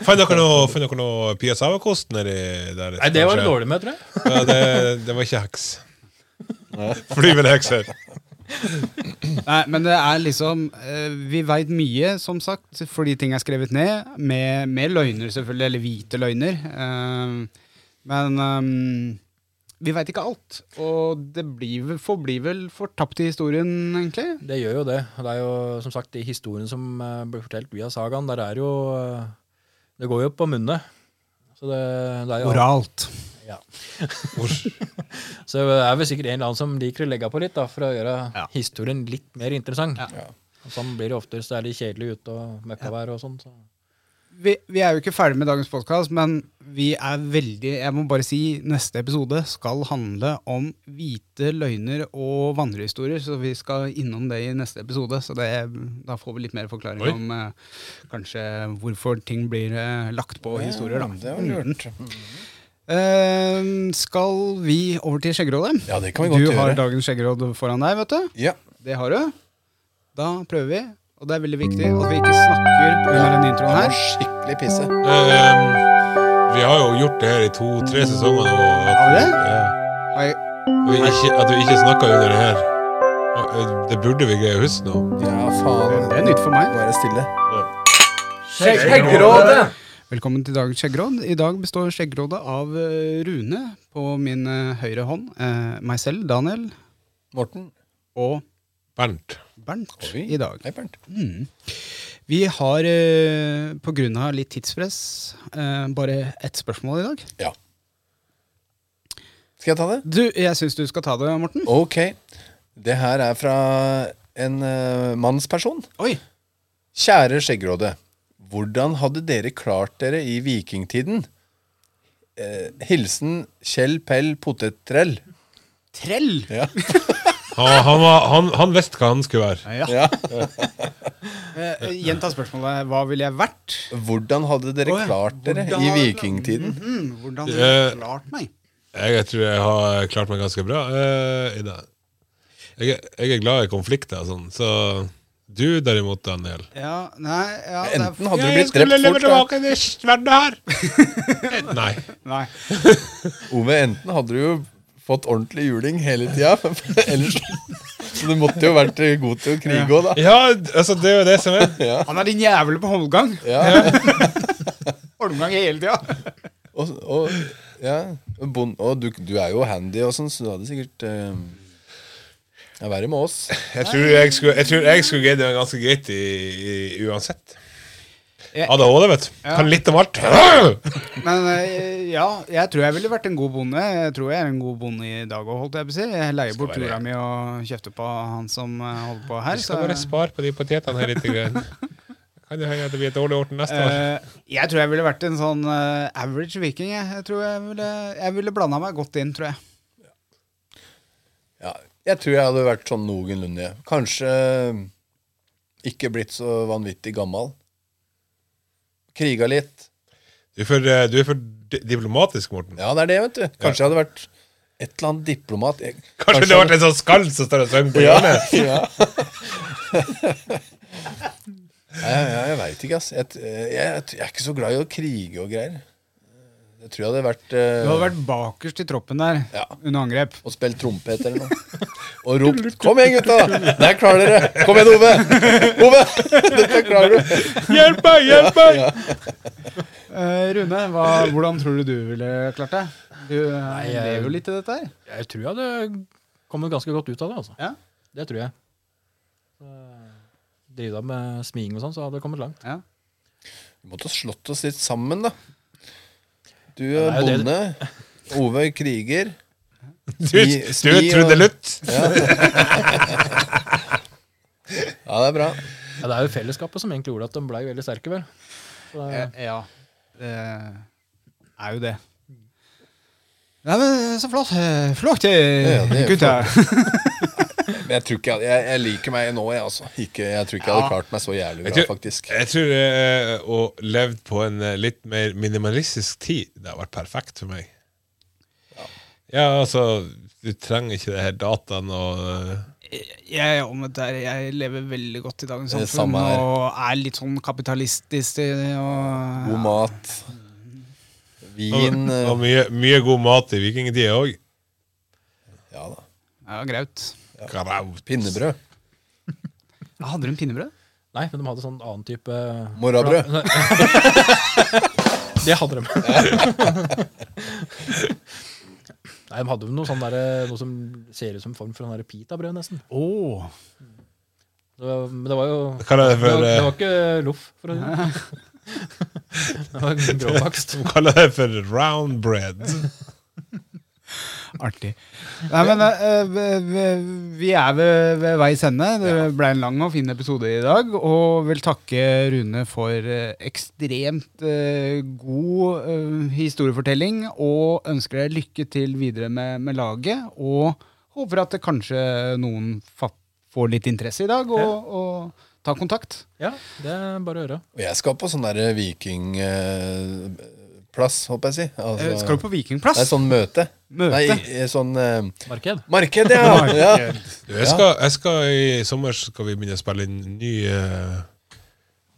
S6: Fant dere noe, fant dere noe Pia Sava-kost nedi der?
S5: Nei, det var det
S6: kanskje?
S5: dårlig med, tror jeg.
S6: Ja, det, det var ikke heks. Flyvende hekser.
S3: Nei, men det er liksom eh, Vi veit mye, som sagt, fordi ting er skrevet ned. Med, med løgner, selvfølgelig. Eller hvite løgner. Eh, men eh, vi veit ikke alt. Og det blir, vel- forblir vel fortapt i historien, egentlig.
S5: Det gjør jo det. Det er jo som sagt de historiene som eh, blir fortalt via sagaen, der er jo eh, Det går jo på munne. Så det, det er jo
S3: Oralt.
S5: Ja. Så det er vel sikkert en eller annen som liker å legge på litt da, for å gjøre
S3: Ja.
S5: historien litt mer interessant.
S3: Ja.
S4: Ja.
S5: Og Sånn blir det ofte hvis det er litt kjedelig ute og møkkavær og sånn. Så.
S3: Vi, vi er jo ikke ferdig med dagens podkast, men vi er veldig Jeg må bare si neste episode skal handle om hvite løgner og vandrehistorier, så vi skal innom det i neste episode. Så det, da får vi litt mer forklaring
S6: Oi.
S3: om eh, kanskje hvorfor ting blir eh, lagt på historier, da. Mm.
S4: Det var lurt.
S3: Eh, skal vi over til skjeggerådet?
S4: Ja, det kan vi godt
S3: Du har
S4: gjøre.
S3: dagens skjeggeråd foran deg, vet du.
S4: Ja.
S3: Det har du. Da prøver vi, og det er veldig viktig at vi ikke snakker under den introen
S4: Det var
S3: her.
S4: Skikkelig pisse.
S6: Ehm, vi har jo gjort det her i to-tre sesonger nå. og At,
S3: Har vi det?
S6: Ja.
S3: Har jeg-
S6: Og vi ikke, at vi ikke snakker under det her. Og, eh, Det burde vi greie å huske nå.
S4: Ja, faen.
S3: Det er nytt for meg.
S4: Nå er det stille.
S3: Velkommen til dagens skjeggråd. I dag består skjeggrådet av eh, Rune på min eh, høyre hånd, eh, meg selv, Daniel,
S4: Morten.
S3: og
S6: Bernt.
S3: Bernt
S4: Oi.
S3: i dag.
S4: Nei, Bernt.
S3: Mm. Vi har, eh, på grunn av litt tidspress, eh, bare ett spørsmål i dag.
S4: Ja. Skal jeg ta det?
S3: Du, jeg syns du skal ta det, Morten.
S4: Ok. Det her er fra en eh, mannsperson.
S3: Oi!
S4: Kjære Skjeggråde. Hvordan hadde dere klart dere i vikingtiden? Eh, hilsen Kjell Pell Potettrell.
S3: Trell!
S4: Ja.
S6: Han, han, var, han, han visste hva han skulle være.
S3: Ja.
S4: Ja.
S3: Eh, eh, Gjenta spørsmålet. Hå- Hva ville jeg vært?
S4: Hvordan hadde
S3: Å
S4: dere
S3: ja.
S4: klart dere
S3: Hvordan
S4: i
S3: hadde-
S4: vikingtiden?
S3: Mhm, hvordan ville
S6: Eh.
S3: jeg klart meg?
S6: Jeg, jeg tror jeg har klart meg ganske bra eh, i dag. Jeg, er- jeg er glad i konflikter og sånn, så du derimot, Daniel
S3: Ja, nei ja, det er-
S4: Enten hadde du blitt drept fort da.
S6: tilbake til sverdet her! Nei.
S3: Nei.
S4: Ove, enten hadde du jo fått ordentlig juling hele tida, <laughs> ellers Så du måtte jo vært god til å krige òg, da.
S6: Ja, altså, det er jo det som er.
S3: Han er din jævel på holmgang!
S4: Ja.
S3: <laughs> Holmgang hele tida!
S4: Og, og, ja. og Bond, og du, du er jo handy og sånn, så du hadde sikkert eh, Det er verre med oss.
S6: Jeg tror jeg skulle, jeg tror jeg skulle greid det ganske greit i, i, uansett.
S3: Jeg-
S6: ADHD, vet du. Kan litt om alt.
S3: Men eh, ja, jeg tror jeg ville vært en god bonde. Jeg tror jeg er en god bonde i dag òg, holdt jeg på å si. Jeg leier bort jorda mi og kjefter på han som eh, holder på her.
S6: Vi skal bare spare på de potetene her litt. Grann. Kan jo hende at det blir et dårlig år til neste år.
S3: eh, jeg tror jeg ville vært en sånn eh, average viking. Jeg, jeg tror jeg ville, jeg ville blanda meg godt inn, tror jeg.
S4: Ja, jeg tror jeg hadde vært sånn noenlunde. Kanskje eh, ikke blitt så vanvittig gammel. Kriga litt.
S6: Du er for, eh, du er for di- diplomatisk, Morten.
S4: Ja, det er det, vet du. Kanskje jeg hadde vært et eller annet diplomat. Jeg-
S6: Kanskje det har vært en sånn skall som står og synger på
S4: Ja.
S6: hjørnet?
S4: <laughs> ja. Nei, jeg jeg veit ikke, ass. Jeg, t- jeg, jeg, t- jeg er ikke så glad i å krige og greier. Jeg tror jeg hadde vært eh,
S3: Du hadde vært bakerst i troppen der
S4: Ja.
S3: under angrep.
S4: Og spilt trompet eller noe. Og ropt 'Kom igjen, gutta! Der klarer dere! Kom igjen, Ove! Ove! <laughs> Dette klarer du!'
S6: Hjelp meg! Hjelp meg!
S3: Eh, Rune, hva, hvordan tror du du ville klart deg? Du eh,
S5: jeg-
S3: lever jo litt i dette her.
S5: Jeg tror jeg hadde kommet ganske godt ut av det, altså.
S3: Ja.
S5: Det tror jeg. Drive deg med smiging og sånn, så hadde jeg kommet langt.
S3: Ja.
S4: Vi måtte ha slått oss litt sammen, da. Du
S5: Ja,
S4: er
S5: det er jo det-
S4: bonde. Ove kriger.
S6: Du,
S4: Smi-
S6: du
S4: smi og-
S6: trudelutt!
S4: Ja, det er bra.
S5: Ja, det er jo fellesskapet som egentlig gjorde at de ble veldig sterke, vel. Så det,
S3: Eh, Ja. Det er jo det. Nei, men så flott. eh, Flott, eh,
S4: Ja, det er jo
S3: gutta.
S4: Men jeg tror ikke jeg, jeg, jeg liker meg nå, jeg, altså. Ikke, jeg tror ikke jeg hadde klart meg så jævlig bra,
S6: Jeg tror-
S4: faktisk.
S6: Jeg tror eh, å leve på en eh, litt mer minimalistisk tid, det har vært perfekt for meg. Ja, altså Du trenger ikke det her dataen og eh,
S3: <laughs> Jeg er omvendt der. Jeg lever veldig godt i dagens
S4: Det er
S3: samfunn
S4: samme her.
S3: og er litt sånn kapitalistisk. eh, Og,
S4: God mat. Vin eh,
S6: og mye, mye god mat i vikingtida òg.
S4: eh, Ja da.
S3: Ja, graut.
S6: Graut.
S4: Pinnebrød.
S3: Hadde de pinnebrød?
S5: Nei, men de hadde sånn annen type
S4: Morrabrød.
S5: Det hadde de. <laughs> Nei, de hadde jo noe sånn derre- noe som ser ut som en form for sånn derre pitabrød, nesten.
S3: Oh.
S5: Det var, men det var jo det
S6: Hva er det
S5: var,
S6: for,
S5: det
S6: eh,
S5: var ikke loff, for å si det <laughs> Det var gråbakst.
S6: hva kaller det for round bread?
S3: Artig. Nei, men eh, eh, vi- vi er ved, ved veis ende. Det ble en lang og fin episode i dag. Og vil takke Rune for eh, ekstremt eh, god eh, historiefortelling. Og ønsker deg lykke til videre med, med laget. Og håper at det kanskje noen fatt, får litt interesse i dag, og, og tar kontakt.
S5: Ja, det er bare å høre.
S4: Og jeg skal på sånn der vikingplass, håper jeg å si. Altså,
S3: Eh, Skal du på
S4: Det er
S3: Vikingplass?
S4: sånn møte.
S3: Møte?
S4: Nei, sånn eh,
S5: Marked.
S4: Marked,
S3: <laughs>
S4: ja! ja.
S6: Du, Jeg skal, jeg skal I sommer skal vi begynne å spille inn ny eh,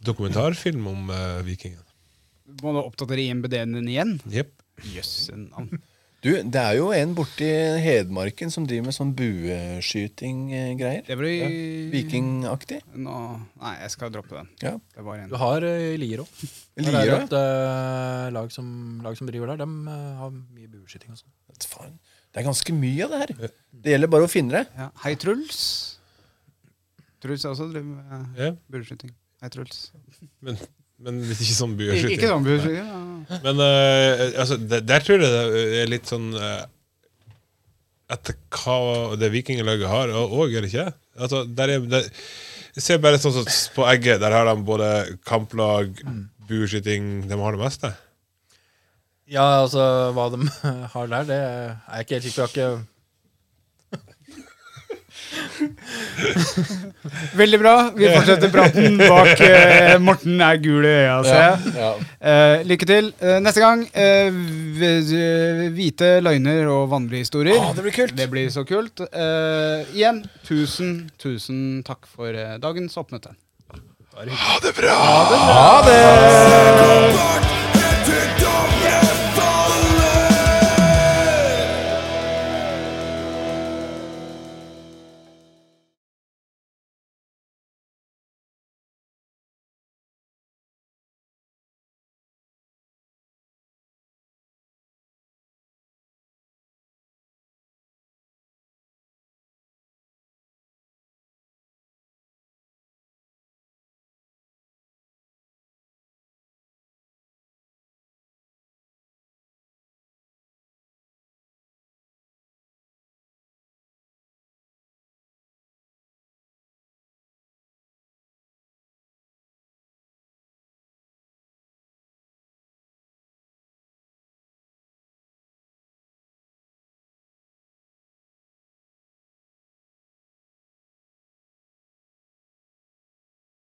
S6: dokumentarfilm om eh, vikingen.
S3: Må du oppdatere IMBD-en din igjen?
S6: Jepp.
S3: Jøss. en navn.
S4: Du, det er jo en borti Hedmarken som driver med sånn bueskyting-greier.
S3: Det blir
S4: Vikingaktig.
S3: Nå, nei, jeg skal droppe den.
S4: Ja.
S3: Det var en.
S5: Du har eh, Lier òg. Der er det
S4: Lier,
S5: et eh, lag, som, lag som driver der. De eh, har mye bueskyting og sånn.
S4: Vet faen. Det er ganske mye av det her. Det gjelder bare å finne det.
S3: Ja. Hei, Truls. Truls har også drevet med
S6: Ja.
S3: bueskyting. Hei, Truls.
S6: Men, men litt ikke sånn
S3: Ikke,
S6: bueskyting.
S3: ikke sånn bueskyting. Ja.
S6: Men eh, altså, der, der tror jeg det er litt sånn eh, Etter hva det vikinglaget har òg, er det ikke? Altså, der er, der, se bare sånn som på Egget. Der har de både kamplag, bueskyting De har det meste.
S5: Ja, altså, hva de <laughs> har der, det er jeg ikke helt sikker på. Jeg har ikke
S3: Veldig bra. Vi fortsetter praten bak eh, Morten er gul i øya, ser jeg.
S4: Ja.
S3: Eh, lykke til. Eh, neste gang eh, v- v- hvite løgner og vandrehistorier.
S4: Ah, det blir kult.
S3: Det blir så kult. Eh, igjen, tusen, tusen takk for eh, dagens oppmøte.
S4: Ha det!
S2: Bort